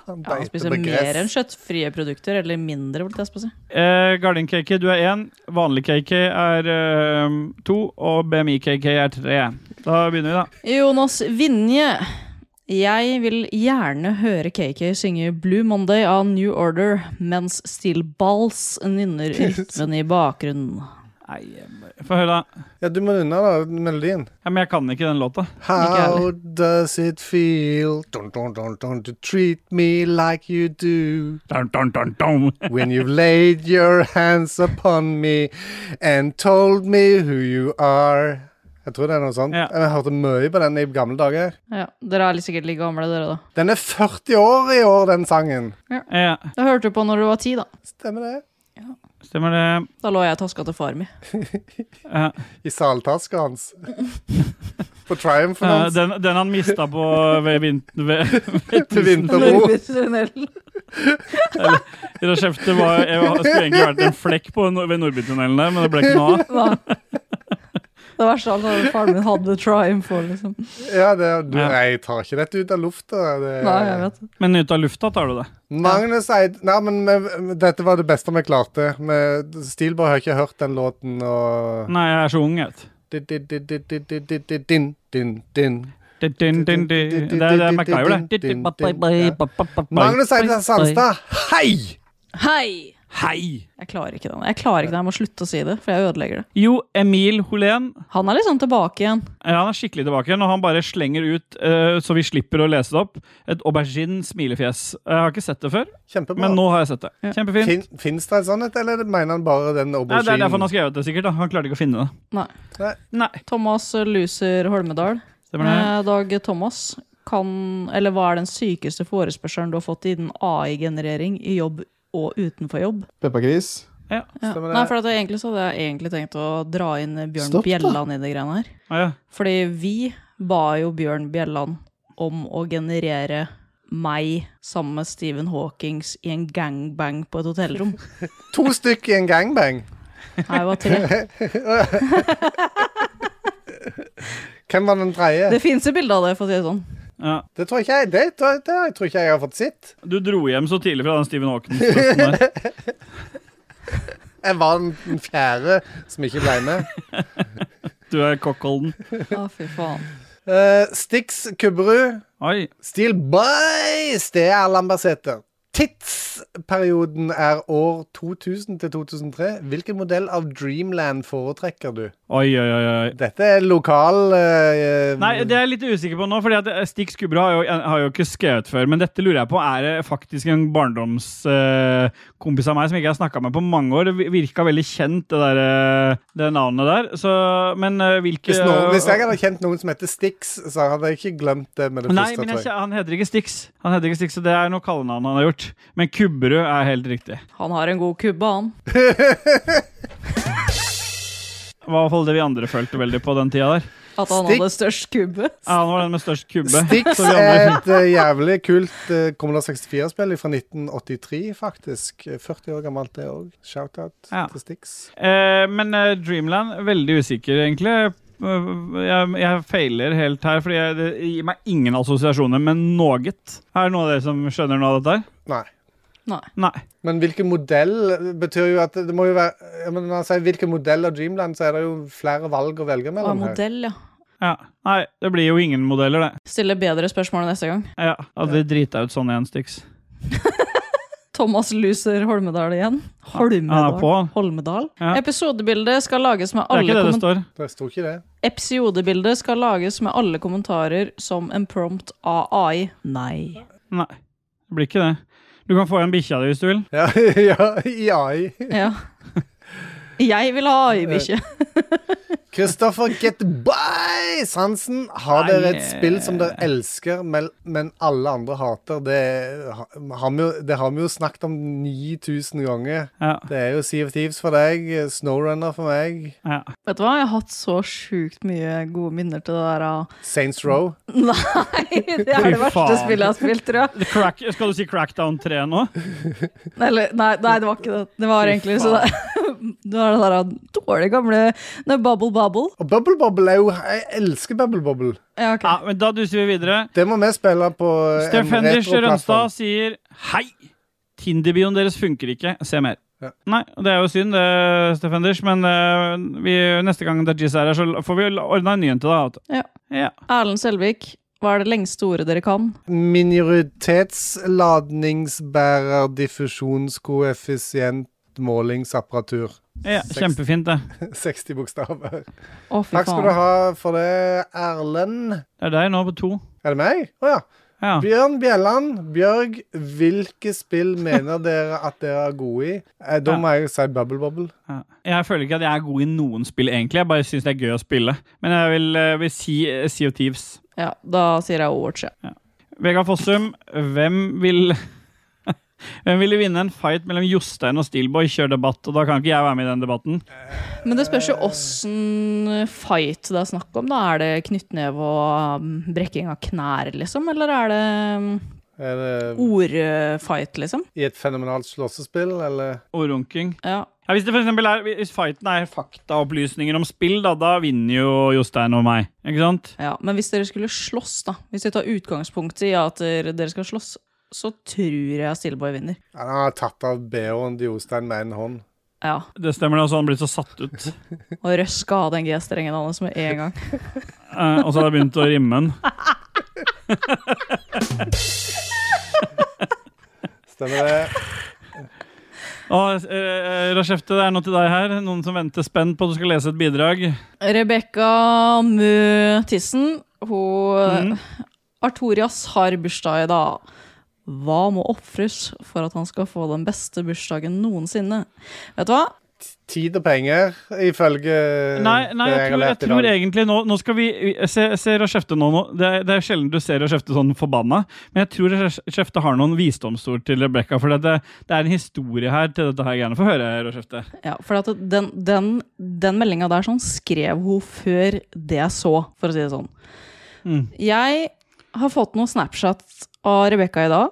S1: Han
S3: Ja, han
S1: beiter
S3: spiser
S1: på gress.
S3: mer enn kjøttfrie produkter, eller mindre, vil jeg på å si.
S2: Eh, Gardin-KK, du er én. Vanlig KK er eh, to. Og BMI-KK er tre. Da begynner vi, da.
S3: Jonas Vinje. Jeg vil gjerne høre KK synge Blue Monday av New Order mens Steel Balls nynner rytmen i bakgrunnen.
S2: Få høre, da.
S1: Ja, du må unna da, melodien.
S2: Ja, men jeg kan ikke den låta.
S1: How does it feel dun, dun, dun, dun, to treat me like you do
S2: Dun, dun, dun, dun.
S1: when you've laid your hands upon me and told me who you are? Jeg tror det er noe sånt. Jeg hørte mye på den i gamle dager.
S3: Ja, Dere er litt sikkert like gamle, dere, da.
S1: Den er 40 år i år, den sangen.
S2: Ja,
S3: Det hørte du på når du var ti, da.
S1: Stemmer det.
S2: stemmer det.
S3: Da lå jeg i taska til far mi.
S2: Ja.
S1: I saltaska hans. På triumphen
S2: Ja,
S1: hans.
S2: den, den han mista på ved, vint, ved, ved
S1: Til Vinterbro.
S2: Eller, I det kjeftet var, jeg var, skulle egentlig vært en flekk på, Nor- ved Nordbytunnelen der, men det ble ikke noe av.
S3: Hva? Det verste av alt var at faren min hadde Triumph òg, liksom.
S1: Ja, det, du, nei, jeg tar ikke dette ut av lufta. Det,
S3: Nei, jeg vet det.
S2: Men ut av lufta tar du det.
S1: Magnus Eid Nei, men vi- dette var det beste vi klarte. Vi- Steelboy har ikke hørt den låten og
S2: Nei, jeg er så ung, jeg vet du.
S1: Din, din, din, din, din, din, din, din, din, din.
S2: Din, din, din, din. Det er det er MacGyver, det. Din,
S1: Din, din,
S2: din,
S1: din, ja.
S2: din.
S1: Magnus Eide Sandstad, hei!
S3: Hei!
S2: Hei!
S3: Jeg klarer ikke den. Jeg klarer ikke den. Jeg må slutte å si det, for jeg ødelegger det.
S2: Jo, Emil Holén.
S3: Han er liksom tilbake igjen.
S2: Ja, han er skikkelig tilbake igjen, og han bare slenger ut, eh, så vi slipper å lese det opp, et aubergine smilefjes. Jeg har ikke sett det før,
S1: Kjempebra.
S2: men nå har jeg sett det. Kjempefint.
S1: Fin, Fins det en sånn et, eller mener han bare den
S2: Nei, det er derfor han
S1: auberginen?
S2: har skrevet det, sikkert. da. Han klarte ikke å finne det.
S3: Nei.
S1: Nei.
S3: Thomas Luser Holmedal.
S2: Stemmer det.
S3: Eh, Dag Thomas, kan, eller hva er den sykeste forespørselen du har fått innen AI-generering i jobb og utenfor jobb?
S8: Peppergris.
S2: Ja.
S3: Ja.
S1: Stemmer det.
S3: Nei, for at jeg egentlig så hadde jeg egentlig tenkt å dra inn Bjørn
S8: Stopp, da.
S3: Bjelland i de greiene her.
S2: Ah, ja.
S3: Fordi vi ba jo Bjørn Bjelland om å generere meg sammen med Stephen Hawkings i en gangbang på et hotellrom.
S1: To stykk i en gangbang.
S3: Nei, det var tre.
S1: Hvem var den tredje?
S3: Det
S1: Det,
S3: fins et bilde av det, for å si det sånn.
S2: Ja.
S1: tror ikke jeg det, tror- det tror ikke jeg har fått sett.
S2: Du dro hjem så tidlig fra den Stephen Hawkins-plassen der.
S1: Jeg var den den fjerde som ikke ble med.
S2: Du er cockholden.
S3: Å, fy faen.
S1: Eh, Stix Kubberud,
S2: Oi.
S1: Steel Boys, det er Lambertseter. Tidsperioden er år 2000 til 2003. Hvilken modell av Dreamland foretrekker du?
S2: Oi, oi, oi, oi.
S1: Dette er lokal eh,
S2: Nei, det er jeg litt usikker på nå, fordi at eh, Stig Skubra har jo, har jo ikke skrevet før. Men dette lurer jeg på, er det faktisk en barndomskompis av meg som ikke jeg har snakka med på mange år? Det vi- virka veldig kjent, det, der, eh, det navnet der. Så, men eh, hvilke
S1: hvis, noen, hvis jeg hadde kjent noen som heter Stix, så hadde jeg ikke glemt det med det
S2: Nei,
S1: første.
S2: men
S1: tror
S2: jeg,
S1: jeg.
S2: han heter ikke Stix. Han heter ikke Stix, så Det er noe kallenavn han har gjort. Men Kubberud er helt riktig.
S3: Han har en god kubbe, han.
S2: Det var i hvert fall det vi andre følte veldig på den tida der.
S3: At han
S1: Stikk.
S3: hadde størst kubbe.
S2: Ja, han var den med størst kubbe.
S1: Stix
S2: Så vi andre-
S1: er et eh, jævlig kult uh, Commodore 64-spill fra 1983, faktisk. 40 år gammelt, det òg. Shout-out
S2: Ja.
S1: til Stix.
S2: Eh, men eh, Dreamland, veldig usikker, egentlig. Eh, Jeg, jeg feiler helt her, fordi jeg, det gir meg ingen assosiasjoner med noe. Er det noen av dere som skjønner noe av dette? her?
S1: Nei.
S3: Nei.
S2: Nei.
S1: Men hvilken modell betyr jo at det må jo være ja, men Når han sier hvilken modell av Dreamland, så er det jo flere valg å velge
S3: Han er
S1: mellom her.
S3: modell, ja.
S2: Ja. Nei, det blir jo ingen modeller, det.
S3: Stille bedre spørsmål neste gang.
S2: Ja, ja Det driter jeg ut sånn igjen, Stix.
S3: Thomas Luser Holmedal igjen.
S2: Han er på.
S3: Holmedal. Holmedal.
S2: Ja.
S3: Episodebildet skal lages
S2: Det
S3: med
S2: er
S3: alle
S2: ikke det det
S3: kommen-
S2: står.
S1: Det sto ikke det.
S3: Episodebildet skal lages med alle kommentarer som en prompt av AI. Nei.
S2: Nei, det blir ikke det. Du kan få igjen bikkja di hvis du vil.
S1: Ja, ja, i AI.
S3: Ja. Jeg vil ha AI-bikkje.
S1: Kristoffer Get By Sansen, har
S2: Nei,
S1: dere et
S2: eh.
S1: spill som dere elsker, men, men alle andre hater? Det har, vi, jo- det har vi jo snakket om 9000 ganger.
S2: Ja.
S1: Det er jo Sea of Thieves for deg, Snowrunner for meg,
S3: Vet du hva, jeg har hatt så sjukt mye gode minner til det der av
S1: Saints Row.
S3: Nei, det er
S2: Fy
S3: det verste
S2: faen.
S3: spillet jeg har spilt, tror jeg.
S2: The Crack, skal du si Crackdown 3 nå?
S3: Eller, nei, nei, det var ikke det. Det var
S2: Fy
S3: egentlig så det, det var det der dårlige gamle nei, Bubble Bubble.
S1: Og Bubble Bobble er jo Jeg elsker Bubble Bobble.
S3: Ja, ok.
S2: Ja, men Da duser vi videre.
S1: Det må vi spille på eh,
S2: Steff
S1: en
S2: Hendrich
S1: retroplattform.
S2: Rønstad sier hei. Tinder-bioen deres funker ikke. Se mer. Nei, det er jo synd, det, Steff Hendrich, men eh, vi, neste gang Dajis er her, så får vi vel ordna en ny en til deg.
S3: Ja.
S2: Ja.
S3: Erlend Selvik, hva er det lengste ordet dere kan?
S1: Minoritetsladningsbærer-diffusjonskoeffisientmålingsapparatur.
S2: Ja,
S1: Seks-
S2: kjempefint, det.
S1: 60 bokstaver.
S3: Å, fy
S1: Takk skal
S3: faen.
S1: du ha for det, Erlend.
S2: Det er deg nå på to.
S1: Er det meg? Å ja.
S2: Ja.
S1: Bjørn Bjelland, Bjørg, hvilke spill mener dere at dere er gode i? Eh, Da
S2: Ja.
S1: må jeg si Bubble Bobble.
S2: Ja. Jeg føler ikke at jeg er god i noen spill, egentlig. Jeg bare syns det er gøy å spille. Men jeg vil, eh, vil si eh, Sea of Thieves.
S3: Ja, da sier jeg Overwatch, ja.
S2: Vegard Fossum, hvem vil Hvem ville vinne en fight mellom Jostein og Steelboy? Kjør debatt, og da kan ikke jeg være med i den debatten.
S3: Men det spørs jo åssen fight det er snakk om. da. Er det knyttneve og um, brekking av knær, liksom? Eller er det um,
S1: Er det
S2: Uh.
S3: ordfight, liksom?
S1: i et fenomenalt slåssespill, eller?
S2: Og runking.
S3: Ja.
S2: Ja, hvis det for eksempel er, hvis fighten er faktaopplysninger om spill, da, da vinner jo Jostein og meg. Ikke sant?
S3: ja. Men hvis dere skulle slåss, da. Hvis vi tar utgangspunkt i at dere dere skal slåss, så tror jeg Steelboy vinner.
S1: Ja, Han har tatt av BH-en til Jostein med en hånd.
S3: Ja.
S2: Det stemmer, det. Og så har han blitt så satt ut.
S3: Og røska av den G-strengen hans med en gang.
S2: Eh, og så har det begynt å rimme den.
S1: Stemmer det?
S2: Og eh, Rashefte, det er noe til deg her. Noen som venter spent på at du skal lese et bidrag.
S3: Rebekka Mø Tissen, hun Artorias har bursdag i dag. Hva må ofres for at han skal få den beste bursdagen noensinne? Vet du hva?
S1: Tid og penger, ifølge
S2: Nei, nei
S1: Eh, det
S2: jeg, tror, jeg
S1: lært i dag.
S2: tror egentlig nå, nå skal vi vi- eh, Se, se Rashefte nå, nå. Det, er, det er sjelden du ser Rashefte sånn forbanna, men jeg tror Rashefte har noen visdomsord til Rebekka. For det, det, det er en historie her til dette her greiene. Få høre, Rashefte.
S3: Ja, for at den, den, den meldinga der sånn skrev hun før det jeg så, for å si det sånn.
S2: Mm.
S3: Jeg har fått noen Snapchat av Rebekka i dag,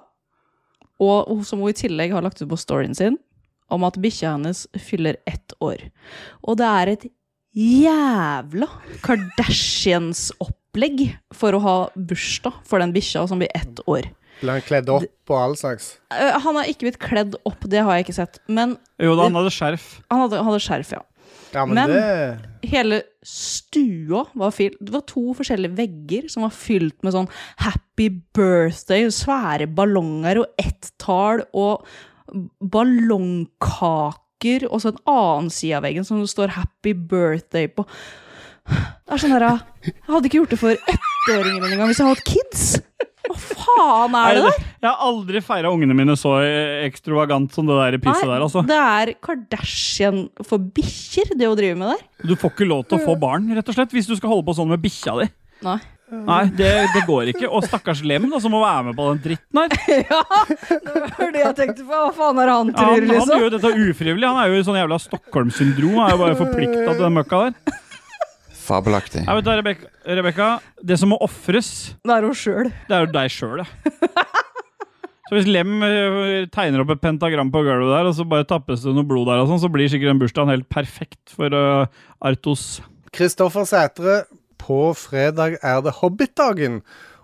S3: og hun- som hun i tillegg har lagt ut på storyen sin, om at bikkja hennes fyller ett år. Og det er et jævla Kardashians-opplegg for å ha bursdag for den bikkja som blir ett år.
S1: Ble han kledd opp og all slags?
S3: Eh, Han har ikke blitt kledd opp, det har jeg ikke sett, men
S2: Jo da, han hadde skjerf.
S3: han hadde, hadde skjerf, ja.
S1: Ja, men,
S3: Men-
S1: det
S3: Hele stua var fylt Det var to forskjellige vegger som var fylt med sånn happy birthday, og svære ballonger og ett-tall og ballongkaker, og så en annen side av veggen som det står happy birthday på. Det er sånn her Jeg hadde ikke gjort det for ettåringen min engang hvis jeg hadde hatt kids! Hva faen er det der?
S2: Jeg har aldri feira ungene mine så eh, ekstravagant som det der pisset der. altså.
S3: det er Kardashian for bikkjer, det hun driver med der.
S2: Du får ikke lov til å få barn, rett og slett, hvis du skal holde på sånn med bikkja di.
S3: Mm. Nei.
S2: Nei, det, det går ikke. Og stakkars Lem, da, som må være med på den dritten her.
S3: Ja, det var det jeg tenkte på. Hva faen er det han
S2: Ja, han,
S3: tror,
S2: han
S3: liksom?
S2: gjør jo dette ufrivillig. Han er jo i sånn jævla Stockholm-syndrom. Han er jo bare forplikta til den møkka der.
S6: Fabelaktig.
S2: Nei, vet du, hva, Rebekka, Rebekka, det som må ofres,
S3: Det er hun sjøl.
S2: det er jo deg sjøl, ja. Så hvis Lem eh, tegner opp et pentagram på gulvet der, og så bare tappes det noe blod der, og sånn, så blir sikkert den bursdagen helt perfekt for eh, Artos.
S1: Kristoffer Sætre, på fredag er det Hobbit-dagen,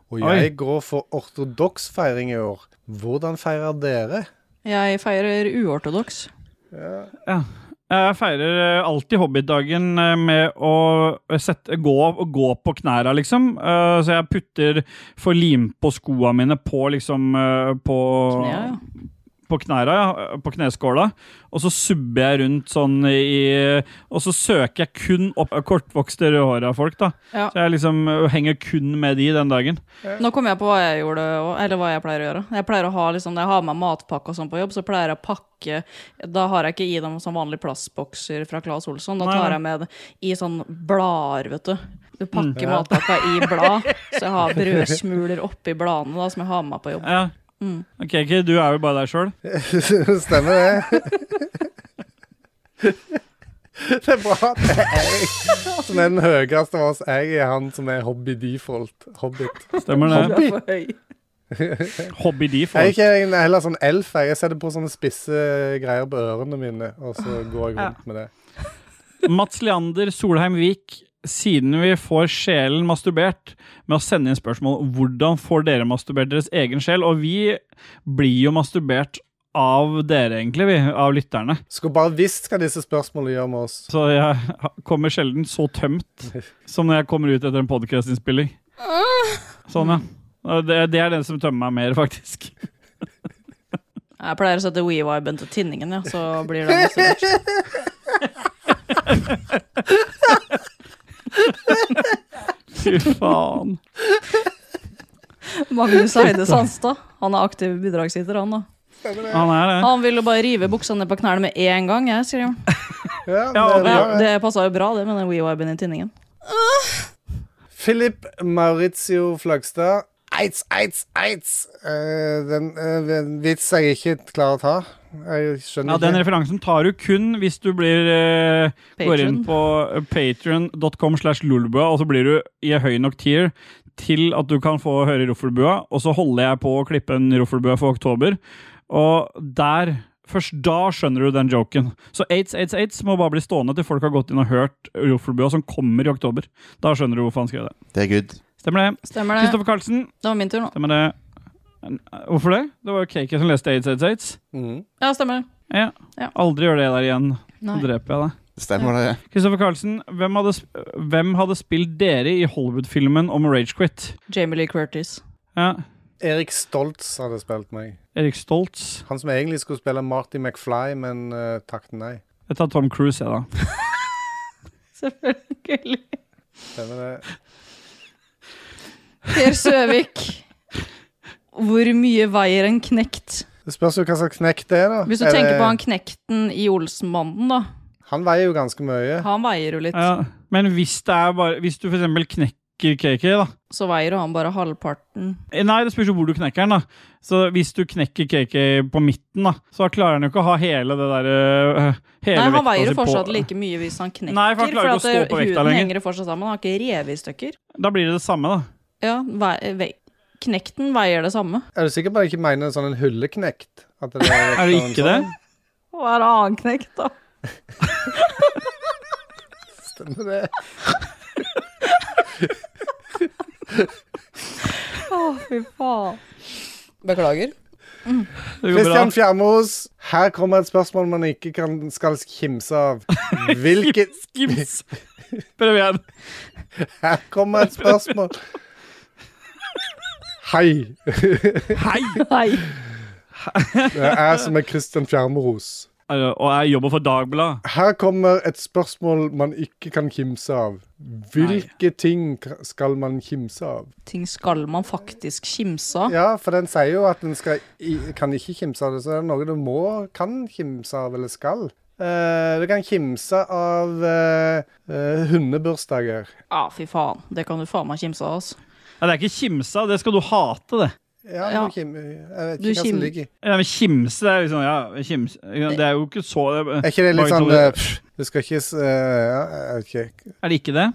S1: og jeg
S2: Oi.
S1: går for ortodoks feiring i år. Hvordan feirer dere?
S3: Jeg feirer uortodoks.
S2: Ja. Jeg feirer eh, alltid hobbitdagen eh, med å eh, sette, gå, gå på knæra, liksom. Eh, Så jeg putter for lim på skoa mine på liksom eh, på,
S3: Knea, ja.
S2: på knæra, ja, på kneskåla, og så subber jeg rundt sånn i Og så søker jeg kun opp kortvokste, rødhåra folk, da.
S3: Ja.
S2: Så jeg liksom øh, henger kun med de den dagen.
S3: Nå kom jeg på hva jeg gjorde, og- eller hva jeg pleier å gjøre. Jeg pleier å ha, liksom, Når jeg har med matpakke og sånn på jobb, så pleier jeg å pakke Da har jeg ikke i dem sånn vanlige plastbokser fra Claes Olsson. Da
S2: Nei,
S3: tar
S2: nei.
S3: jeg med det i sånn blader, vet du. Du
S2: Mm.
S3: pakker
S2: Ja.
S3: matpakka i blad, så jeg har brødsmuler oppi bladene da, som jeg har med meg på jobb.
S2: Ja.
S3: Mm.
S2: Ok, ok, du er jo bare deg sjøl.
S1: Stemmer det. Det er bra at det er jeg som er den høyeste av oss. Jeg er han som er hobby default. Hobbit.
S2: Stemmer det.
S1: Hobby.
S2: Hobby
S1: Jeg er
S2: default.
S1: ikke en- heller sånn elf. jeg. Jeg setter på sånne spisse greier på ørene mine, og så går jeg rundt med det.
S2: Mats Leander Solheim Vik, siden vi får sjelen masturbert med å sende inn spørsmål hvordan får dere masturbert deres egen sjel? Og vi blir jo masturbert av dere, egentlig, vi, av lytterne.
S1: Skulle bare visst hva disse spørsmålene gjør med oss.
S2: Så jeg ha- kommer sjelden så tømt som når jeg kommer ut etter en podkastinnspilling. Sånn, ja. Og Det, det er den som tømmer meg mer, faktisk.
S3: Jeg pleier å sette WeViben til tinningen, ja, så blir det masse
S2: Fy faen.
S3: Magnus Eide Sandstad. Han er aktiv bidragsyter, han da.
S2: Han er det.
S3: Han ville bare rive buksa ned på knærne med en gang, jeg, sier han.
S1: Ja, det-
S3: Ja, det passa jo bra, det, med den WeViben i tinningen.
S1: Philip Maurizio Flagstad. Eits, eits, eits! Eh, den eh, en vits jeg ikke klarer å ta. Jeg skjønner
S2: Ja, Den
S1: ikke.
S2: referansen tar du kun hvis du blir, eh, går inn på patron.com slash lolbua, og så blir du i høy nok tier til at du kan få høre Roffelbua. Og så holder jeg på å klippe en Roffelbua for oktober, og der Først da skjønner du den joken. Så aids, aids, aids må bare bli stående til folk har gått inn og hørt Roffelbua, som kommer i oktober. Da skjønner du hvorfor han skrev det.
S6: Det er good.
S2: Stemmer det?
S3: Stemmer det.
S2: Kristoffer Karlsen.
S3: Det var min tur nå.
S2: Stemmer det? Hvorfor det? Det var jo Kake som leste aids, aids, aids.
S1: Mhm.
S3: Ja, stemmer det.
S2: Ja.
S3: Ja.
S2: Aldri gjør det der igjen.
S3: Nei.
S2: Så dreper jeg deg.
S6: Stemmer det?
S2: Kristoffer Carlsen, hvem hadde, sp- hvem hadde spilt dere i Hollywood-filmen om Rage Quit?
S3: Jamie Lee Curtis.
S2: Ja.
S1: Erik Stoltz hadde spilt meg.
S2: Erik Stoltz.
S1: Han som egentlig skulle spille Marty McFly, men uh, takket nei.
S2: Jeg tar Tom Cruise, jeg, da.
S3: Selvfølgelig.
S1: Stemmer det?
S3: Per Søvik. Hvor mye veier en knekt?
S1: Det spørs jo hva slags knekk det er, da.
S3: Hvis du
S1: Er
S3: tenker
S1: det-
S3: på han knekten i Olsenbanden, da.
S1: Han veier jo ganske mye.
S3: Han veier jo litt.
S2: Ja. Men hvis, det er bare, hvis du f.eks. knekker KK, da
S3: Så veier jo han bare halvparten.
S2: Eh, Nei, det spørs jo hvor du knekker den. da Så Hvis du knekker KK på midten, da så klarer han jo ikke å ha hele det der øh, hele
S3: Nei, han
S2: vekta
S3: veier
S2: si
S3: jo fortsatt
S2: på.
S3: like mye hvis han knekker.
S2: Nei, for han klarer ikke å
S3: at det-
S2: stå på vekta
S3: huden
S2: lenger.
S3: henger jo fortsatt sammen. Han har ikke revet i stykker.
S2: Da blir det det samme, da.
S3: Ja, vei, vei, knekten veier det samme.
S1: Er du sikker på at jeg ikke mener sånn en hulleknekt? At det er, sånn-
S2: Er det ikke det?
S3: Hva er annen knekt, da?
S1: Stemmer det?
S3: Å, fy faen. Beklager.
S2: går bra.
S1: Kristian Fjermos, her kommer et spørsmål man ikke kan, skal kimse av. Hvilket
S2: Skims! Prøv igjen.
S1: Her kommer et spørsmål. Hei.
S2: Hei!
S3: Hei.
S1: Det er jeg som er Kristian Fjermeros.
S2: Eh, Og jeg jobber for Dagbladet.
S1: Her kommer et spørsmål man ikke kan kimse av. Hvilke ting k- skal man kimse av?
S3: Ting skal man faktisk kimse av.
S1: Ja, for den sier jo at den skal, i- kan ikke kimse av det, så det er noe du må kan kimse av, eller skal. Eh, du kan kimse av eh, eh, hundebursdager.
S3: Ja, fy faen. Det kan du faen meg kimse av, altså.
S2: Ja, det er ikke kimse av, det skal du hate, det.
S1: Ja,
S3: Ja.
S1: Du kim, eh, jeg vet
S3: Du
S1: ikke hva som
S3: kim-
S1: ligger i.
S2: Ja, men kimse, det er liksom, ja, kimse, ja, det er jo ikke så det,
S1: Er ikke det litt
S2: Bare
S1: sånn
S2: toler-
S1: eh, pff, Du skal ikke s- eh, ja, ok.
S2: Er det ikke det?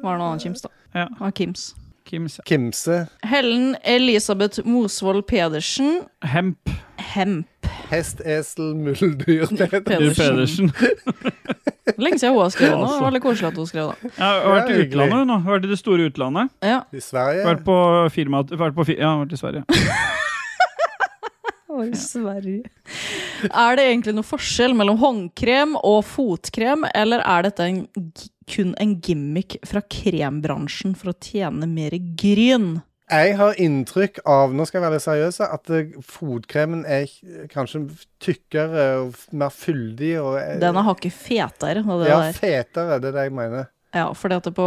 S3: Hva er noe annet kims, da?
S2: Ja.
S3: Hva er kims?
S2: Kims, ja.
S1: Kimse.
S3: Helen Elisabeth Mosvold Pedersen.
S2: Hemp
S3: Hemp
S1: Hest, esel, muldyr
S2: Dyr
S1: Pedersen.
S2: Pedersen.
S3: Lenge siden hun har skrevet noe.
S2: Altså.
S3: Det var Veldig koselig at hun skrev det.
S2: Jeg har vært i
S1: Ja, hyggelig.
S2: utlandet hun, nå. Vært i det store utlandet.
S3: Ja.
S1: I Sverige.
S2: Vært på firma... Vært på fi, ja, vært i Sverige.
S3: Oi, Sverige. Er det egentlig noe forskjell mellom håndkrem og fotkrem, eller er dette en, g- kun en gimmick fra krembransjen for å tjene mer gryn?
S1: Jeg har inntrykk av, nå skal jeg være litt seriøs, at eh, fotkremen er k- kanskje tykkere og f- mer fyldig. Og, eh,
S3: Den er hakket fetere. Og det
S1: ja,
S3: der.
S1: fetere, det er det jeg mener.
S3: Ja, fordi at på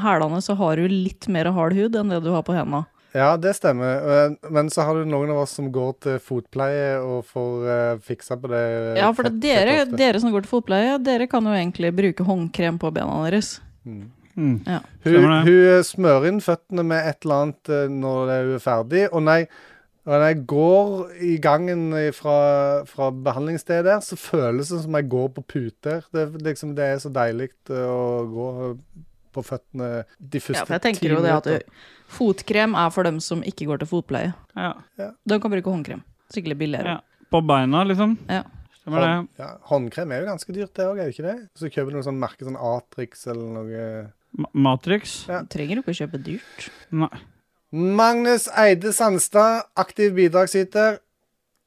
S3: hælene så har du litt mer hard hud enn det du har på hendene.
S1: Ja, det stemmer. Men- Men så har du noen av oss som går til fotpleie og får eh, fiksa på det. eh,
S3: Ja, for
S1: fett-
S3: dere,
S1: fett ofte.
S3: dere som går til fotpleie, dere kan jo egentlig bruke håndkrem på bena deres.
S1: Mm.
S3: Ja.
S1: Hun, hun eh, smører inn føttene med et eller annet eh, når hun er ferdig. Og når jeg, og når jeg går i gangen i- fra, fra behandlingsstedet, der, så føles det som jeg går på puter. Det, er liksom, det er så deilig eh, å gå på føttene de
S3: Ja, for
S1: første
S3: jeg tenker jo det at du, fotkrem er for dem som ikke går til fotpleie. De kan bruke håndkrem. Skikkelig billigere.
S2: På beina, liksom.
S3: Ja.
S2: Stemmer det.
S1: Hånd, ja, håndkrem er jo ganske dyrt, det òg, er det ikke det? Så kjøper du noe sånn merke sånn Atrix eller noe eh,
S2: Ma- Matrix.
S3: Trenger du ikke å kjøpe dyrt.
S2: Nei.
S1: Magnus Eide Sandstad, aktiv bidragsyter.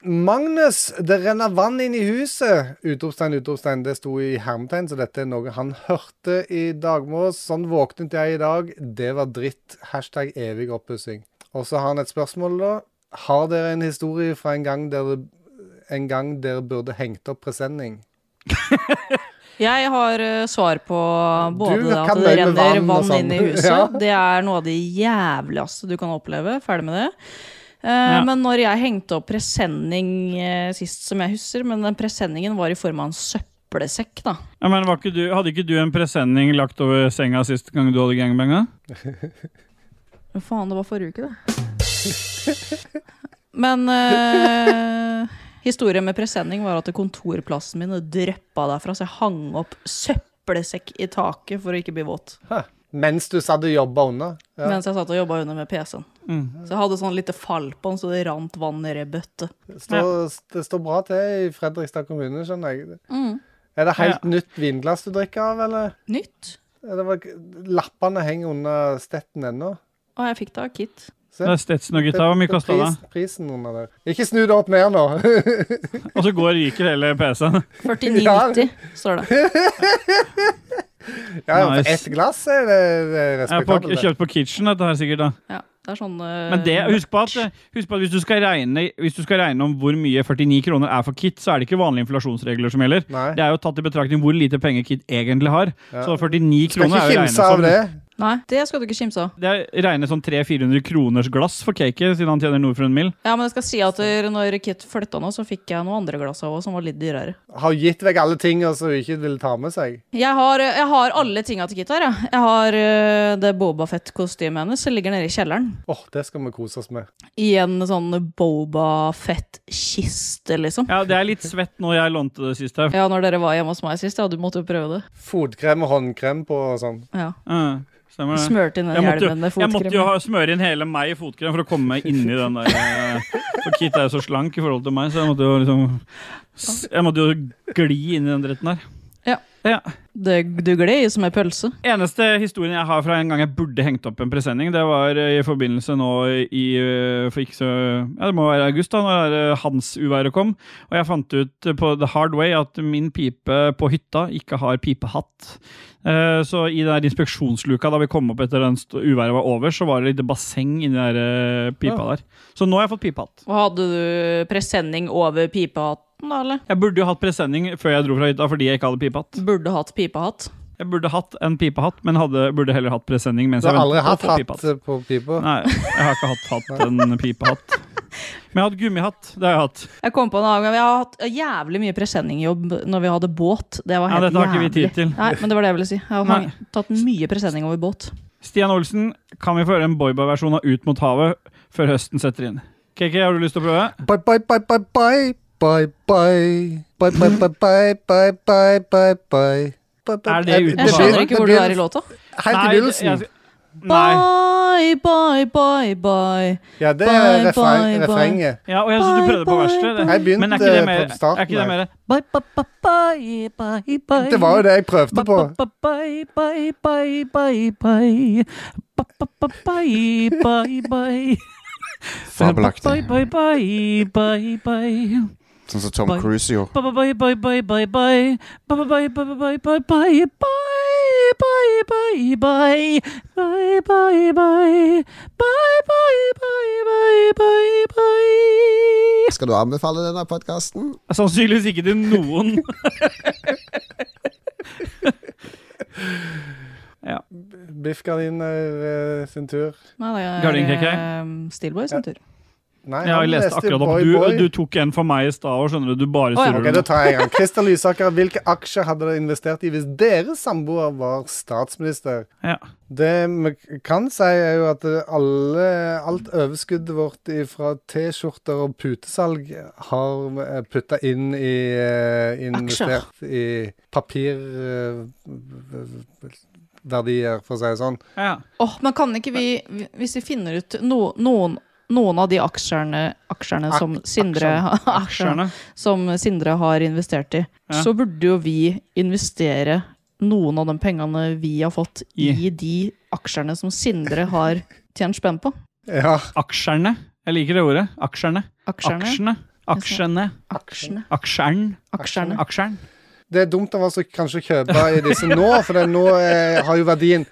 S1: Magnus, det renner vann inn i huset! Utropstegn, utropstegn. Det sto i hermetegn, så dette er noe han hørte i dagmås. Sånn våknet jeg i dag. Det var dritt. Hashtag evig oppussing. Og så har han et spørsmål, da. Har dere en historie fra en gang dere, en gang dere burde hengt opp presenning?
S3: Jeg har eh, svar på både
S1: Du
S3: det at
S1: kan
S3: det
S1: nøye med
S3: renner
S1: vann og
S3: vann inn i
S1: sånn.
S3: huset.
S1: Ja.
S3: Det er noe av det jævligste du kan oppleve. Ferdig med det. Eh,
S12: Ja.
S3: Men når jeg hengte opp presenning eh, sist, som jeg husker Men den presenningen var i form av en søppelsekk, da.
S2: Ja, men var ikke du, hadde ikke du en presenning lagt over senga sist gang du hadde gangbanga?
S3: Hva faen, det var forrige uke, det. Men eh, historien med presenning var at kontorplassen min dryppa derfra, så jeg hang opp søppelsekk i taket for å ikke bli våt.
S1: Mens du satt og jobba unna? Ja.
S3: Mens jeg satt og jobba under med PC-en.
S1: Mm.
S3: Så jeg hadde sånn lite fall på den, så det rant vann ned i bøtte.
S1: Står, Det står bra til i Fredrikstad kommune, skjønner jeg.
S3: Mm.
S1: Er det helt
S3: Ja.
S1: nytt vinglass du drikker av, eller?
S3: Nytt.
S1: Det var, lappene henger under stetten ennå.
S3: Og jeg fikk det av Kit.
S1: Se.
S2: Det er Stetson og gutta, hvor mye
S1: Det er
S2: kostet det?
S1: pris- Prisen under der. Ikke snu det opp ned nå.
S2: Og så går ryker hele PC-en.
S3: 49,90 står det.
S1: Ja, ja,
S2: Nice.
S1: for ett glass er det, det er
S2: Jeg har på,
S1: respektabelt. det.
S2: kjøpt på Kitchen, dette her sikkert. da.
S3: Ja, det er sånn eh,
S2: Men det, husk på at, husk på at hvis, du skal regne, hvis du skal regne om hvor mye 49 kroner er for Kit, så er det ikke vanlige inflasjonsregler som gjelder. Det er jo tatt i betraktning hvor lite penger Kit egentlig har.
S1: Ja.
S2: Så 49
S1: Skal
S2: kroner
S1: ikke
S2: er jo
S1: kimse av
S2: regnet
S1: som,
S3: Nei, det skal du ikke kimse av.
S2: det er regnet som 300-400 kroners glass for cake, siden han tjener noe for en mil.
S3: Ja, men jeg skal si at når Kit flytta nå, så fikk jeg noen andre glass av henne som var litt dyrere.
S2: sånn.
S1: Har gitt vekk alle tingene som hun ikke ville ta med seg.
S3: Jeg har, eh, jeg har alle tinga til Kit her, ja. Jeg har eh, det Boba Fett-kostymet hennes som ligger nede i kjelleren.
S1: Åh, det skal vi kose oss med.
S3: I en sånn Boba Fett-kiste, liksom.
S2: Ja, det er litt svett når jeg lånte det sist her.
S3: Ja, når dere var hjemme hos meg sist, ja, du måtte jo prøve det.
S1: Fotkrem og håndkrem på og sånn.
S3: Ja.
S2: Mm, stemmer det.
S3: Smørte inn den
S2: Jeg måtte jo-
S3: hjelmen med
S2: Jeg måtte jo
S3: fotkrem.
S2: ha- smøre inn hele meg i fotkrem for å komme meg inni den der. eh, For Kit er jo så slank i forhold til meg, så jeg måtte jo liksom s- Jeg måtte jo gli inn i den dritten her.
S3: Ja. Det, du gled i som ei pølse.
S2: Eneste historien jeg har fra en gang jeg burde hengt opp en presenning, det var eh, i forbindelse nå i eh, For ikke så Ja, det må være august, da, når Hans-uværet kom. Og jeg fant ut eh, på the hard way at min pipe på hytta ikke har pipehatt. Eh, Så i den der inspeksjonsluka da vi kom opp etter den st- uværet var over, så var det litt basseng inni den der eh, pipa
S3: Ja.
S2: der. Så nå har jeg fått pipehatt.
S3: Og hadde du presenning over pipehatten, da, eller?
S2: Jeg burde jo hatt presenning før jeg dro fra hytta fordi jeg ikke hadde pipehatt.
S3: Burde hatt pipehatt.
S2: Jeg burde hatt en pipehatt, men hadde, burde heller hatt presenning mens
S1: Du
S2: jeg
S1: har aldri
S2: ventet
S1: hatt
S2: på å få
S1: hatt
S2: pipehatt.
S1: på pipa? altså.
S2: Nei, jeg har ikke hatt, hatt en pipehatt. Men jeg har hatt gummihatt. Det har jeg hatt.
S3: Jeg kom på en annen gang, jeg har hatt jævlig mye presenningjobb når vi hadde båt. Det var
S2: Ja,
S3: helt
S2: dette har ikke vi tid
S3: jævlig.
S2: til.
S3: Nei, men det var det jeg ville si. Jeg har
S2: Nei.
S3: tatt mye presenning over båt.
S2: Stian Olsen, kan vi få høre en boyboy-versjon av Ut mot havet før høsten setter inn? KK, har du lyst til å prøve?
S1: Bye, bye, bye, bye, bye. Bye, bye. Bye, bye, bye, bye, bye, bye, bye, bye. Bye, bye.
S2: Er det Ut mot
S3: Jeg
S2: havet?
S3: skjønner ikke hvor du er i låta.
S1: Helt i
S2: Nei, det-
S1: begynnelsen.
S2: jeg- Nei.
S3: Bye, bye, bye, bye.
S1: Ja, det er
S3: Bye,
S1: refreng-
S3: bye, bye.
S1: refrenget.
S2: Ja, og jeg synes du prøvde på verset. det.
S1: Jeg begynte
S2: Men er ikke det mer,
S1: eh, på starten
S2: er ikke det
S1: her.
S2: mer
S3: Bye, bye, bye, bye, bye, bye.
S1: Det var jo det jeg prøvde på.
S2: Bye, bye, bye, bye, bye. Ba, ba, ba, Bye, bye, bye.
S6: Fabelaktig.
S2: Bye, bye, bye, bye, bye.
S6: Sånn som Tom Cruise gjorde.
S2: Bye, bye, bye, bye, bye, bye. Bye, bye, bye, bye, bye, bye, bye. Bye, bye, bye, bye, bye. Bye, bye, bye. Bye, bye, bye, bye, bye, bye.
S5: Skal du anbefale denne podkasten?
S2: Sannsynligvis ikke til noen. ja.
S1: Biffgardiner eh, sin tur.
S3: Nei, det er
S2: Gardinkreke?
S3: eh, Steelboy sin tur.
S1: Nei,
S2: Jeg har
S1: han
S2: lest
S1: leste
S2: akkurat opp.
S1: Boy Boy.
S2: Du, du tok en for meg i stad og skjønner du. Du bare
S1: Å, ja.
S2: surrer.
S1: Ok, da tar jeg en. Christer Lysaker, hvilke aksjer hadde dere investert i hvis deres samboer var statsminister?
S2: Ja.
S1: Det vi kan si, er jo at alle, alt overskuddet vårt fra T-skjorter og putesalg har putta inn i eh, Investert i papirverdier, for å si det sånn.
S3: Åh, men kan ikke vi, hvis vi finner ut no, noen, noen av de aksjerne, aksjerne
S1: Ak-
S3: som Sindre
S2: aksjerne.
S3: som Sindre har investert i,
S2: Ja.
S3: så burde jo vi investere noen av de pengene vi har fått, i,
S2: I.
S3: de aksjerne som Sindre har tjent spenn på.
S2: Aksjerne. Jeg liker det ordet. Aksjerne.
S3: Aksjerne.
S2: Aksjene. Aksjene.
S3: Aksjene.
S2: Aksjeren.
S3: Aksjerne.
S2: Aksjeren.
S1: Det er dumt av oss å kanskje kjøpe i disse nå, for det, nå eh, har jo verdien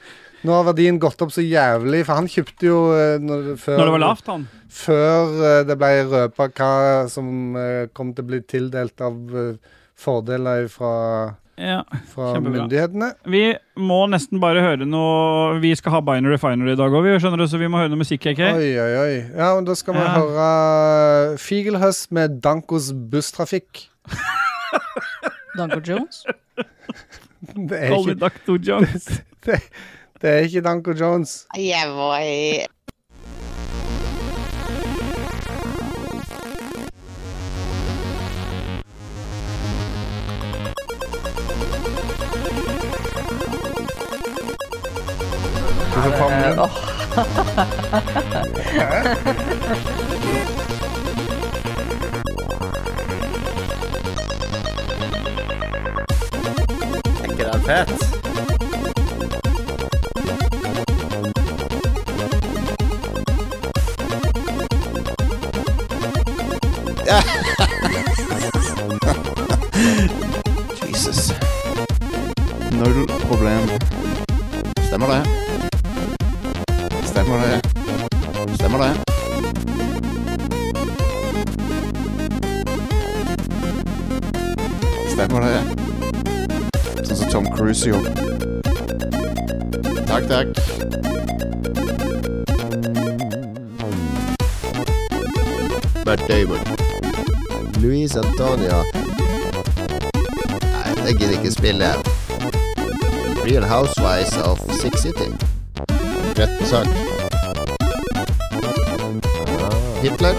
S1: nå har verdien gått opp så jævlig, for han kjøpte jo eh, når, før,
S2: Når det var lavt, han.
S1: Før eh, det ble røpa hva som eh, kom til å bli tildelt av eh, fordeler fra,
S2: Ja,
S1: fra
S2: kjempebra.
S1: myndighetene.
S2: Vi må nesten bare høre noe Vi skal ha Binary Finery i dag òg, skjønner du, så vi må høre noe musikk. KK.
S1: Oi, oi, oi. Ja, men da skal vi
S2: Ja.
S1: høre Figelhøss med Dankos busstrafikk.
S3: Danko Jones.
S1: Det er
S2: Call me
S1: ikke,
S2: Dr. Jones.
S1: det, det er ikke Danko Jones.
S12: Jeg var i
S1: Hvorfor faen-
S5: Tenker det er fett.
S6: Jesus. Null problem. Stemmer det. Stemmer det. Stemmer det. Stemmer det. Sånn som Tom Cruise gjorde. Takk, takk.
S5: Matt Damon. Luis Antonia. Nei, det gidder ikke spille. Real Housewives of Six City. Rett på sak.
S4: Hitler.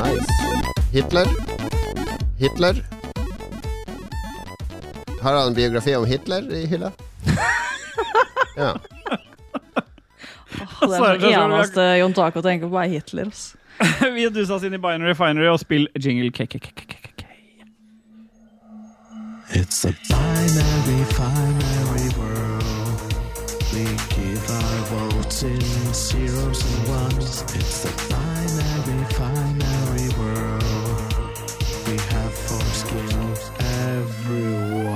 S5: Hitler. Hitler. Har han en biografi om Hitler i hylla? Ja.
S3: Det
S2: Så er
S3: er
S2: det
S3: det
S2: sånn-
S3: eneste Jon Taco tenker på, er Hitler. ass.
S2: vi dusa oss inn i Binary Finery og spill jingle KKKK.
S7: It's a binary, binary world. We give our votes in zeros and ones. It's a binary, binary world. We have foreskin, everyone.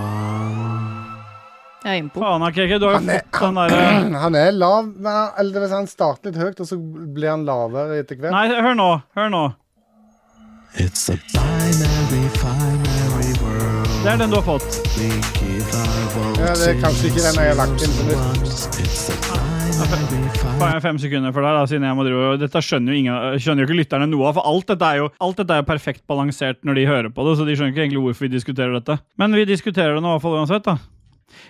S3: Jeg er innpå.
S2: Faen, KK, du har jo fått den eh, derre
S1: Han er lav, men han, eller det vil si han starter litt høyt, og så blir han lavere etter hvert.
S2: Nei, hør nå. Hør nå.
S7: It's a binary, binary world.
S2: Det er den du har fått.
S7: We give our votes
S1: Ja, det er kanskje ikke den jeg har lagt inn som nytt.
S7: It's a binary,
S2: Bare fem sekunder for deg, da, siden jeg må drive og- Dette skjønner jo, ingen, skjønner jo ikke lytterne noe av, for alt dette er jo, alt dette er jo perfekt balansert når de hører på det, så de skjønner ikke egentlig hvorfor vi diskuterer dette. Men vi diskuterer det nå i hvert fall uansett, da.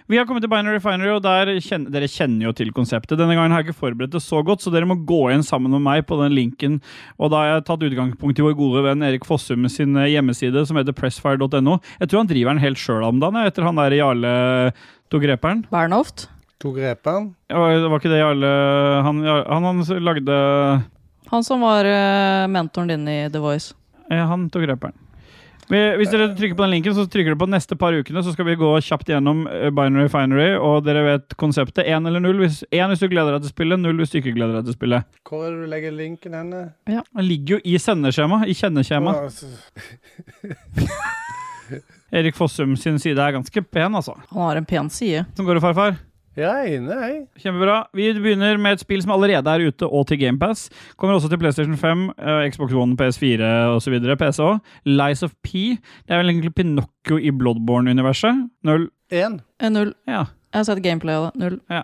S2: Vi har kommet til Binary Refinery, og der kjen- dere kjenner jo til konseptet. Denne gangen har jeg ikke forberedt det så godt, så dere må gå inn sammen med meg på den linken. Og da har jeg tatt utgangspunkt i vår gode venn Erik Fossum sin eh, hjemmeside, som heter pressfire.no. Jeg tror han driver den helt sjøl om dagen, jeg, etter han der Jarle tok reperen.
S3: Bernhoft.
S1: Tok reperen.
S2: Ja, det var ikke det Jarle Han, han, han lagde
S3: Han som var eh, mentoren din i The Voice.
S2: Eh, Han tok rapperen. Vi, hvis dere trykker på den linken, så trykker dere på neste par ukene, så skal vi gå kjapt gjennom eh, Binary Finery, og dere vet konseptet. Én eller null. Hvis, én hvis du gleder deg til spillet, null hvis du ikke gleder deg til spillet.
S1: Hvor er det du legger linken henne?
S2: Den ligger jo i sendeskjema, i kjenneskjema.
S1: Å, så-
S2: Erik Fossum sin side er ganske pen, altså.
S3: Han har en pen side.
S2: Som går det, farfar?
S1: Jeg er inne, jeg.
S2: Kjempebra. Vi begynner med et spill som allerede er ute og til GamePass. Kommer også til PlayStation 5, eh, Xbox One, PS4 osv. PC òg. Lies of P. Det er vel egentlig Pinocchio i Bloodborne-universet. Null.
S1: Én.
S3: Null.
S2: Ja.
S3: Jeg har sett gameplay av det. Null.
S2: Ja.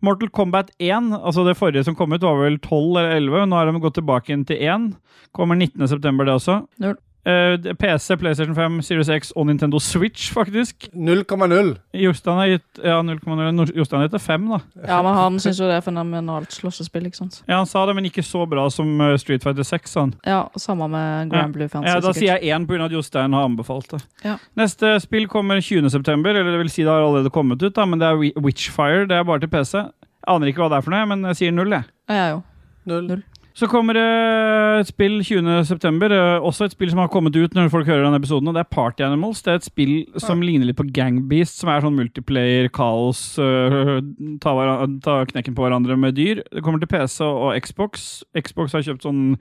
S2: Mortal Kombat 1, altså det forrige som kom ut, var vel 12 eller 11. Nå har de gått tilbake inn til 1. Kommer 19.9., det også.
S3: Null.
S2: Eh, det- PC, PlayStation 5, Series X og Nintendo Switch, faktisk.
S1: 0,0.
S2: Jostein har gitt ja, 0,0. Nor- Jostein har gitt det 5, da.
S3: Ja, men han syns jo det er fenomenalt slåssespill, ikke sant.
S2: Ja, han sa det, men ikke så bra som eh, Street Fighter 6, sa han.
S3: Ja, samme med Grand Blue Fancy,
S2: ja, Eh, da
S3: sikkert.
S2: sier jeg én pga. at Jostein har anbefalt det.
S3: Ja.
S2: Neste spill kommer 20.9., eller det vil si det har allerede kommet ut, da, men det er Wi- Witchfire. Det er bare til PC. Jeg aner ikke hva det er for noe, men jeg sier null, jeg.
S3: Ja, jeg òg.
S1: Null.
S2: Så kommer det et spill 20.9., også et spill som har kommet ut når folk hører denne episoden, og det er Party Animals. Det er et spill som ligner litt på Gangbeast, som er sånn multiplayer, kaos, øh, ta, hver- ta knekken på hverandre med dyr. Det kommer til PC og Xbox. Xbox har kjøpt sånn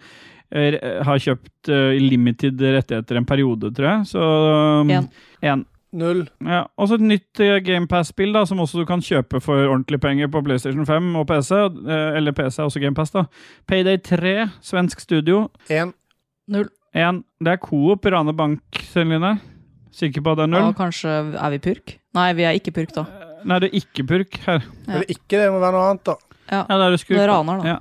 S2: er, har kjøpt eh, limited rettigheter en periode, tror jeg. Så um,
S3: En.
S2: en.
S1: Null.
S2: Ja, og så et nytt eh, Game GamePass-spill da, som også du kan kjøpe for ordentlige penger på PlayStation 5 og PC. eh, Eller PC er også GamePass, da. Payday 3, svensk studio.
S1: Én.
S3: Null.
S2: En. Det er Coop, Rane Bank, Celine. Sikker på at det er null?
S3: Ja, kanskje er vi purk? Nei, vi er ikke purk, da.
S2: Nei, det er ikke purk her.
S3: Ja.
S1: Eller ikke, det må være noe annet, da.
S3: Ja,
S2: Ja, da er du skurk.
S3: Det raner, da.
S2: Ja.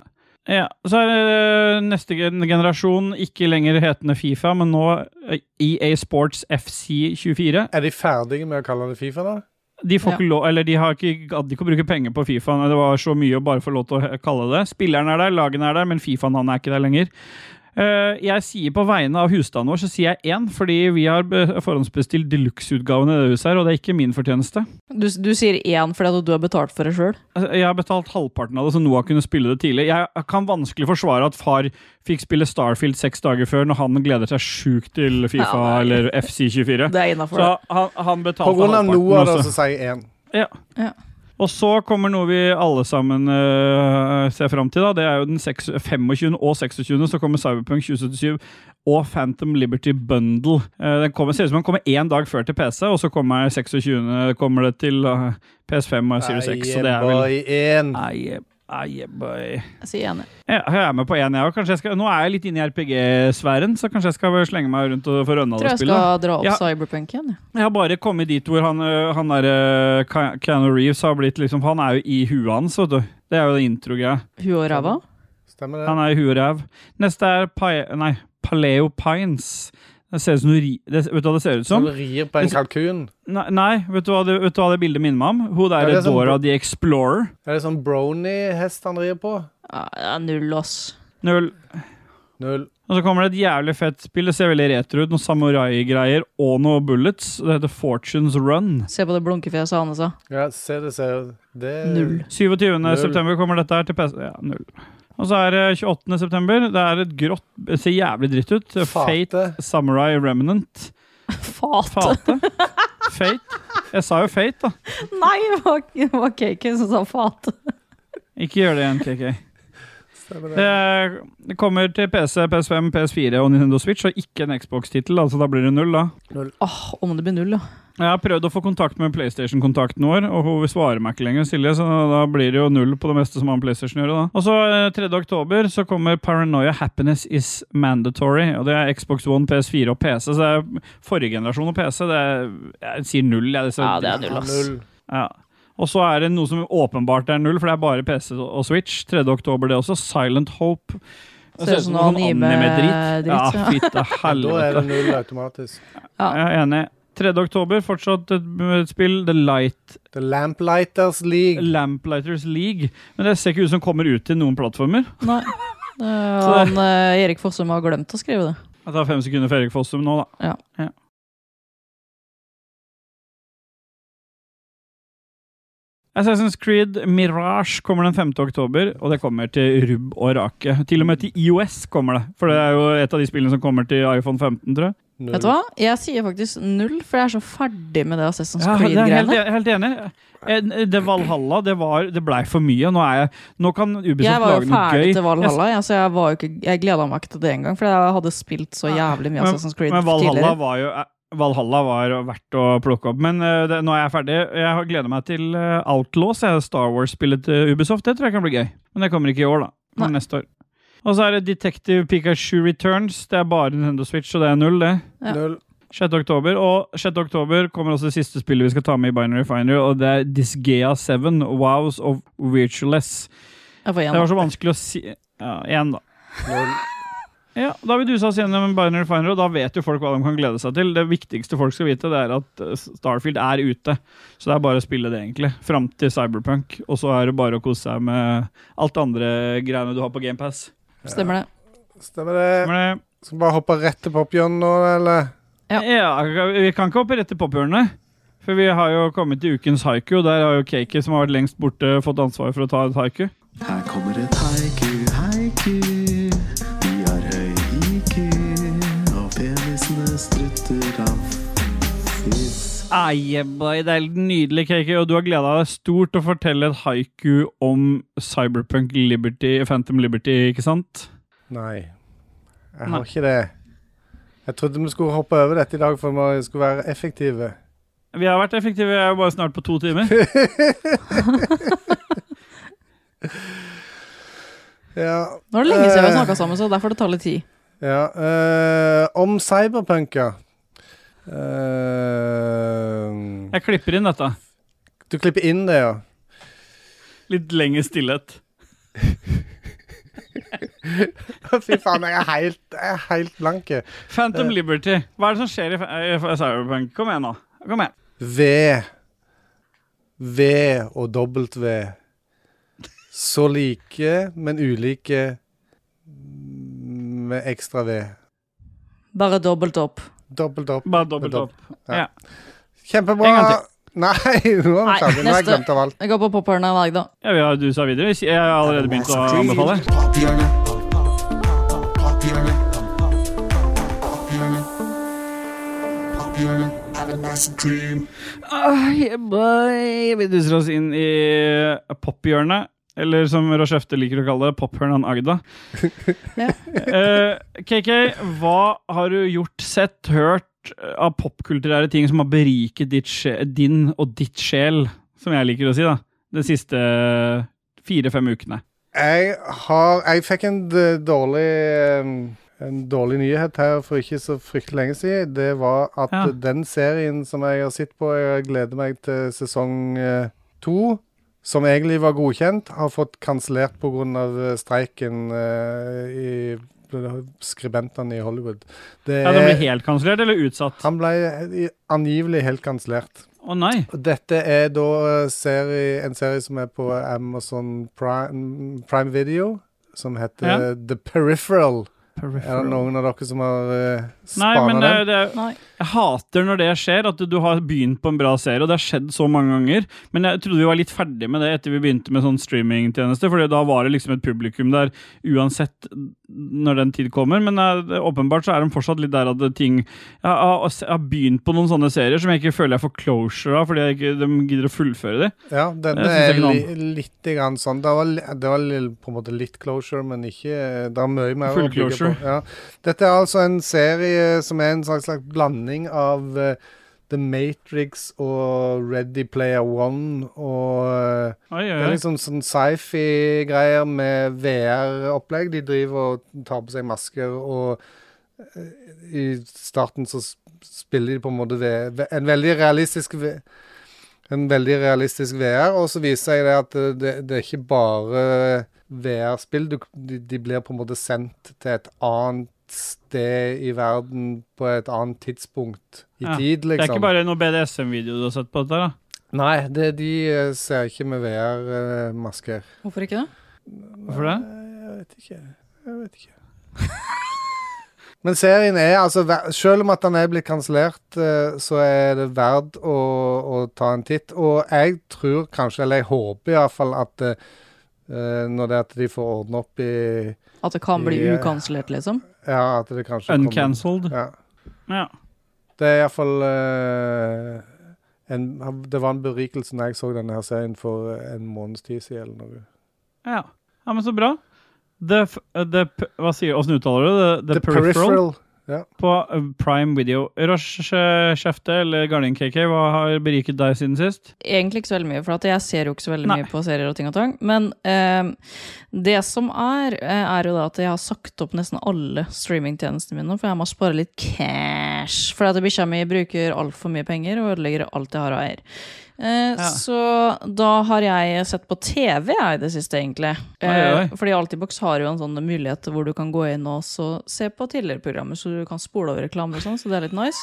S2: Ja, Så er det eh, neste gen- generasjon, ikke lenger hetende Fifa, men nå eh, EA Sports FC 24.
S1: Er de ferdige med å kalle det Fifa, da?
S2: De får ikke lov, eller de har ikke gadd ikke å bruke penger på Fifa. Det var så mye å bare få lov til å he- kalle det. Spilleren er der, lagene er der, men Fifaen han er ikke der lenger. Eh, jeg sier på vegne av husstanden vår, så sier jeg én, fordi vi har be- forhåndsbestilt deluxe-utgaven i det huset her, og det er ikke min fortjeneste.
S3: Du, du sier én fordi at du har betalt for det sjøl.
S2: Altså, Jeg har betalt halvparten av det, så Noah kunne spille det tidlig. Jeg kan vanskelig forsvare at far fikk spille Starfield seks dager før, når han gleder seg sjukt til Fifa
S3: Ja, nei.
S2: eller FC24.
S3: Det er innafor.
S2: Så han, han betalte
S1: På grunn av
S2: halvparten
S1: Noah, da,
S2: også.
S1: så sier jeg én.
S2: Ja. Og så kommer noe vi alle sammen øh, ser fram til. da, Det er jo den seks- 25. og 26. så kommer Cyberpunk 2077 og Phantom Liberty Bundle. Eh, den kommer, ser ut som den kommer én dag før til PC, og så kommer 26. kommer det til øh, PS5 og Series X. Så det er vel Aie, aie, boy.
S3: Jeg sier enig.
S2: Ja, jeg er med på én, jeg òg. Kanskje jeg skal- Nå er jeg litt inne i RPG-sfæren, så kanskje jeg skal bare slenge meg rundt og få rønna
S3: Tror
S2: det
S3: jeg
S2: spillet.
S3: skal dra opp
S2: Ja.
S3: Cyberpunk igjen. jeg.
S2: Jeg har bare kommet dit hvor han, ø, han der ø, Ke- Keanu Reeves har blitt liksom Han er jo i huet hans, vet du. Det er jo det intro-greia.
S3: Huet og ræva.
S1: Stemmer
S2: Han
S1: det.
S2: er i huet og ræv. Neste er Pi- nei, Paleo Pines. Det ser ut som noe ri... Det, vet du hva det ser ut som?
S1: Som rir på en kalkun.
S2: Nei, nei vet, du hva det, vet du hva det bildet minner meg om? Hun
S1: Ja,
S2: der
S1: det er sånn-
S2: Dora the Explorer.
S1: Er det sånn brownie-hest han rir på?
S3: Ja, det er null, ass.
S2: Null.
S1: Null.
S2: Og så kommer det et jævlig fett spill. Det ser veldig retro ut. Noen samurai-greier og noe bullets. Det heter Fortunes Run.
S3: Se på det blunkefjeset hans, da.
S1: Ja, se det, se det. det.
S2: Eh,
S3: Null.
S2: 27.
S1: Null.
S2: september kommer dette her til PC. Ja, null. Og så er det 28. september. Det er et grått Det ser jævlig dritt ut. Fate Samurai Remnant.
S3: Fate.
S2: Fate. Fate. Jeg sa jo Fate, da.
S3: Nei, det var, det var Kake som sa fate.
S2: Ikke gjør det igjen, KK.
S1: Stemmer
S2: Det
S1: det.
S2: er- Det kommer til PC, PS5, PS4 og Nintendo Switch, og ikke en Xbox-tittel. Altså, da blir det null, da.
S3: Åh, om det blir null, ja.
S2: Jeg har prøvd å få kontakt med PlayStation-kontakten vår, og hun svarer meg ikke lenger, Silje, så da blir det jo null på det meste som har med PlayStation å gjøre. da. Og så eh, 3. oktober så kommer Paranoia Happiness Is Mandatory, og det er Xbox One, PS4 og PC, så det er forrige generasjon og PC. Det er, jeg sier null, jeg. så-
S3: Ja, det er null, ass.
S1: Null.
S2: Ja. Og så er det noe som åpenbart er null, for det er bare PC og Switch. 3. oktober det også. Silent Hope. Det
S3: Ser ut som noe anime-dritt.
S2: Ja,
S3: ja.
S2: fytte
S1: Da er
S2: helvete.
S1: det null automatisk.
S3: Ja.
S2: Jeg er enig. 3. oktober, fortsatt et et spill, The Light
S1: The Lamplighters League.
S2: Lamplighters League. Men det ser ikke ut som kommer ut til noen plattformer.
S3: Nei. Eh, han, eh, Erik Fossum har glemt å skrive det.
S2: Jeg tar fem sekunder for Erik Fossum nå, da.
S3: Ja.
S2: Ja. Assassin's Creed Mirage kommer den 5. oktober, og det kommer til rubb og rake. Til og med til IOS kommer det, for det er jo et av de spillene som kommer til iPhone 15, tror jeg.
S1: Null.
S3: Vet du hva? Jeg sier faktisk null, for jeg er så ferdig med det Assassin's
S2: Ja, det er jeg helt,
S3: Creed-greiene.
S2: jeg er helt enig. Eh, Det Valhalla, det, var, det blei for mye. Nå, er jeg, nå kan
S3: Jeg
S2: Ubisoft
S3: var jo
S2: lage noe gøy.
S3: ferdig til Valhalla, jeg, så jeg, var jo ikke- jeg gleda meg ikke til det engang. For jeg hadde spilt så jævlig mye
S2: Men-
S3: Assassin's Creed
S2: Men Valhalla
S3: tidligere.
S2: var jo eh, Valhalla var verdt å plukke opp. Men eh, det, nå er jeg ferdig. Jeg gleder meg til eh, Outlaws, jeg, Star Wars-spillet til Ubisoft. Det tror jeg kan bli gøy. Men det kommer ikke i år, da. Men neste år. Og så er det Detective Pikachu Returns. Det er bare Nintendo Switch, så det er null, det.
S1: Ja. Null.
S2: 6. oktober, og 6. oktober kommer også det siste spillet vi skal ta med i Binary Finder, og det er Disgaea 7, Wows of Virtualess.
S3: Jeg får
S2: Det
S3: igjen.
S2: var så vanskelig å si Ja, én, da. Ja, Da har vi dusa oss gjennom Binary Finder, og da vet jo folk hva de kan glede seg til. Det viktigste folk skal vite, det er at eh, Starfield er ute. Så det er bare å spille det, egentlig. Fram til Cyberpunk. Og så er det bare å kose seg med alt det andre greiene du har på GamePass.
S3: Stemmer det.
S1: Stemmer det. Skal vi bare hoppe rett til pophjørnet nå, eller?
S2: Ja. Vi kan ikke hoppe rett til pophjørnet. For vi har jo kommet til ukens haiku, og der har jo Cakey, som har vært lengst borte, fått ansvar for å ta et haiku.
S7: Her kommer et haiku, haiku. Vi har høy IQ, og penisene strutter av fisk.
S2: Aye, boy, det er helt nydelig, Kiki, og du har gleda deg stort til å fortelle et haiku om Cyberpunk Liberty, Phantom Liberty, ikke sant?
S1: Nei. Jeg
S2: Nei.
S1: har ikke det. Jeg trodde vi skulle hoppe over dette i dag for vi skulle være effektive.
S2: Vi har vært effektive, vi er jo bare snart på to timer.
S1: Ja.
S3: Nå er det lenge siden vi har
S1: Eh,
S3: snakka sammen, så derfor det tar litt tid.
S1: Ja, eh, om cyberpunk, ja. Eh,
S2: Jeg klipper inn dette.
S1: du klipper inn det, ja.
S2: Litt lengre stillhet.
S1: Fy faen, jeg er helt, jeg er helt blank. jeg.
S2: Phantom Liberty, hva er det som skjer i, fa- i fa- Cyberpunk? Kom igjen, nå. Kom igjen.
S1: V. V og dobbelt V. Så like, men ulike med ekstra V.
S3: Bare dobbelt opp.
S1: Dobbelt opp.
S2: Bare dobbelt
S1: Dobbelt.
S2: opp. Ja. En gang
S1: Kjempebra.
S2: til.
S1: Nei, nå har vi ferdig. Nå har jeg glemt av alt.
S3: Jeg går på pophjørnet i dag, da.
S2: Ja, vi har dusa videre. Jeg har allerede begynt å anbefale. Aye, boy. Vi duser oss inn i pophjørnet. Eller som Rochefte liker å kalle det, pophjørnet Agda. Eh, KK, hva har du gjort, sett, hørt eh, av popkulturære ting som har beriket ditt sje- din og ditt sjel, som jeg liker å si, da, de siste eh, fire-fem ukene?
S1: Jeg har Jeg fikk en d- dårlig ehm, En dårlig nyhet her for ikke så fryktelig lenge siden. Det var at
S2: Ja.
S1: den serien som jeg har sett på, jeg gleder meg til sesong eh, to, som egentlig var godkjent, har fått kansellert pga. streiken eh, i skribentene i Hollywood. Det
S2: Ja, Den ble helt kansellert eller utsatt?
S1: Han ble eh, i- angivelig helt kansellert.
S2: Å nei.
S1: Og Dette er da eh, serie, en serie som er på Amazon Prime, Prime Video, som heter
S2: Ja.
S1: The Peripheral. Er
S2: Peripheral.
S1: det noen av dere som har uh,
S2: Nei,
S1: spana
S2: men eh, det,
S1: den?
S2: det, jeg hater når det skjer, at du, du har begynt på en bra serie, og det har skjedd så mange ganger. Men jeg trodde vi var litt ferdig med det etter vi begynte med sånn streamingtjeneste, for da var det liksom et publikum der uansett når den tid kommer. Men eh, det- åpenbart så er de fortsatt litt der at det ting Jeg har, jeg har begynt på noen sånne serier som jeg ikke føler jeg får closure av, fordi jeg ikke, de gidder å fullføre de.
S1: Ja, denne
S2: Jeg
S1: er
S2: synes jeg
S1: li, litt grann sånn. Det var, li- det var li- på en måte litt closure, men ikke eh, Det er mye mer å
S2: Full
S1: bygge
S2: closure.
S1: på. Ja. Dette er altså en serie som er en slags, slags blanding av eh, The Matrix og Ready Player One og eh,
S2: Oi, oi,
S1: Det er
S2: oi.
S1: liksom sånn sci-fi-greier med VR-opplegg. De driver og tar på seg masker, og eh, i starten så s- spiller de på en måte V- ve- en veldig realistisk V- en veldig realistisk VR, og så viser jeg det at eh, det, det er ikke bare VR-spill. Du- De, de blir på en måte sendt til et annet sted i verden på et annet tidspunkt i
S2: Ja.
S1: tid,
S2: Det er
S1: liksom.
S2: ikke bare noe BDSM-video du har sett på dette, her, da?
S1: Nei, det, de eh, ser ikke med eh, VR-masker.
S3: Hvorfor ikke det?
S2: Hvorfor det?
S1: Jeg vet ikke. Jeg vet ikke. Men serien er altså ver- Selv om at den er blitt kansellert, eh, så er det verdt å, å ta en titt. Og jeg tror kanskje, eller jeg håper iallfall, at eh, eh, når det er at de får ordne opp i
S3: At det kan bli
S1: i, eh,
S3: ukansellert, liksom.
S1: Ja, at det kanskje kommer-
S2: Uncancelled?
S1: Ja.
S2: Ja.
S1: Det er iallfall uh, en, Det var en berikelse når jeg så denne her serien for en måneds tid siden eller noe.
S2: Ja. uh, ja, men så bra. The, f- the, p- hva sier, hvordan uttaler du det? The, the peripheral? på eh, Prime Video. Rosh eh, Kjefte eller Gardin KK, hva har beriket deg siden sist?
S3: Egentlig ikke så veldig mye, for at jeg ser jo ikke så veldig
S2: Nei.
S3: mye på serier og ting og tang. Men eh, det som er, eh, er jo da at jeg har sagt opp nesten alle streamingtjenestene mine, for jeg må spare litt cash. For at bikkja mi bruker altfor mye penger og ødelegger alt jeg har og eier. Eh, Så da har jeg sett på TV jeg, i det siste, egentlig.
S2: Oi, oi.
S3: Eh, fordi Altibox har jo en sånn mulighet hvor du kan gå inn og så se på tidligere programmer, så du kan spole over reklame og sånn, så det er litt nice.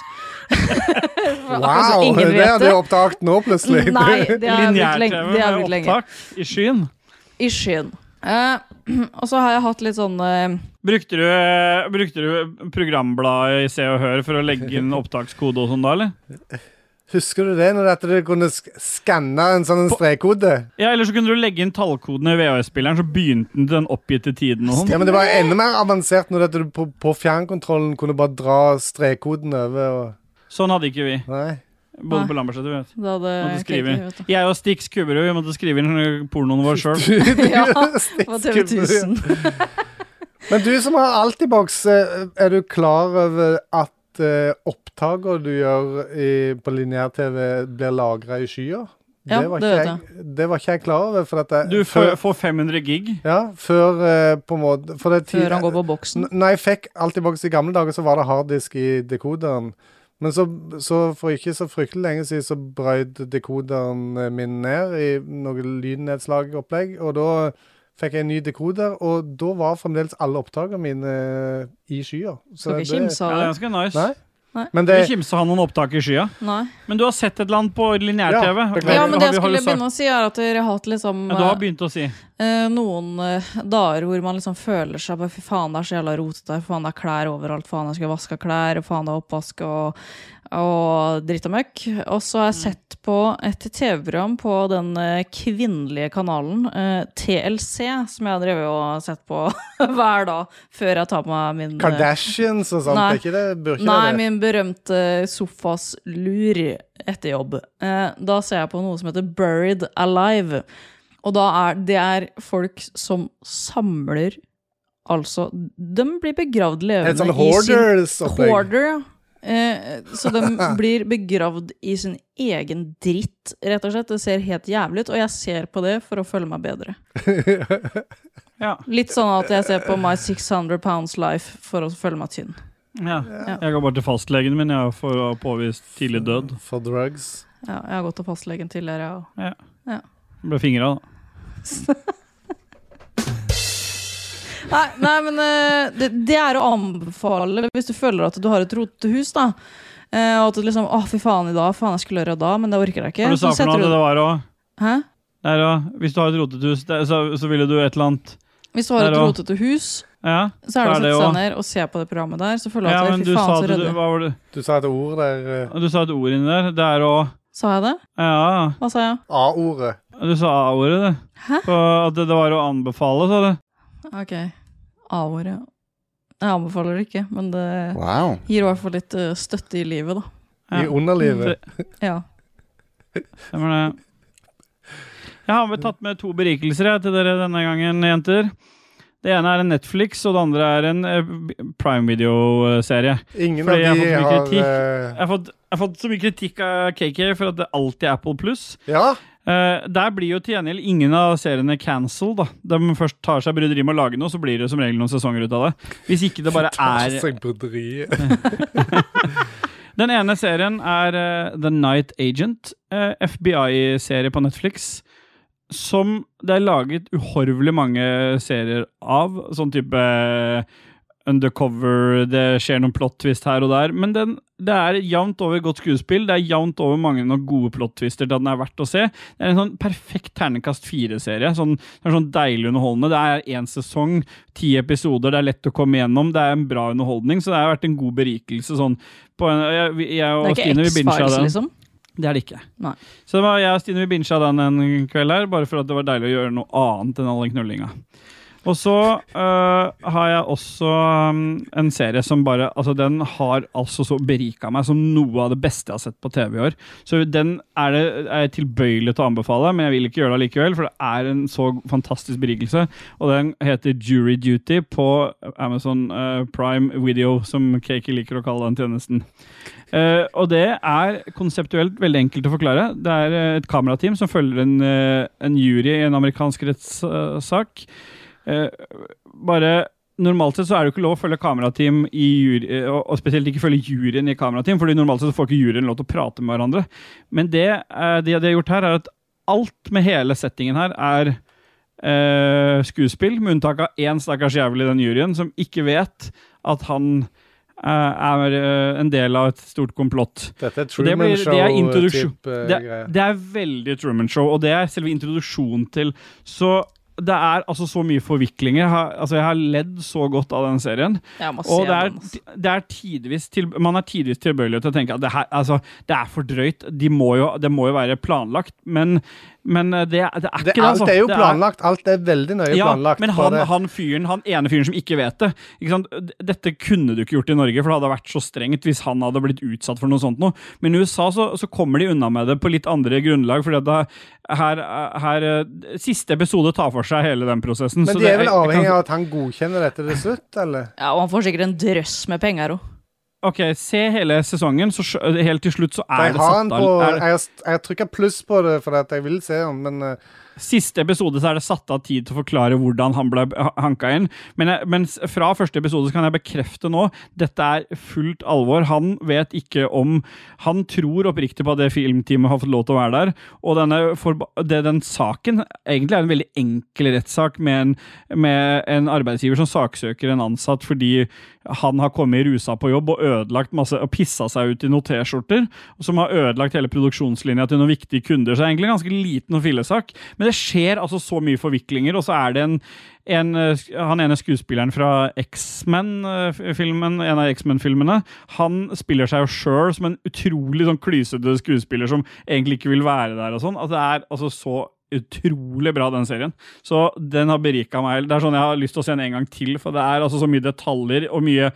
S3: For akkurat så
S1: Wow!
S3: ingen
S1: Det
S3: vet
S1: hadde jeg oppdaget nå, plutselig.
S3: Nei, det er blitt lenge.
S2: Lineær-TV
S3: Det er
S2: med
S3: blitt lenge.
S2: I skyen.
S3: I skyen. Eh, og så har jeg hatt litt sånn eh,
S2: Brukte du, eh, brukte du programbladet i Se og Hør for å legge inn opptakskode og sånn da, eller?
S1: Husker du det, når det at du kunne sk- skanne en sånn strekkode?
S2: Ja, eller så kunne du legge inn tallkodene i VHS-spilleren, så begynte den til den oppgitte tiden og sånn.
S1: Ja, men det var enda mer avansert når det at du på, på fjernkontrollen kunne bare dra strekkoden over og
S2: Sånn hadde ikke vi.
S1: Nei.
S2: Bodde
S3: Nei.
S2: på Lambertseter, vet
S3: Da hadde
S2: Måtte skrive.
S3: Kate- vet du.
S2: Jeg og Stix Kubberud vi måtte skrive inn pornoen vår sjøl.
S3: Ja, på TV 1000.
S1: Men du som har Altibox, eh, er du klar over at eh, opptaker du gjør i, på lineær-TV, blir lagra i skya?
S2: Ja,
S1: var
S2: det
S1: ikke
S2: vet
S1: jeg. Det var ikke jeg klar over. For at jeg,
S2: Du får, får 500 gig.
S1: Ja, før eh, på en måte for det
S2: Før han går på boksen.
S1: N- Når jeg fikk Altibox i gamle dager, så var det harddisk i dekoderen. Men så, så for ikke så fryktelig lenge siden så brøt dekoderen eh, min ned i noe lydnedslagopplegg, og da fikk jeg en ny dekoder, og da var fremdeles alle opptakene mine eh, i skyer.
S2: Skal ikke kimse av
S1: Ja,
S2: det. Ja, det er ganske nice.
S1: Nei?
S3: Nei.
S1: Men det-
S2: Vi kimsa av noen opptak i skya.
S3: Nei.
S2: Men du har sett et eller annet på lineær-TV?
S3: Ja, men det jeg skulle begynne å si, er at dere har hatt liksom
S2: ja, Du har begynt å si.
S3: eh, noen eh, dager hvor man liksom føler seg bare Fy faen, det er så jævla rotete. Faen, det er klær overalt. Faen, jeg skulle vaska klær. Og faen, det er oppvask og, og dritt og møkk. Og så har jeg sett på et TV-program på den eh, kvinnelige kanalen eh, TLC, som jeg har drevet og sett på hver dag før jeg tar på meg min eh,
S1: Kardashians og sånt,
S3: Nei.
S1: er ikke det? Bør ikke
S3: Nei,
S1: det det?
S3: min berømte eh, sofaslur etter jobb. Eh, da ser jeg på noe som heter Buried Alive. Og da er det er folk som samler Altså, de blir begravd levende
S1: Et sånn
S3: i sin
S1: hoarders-opplegg.
S3: Hoarder, ja. Eh, så de blir begravd i sin egen dritt, rett og slett. Det ser helt jævlig ut, og jeg ser på det for å føle meg bedre. Litt sånn at jeg ser på My 600 Pounds Life for å føle meg tynn.
S2: Ja. Jeg går bare til fastlegen min jeg, for å ha påvist tidlig død.
S1: For drugs.
S3: Ja, jeg har gått til fastlegen tidligere. Og...
S2: Ja.
S3: Ja.
S2: Ble fingra, da.
S3: Nei, nei, men eh, det, det er å anbefale hvis du føler at du har et rotete hus, da. eh, og at du liksom Å, fy faen, i dag. Faen, jeg skulle gjøre det da, men det orker jeg ikke.
S2: Hva du sa
S3: Så
S2: for noe
S3: setter
S2: at
S3: du-
S2: det var òg?
S3: Hæ?
S2: Der, ja. Hvis du har et rotete hus, der, så, så ville du et eller annet
S3: Hvis du har
S2: Der
S3: et
S2: også.
S3: rotete hus,
S2: ja.
S3: så er det å sette
S2: jo-
S3: seg ned og se på det programmet der. Så føler du
S2: Ja,
S3: at
S2: men
S3: det,
S2: du
S3: fy faen,
S2: sa,
S3: så
S2: at du,
S3: redd.
S2: hva var det?
S1: Du sa et ord der eh,
S2: du sa et ord inni der. Det er å
S3: Sa jeg det?
S2: Ja.
S3: Hva sa jeg?
S1: A-ordet.
S2: Du sa A-ordet, du. På At det, det var å anbefale, sa du.
S3: Ok. A-ordet. Jeg anbefaler det ikke, men det
S2: Wow.
S3: gir i hvert fall litt eh, støtte i livet, da.
S2: Ja. I underlivet.
S3: Ja.
S2: Stemmer det. Jeg har vel tatt med to berikelser jeg, til dere denne gangen, jenter. Det ene er en Netflix, og det andre er en eh, Prime Video-serie.
S1: Ingen
S2: Fordi
S1: av de
S2: jeg har
S1: har,
S2: fått så mye
S1: eh,
S2: kritikk. Jeg har fått, jeg har fått så mye kritikk av KK for at det alltid er Apple Pluss.
S1: Ja.
S2: der blir jo til gjengjeld ingen av seriene cancelled. da. De først tar seg bryderiet med å lage noe, så blir det som regel noen sesonger ut av det. Hvis ikke det bare
S1: Tar
S2: er
S1: seg broderiet.
S2: Den ene serien er eh, The Night Agent, eh, FBI-serie på Netflix, som det er laget uhorvelig mange serier av. Sånn type eh, undercover, det skjer noen plot twist her og der. Men den, det er jevnt over godt skuespill, det er jevnt over mange nok gode plot twister til at den er verdt å se. Det er en sånn perfekt ternekast fire-serie. Sånn, det er sånn deilig underholdende. Det er én sesong, ti episoder, det er lett å komme gjennom, det er en bra underholdning, så det har vært en god berikelse sånn på en jeg, vi- jeg og
S3: Det er
S2: Stine,
S3: ikke
S2: vi bincha
S3: X-Files,
S2: den.
S3: liksom?
S2: Det er det ikke.
S3: Nei.
S2: Så det var jeg og Stine vi bincha den en kveld her, bare for at det var deilig å gjøre noe annet enn all den knullinga. Og så øh, har jeg også um, en serie som bare Altså, den har altså så berika meg som noe av det beste jeg har sett på TV i år. Så den er, det, er jeg tilbøyelig til å anbefale, men jeg vil ikke gjøre det likevel, for det er en så fantastisk berikelse. Og den heter Jury Duty på Amazon øh, Prime Video, som Kaki liker å kalle den tjenesten. Eh, og det er konseptuelt veldig enkelt å forklare. Det er eh, et kamerateam som følger en, eh, en jury i en amerikansk rettssak. Eh, bare Normalt sett så er det jo ikke lov å følge kamerateam i jury, eh, og og spesielt ikke følge juryen i kamerateam, fordi normalt sett så får ikke juryen lov til å prate med hverandre. Men det eh, de de har gjort her, er at alt med hele settingen her er eh, skuespill, med unntak av én stakkars jævel i den juryen som ikke vet at han eh, er eh, en del av et stort komplott.
S1: Dette er
S2: Og det
S1: Truman
S2: blir- det er introduksjon-
S1: Show-type, eh,
S2: det,
S1: greie.
S2: det er veldig Truman Show, og det er selve introduksjonen til Så det er altså så mye forviklinger. Jeg har, altså, jeg har ledd så godt av den serien.
S3: Jeg må se
S2: Og det er,
S3: den, altså.
S2: det er tidvis til, man er tidvis tilbøyelig til å tenke at det, her, altså, det er for drøyt. De må jo, det må jo være planlagt, men, men eh, det, det er ikke det. altså.
S1: alt er jo
S2: Det
S1: planlagt. Alt er veldig nøye
S2: ja,
S1: planlagt.
S2: Men
S1: bare
S2: han, han fyren, han ene fyren som ikke vet det ikke sant? D- Dette kunne du ikke gjort i Norge, for det hadde vært så strengt hvis han hadde blitt utsatt for noe sånt noe. Men i USA så, så kommer de unna med det på litt andre grunnlag, fordi at da, her, her eh, Siste episode tar for seg hele den prosessen.
S1: men
S2: så
S1: de
S2: det
S1: er vel
S2: jeg kan-
S1: avhengig av at han godkjenner dette til slutt, eller?
S3: Ja, Og han får sikkert en drøss med penger òg.
S2: Ok, se hele sesongen, så skjø- helt til slutt så er
S1: Jeg
S2: det
S1: har
S2: satt
S1: han
S2: av
S1: på
S2: er det-
S1: Jeg, har st- jeg har trykket pluss på det fordi at jeg vil se han, men eh,
S2: Siste episode så er det satt av tid til å forklare hvordan han ble ha- hanka inn. Men, jeg, men s- fra første episode så kan jeg bekrefte nå dette er fullt alvor. Han vet ikke om Han tror oppriktig på at det filmteamet har fått lov til å være der. Og denne, forba- det, den saken egentlig er en veldig enkel rettssak med en, med en arbeidsgiver som saksøker en ansatt fordi han har kommet rusa på jobb og ødelagt masse og pissa seg ut i noen T-skjorter, som har ødelagt hele produksjonslinja til noen viktige kunder. Så det er egentlig en ganske liten og fillesak. Men det skjer altså så mye forviklinger, og så er det en, en eh, sk- Han ene skuespilleren fra X-Men-filmen, en av X-Men-filmene, han spiller seg jo sjøl som en utrolig sånn klysete skuespiller som egentlig ikke vil være der og sånn. At det er altså så utrolig bra, den serien. Så den har berika meg. Det er sånn jeg har lyst til å se den en gang til, for det er altså så mye detaljer og mye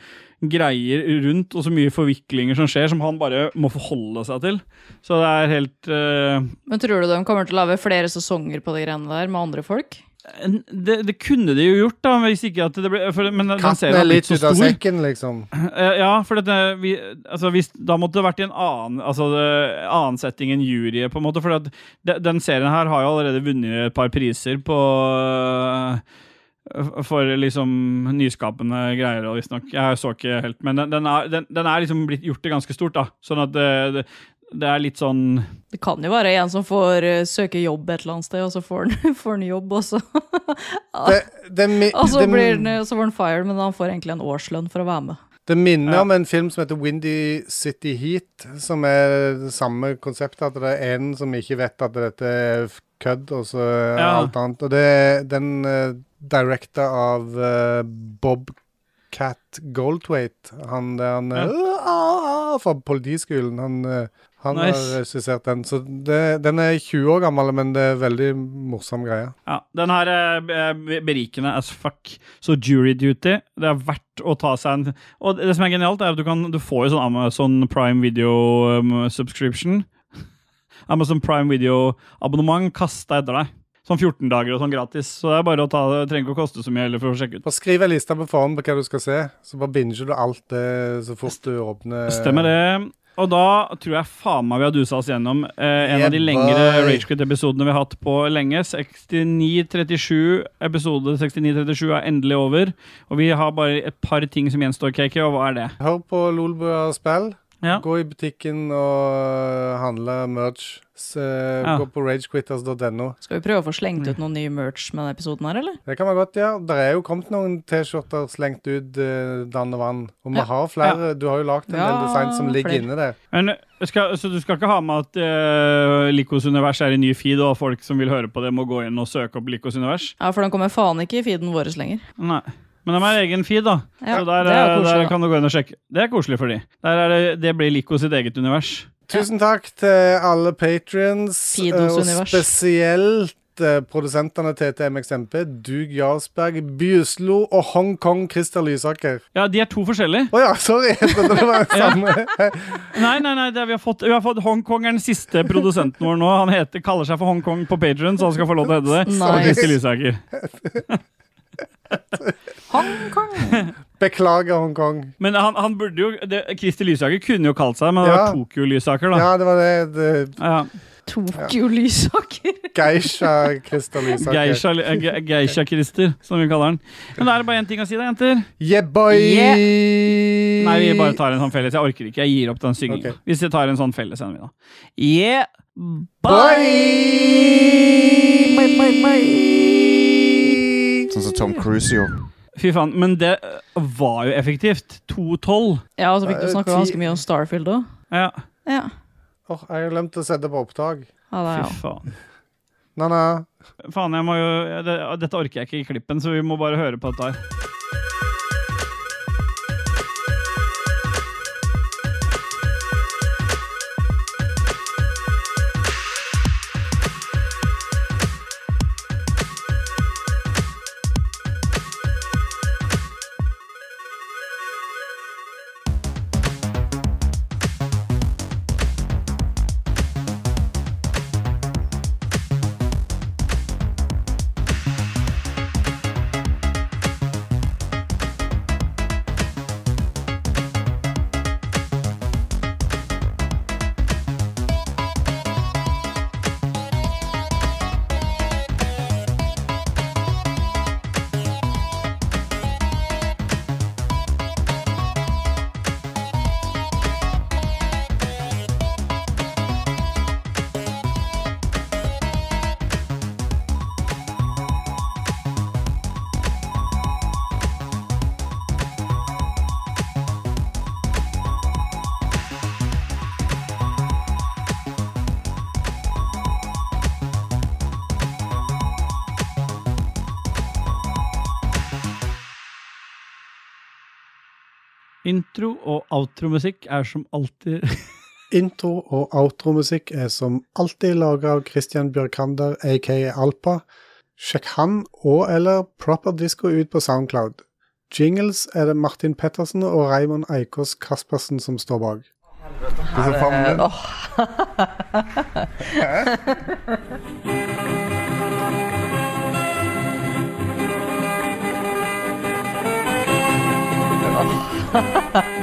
S2: greier rundt, og så mye forviklinger som skjer, som han bare må forholde seg til. Så det er helt eh,
S3: Men tror du de kommer til å lage flere sesonger på de greiene der med andre folk?
S2: det, det kunne de jo gjort, da, hvis ikke at det ble for, men den
S1: katten
S2: serien
S1: er
S2: har blitt
S1: litt
S2: så
S1: ut av
S2: stor.
S1: sekken, liksom.
S2: Eh, ja, for dette, vi, altså, hvis, da måtte det vært i en annen, altså, det- annen setting enn juryet, på en måte. For at de, den serien her har jo allerede vunnet et par priser på eh, for liksom nyskapende greier, og visstnok. Jeg så ikke helt, men den, den, er, den, den er liksom blitt gjort til ganske stort, da. Sånn at det, det, det er litt sånn
S3: Det kan jo være en som får eh, søke jobb et eller annet sted, og så får han, får han jobb, og så Og så,
S1: det-
S3: blir han, så får han fired, men han får egentlig en årslønn for å være med.
S1: Det minner om en film som heter Windy City Heat, som er det samme konseptet. At det er en som ikke vet at dette er f- kødd, og så er
S2: Ja.
S1: alt annet. Og det er den uh, directa av eh, Bob Cat Goldthwait. Han der han eh, «Åh, åh», fra politiskolen. Han, eh, han
S2: Nice.
S1: har regissert den. Så det, den er 20 år gammel, men det er veldig morsom greie.
S2: Ja, den her er be- berikende as fuck. Så jury duty, det er verdt å ta seg en Og det som er genialt, er at du, kan, du får jo sånn Amazon Prime Video um, subscription. Amazon Prime Video-abonnement kasta etter deg. Sånn 14 dager og sånn gratis. Så det er bare å ta det. det Trenger ikke å koste så mye heller for å sjekke ut.
S1: Bare skriv en liste på forhånd på hva du skal se, så bare binger du alt det så fort du åpner
S2: Stemmer det. Og da tror jeg faen meg vi har dusa oss gjennom eh, en
S1: Yeah,
S2: av de lengre
S1: boy.
S2: Ragequit-episodene vi har hatt på lenge. 69-37, Episode 69-37 er endelig over. Og vi har bare et par ting som gjenstår, KK, og hva er det?
S1: Hør på Lolbua spill.
S2: Ja.
S1: Gå i butikken og eh, handle merch. S- eh,
S3: Ja.
S1: Gå på ragequitters.no.
S3: Skal vi prøve å få slengt ut noen ny merch med denne episoden her, eller?
S1: Det kan man godt gjøre. Det er jo kommet noen T-skjorter slengt ut eh, dann og vann. Og vi
S3: Ja.
S1: har flere. Du har jo lagd en del
S3: Ja,
S1: design som ligger
S3: flere.
S1: inne der.
S2: Men, skal, så du skal ikke ha med at eh, Likos univers er i ny feed, og folk som vil høre på det, må gå inn og søke opp Likos univers?
S3: Ja, for den kommer faen ikke i feeden vår lenger.
S2: Nei. Men de har egen feed, da.
S3: Ja,
S2: så der, eh,
S3: det er jo
S2: der
S3: koselig, da.
S2: kan du gå inn og sjekke. Det er koselig for de. Der er det, det blir Lico sitt eget univers.
S1: Tusen takk til alle patrions,
S2: Fidos
S1: og
S2: univers.
S1: spesielt at eh, produsentene til TMXMP, Dug Jarlsberg, Bjuslo og Hongkong Christer Lysaker
S2: Ja, de er to forskjellige.
S1: Å ja, sorry! Jeg trodde det var den samme.
S2: Nei, nei, nei, det er, vi har fått, vi har fått Hongkong er den siste produsenten vår nå. Han heter, kaller seg for Hongkong på Patron, så han skal få lov til å hete det.
S1: Nice.
S2: Og Christer Lysaker.
S1: Beklager, Hongkong.
S2: Men han, han burde jo det, Christer Lysaker kunne jo kalt seg men det
S1: Ja.
S2: var Tokyo-Lysaker, da.
S1: Ja, det var det. det
S2: Ja.
S3: Tokyo-Lysaker.
S1: Geisha Christer Lysaker.
S2: Geisha, eh, Ge- Geisha Christer, som vi kaller han. Men da er det bare én ting å si, da, jenter.
S1: Yeah, boy!
S2: Yeah. Nei, vi bare tar en sånn felles. Jeg orker ikke. Jeg gir opp den syngingen. Hvis vi tar en sånn felles en, vi, da. Yeah, bye!
S6: Sånn som Tom Cruise gjorde.
S2: Fy faen, men det øh, var jo effektivt. 2-12.
S3: Ja, og så fikk du snakke ganske mye om Starfield òg.
S2: Ja.
S3: Ja.
S1: Åh, jeg har glemt å sette på opptak.
S3: Ja, det er
S2: Fy
S3: jo.
S2: faen.
S1: Na-na.
S2: Faen, jeg må jo det, Dette orker jeg ikke i klippen, så vi må bare høre på dette her. Intro- og outromusikk er som alltid
S1: Intro- og outromusikk er som alltid laga av Christian Bjørkander, aka Alpa. Sjekk han og eller Proper Disco ut på Soundcloud. Jingles er det Martin Pettersen og Raymond Eikås Kaspersen som står bak.
S6: Hvorfor faen
S1: Her er-
S6: min?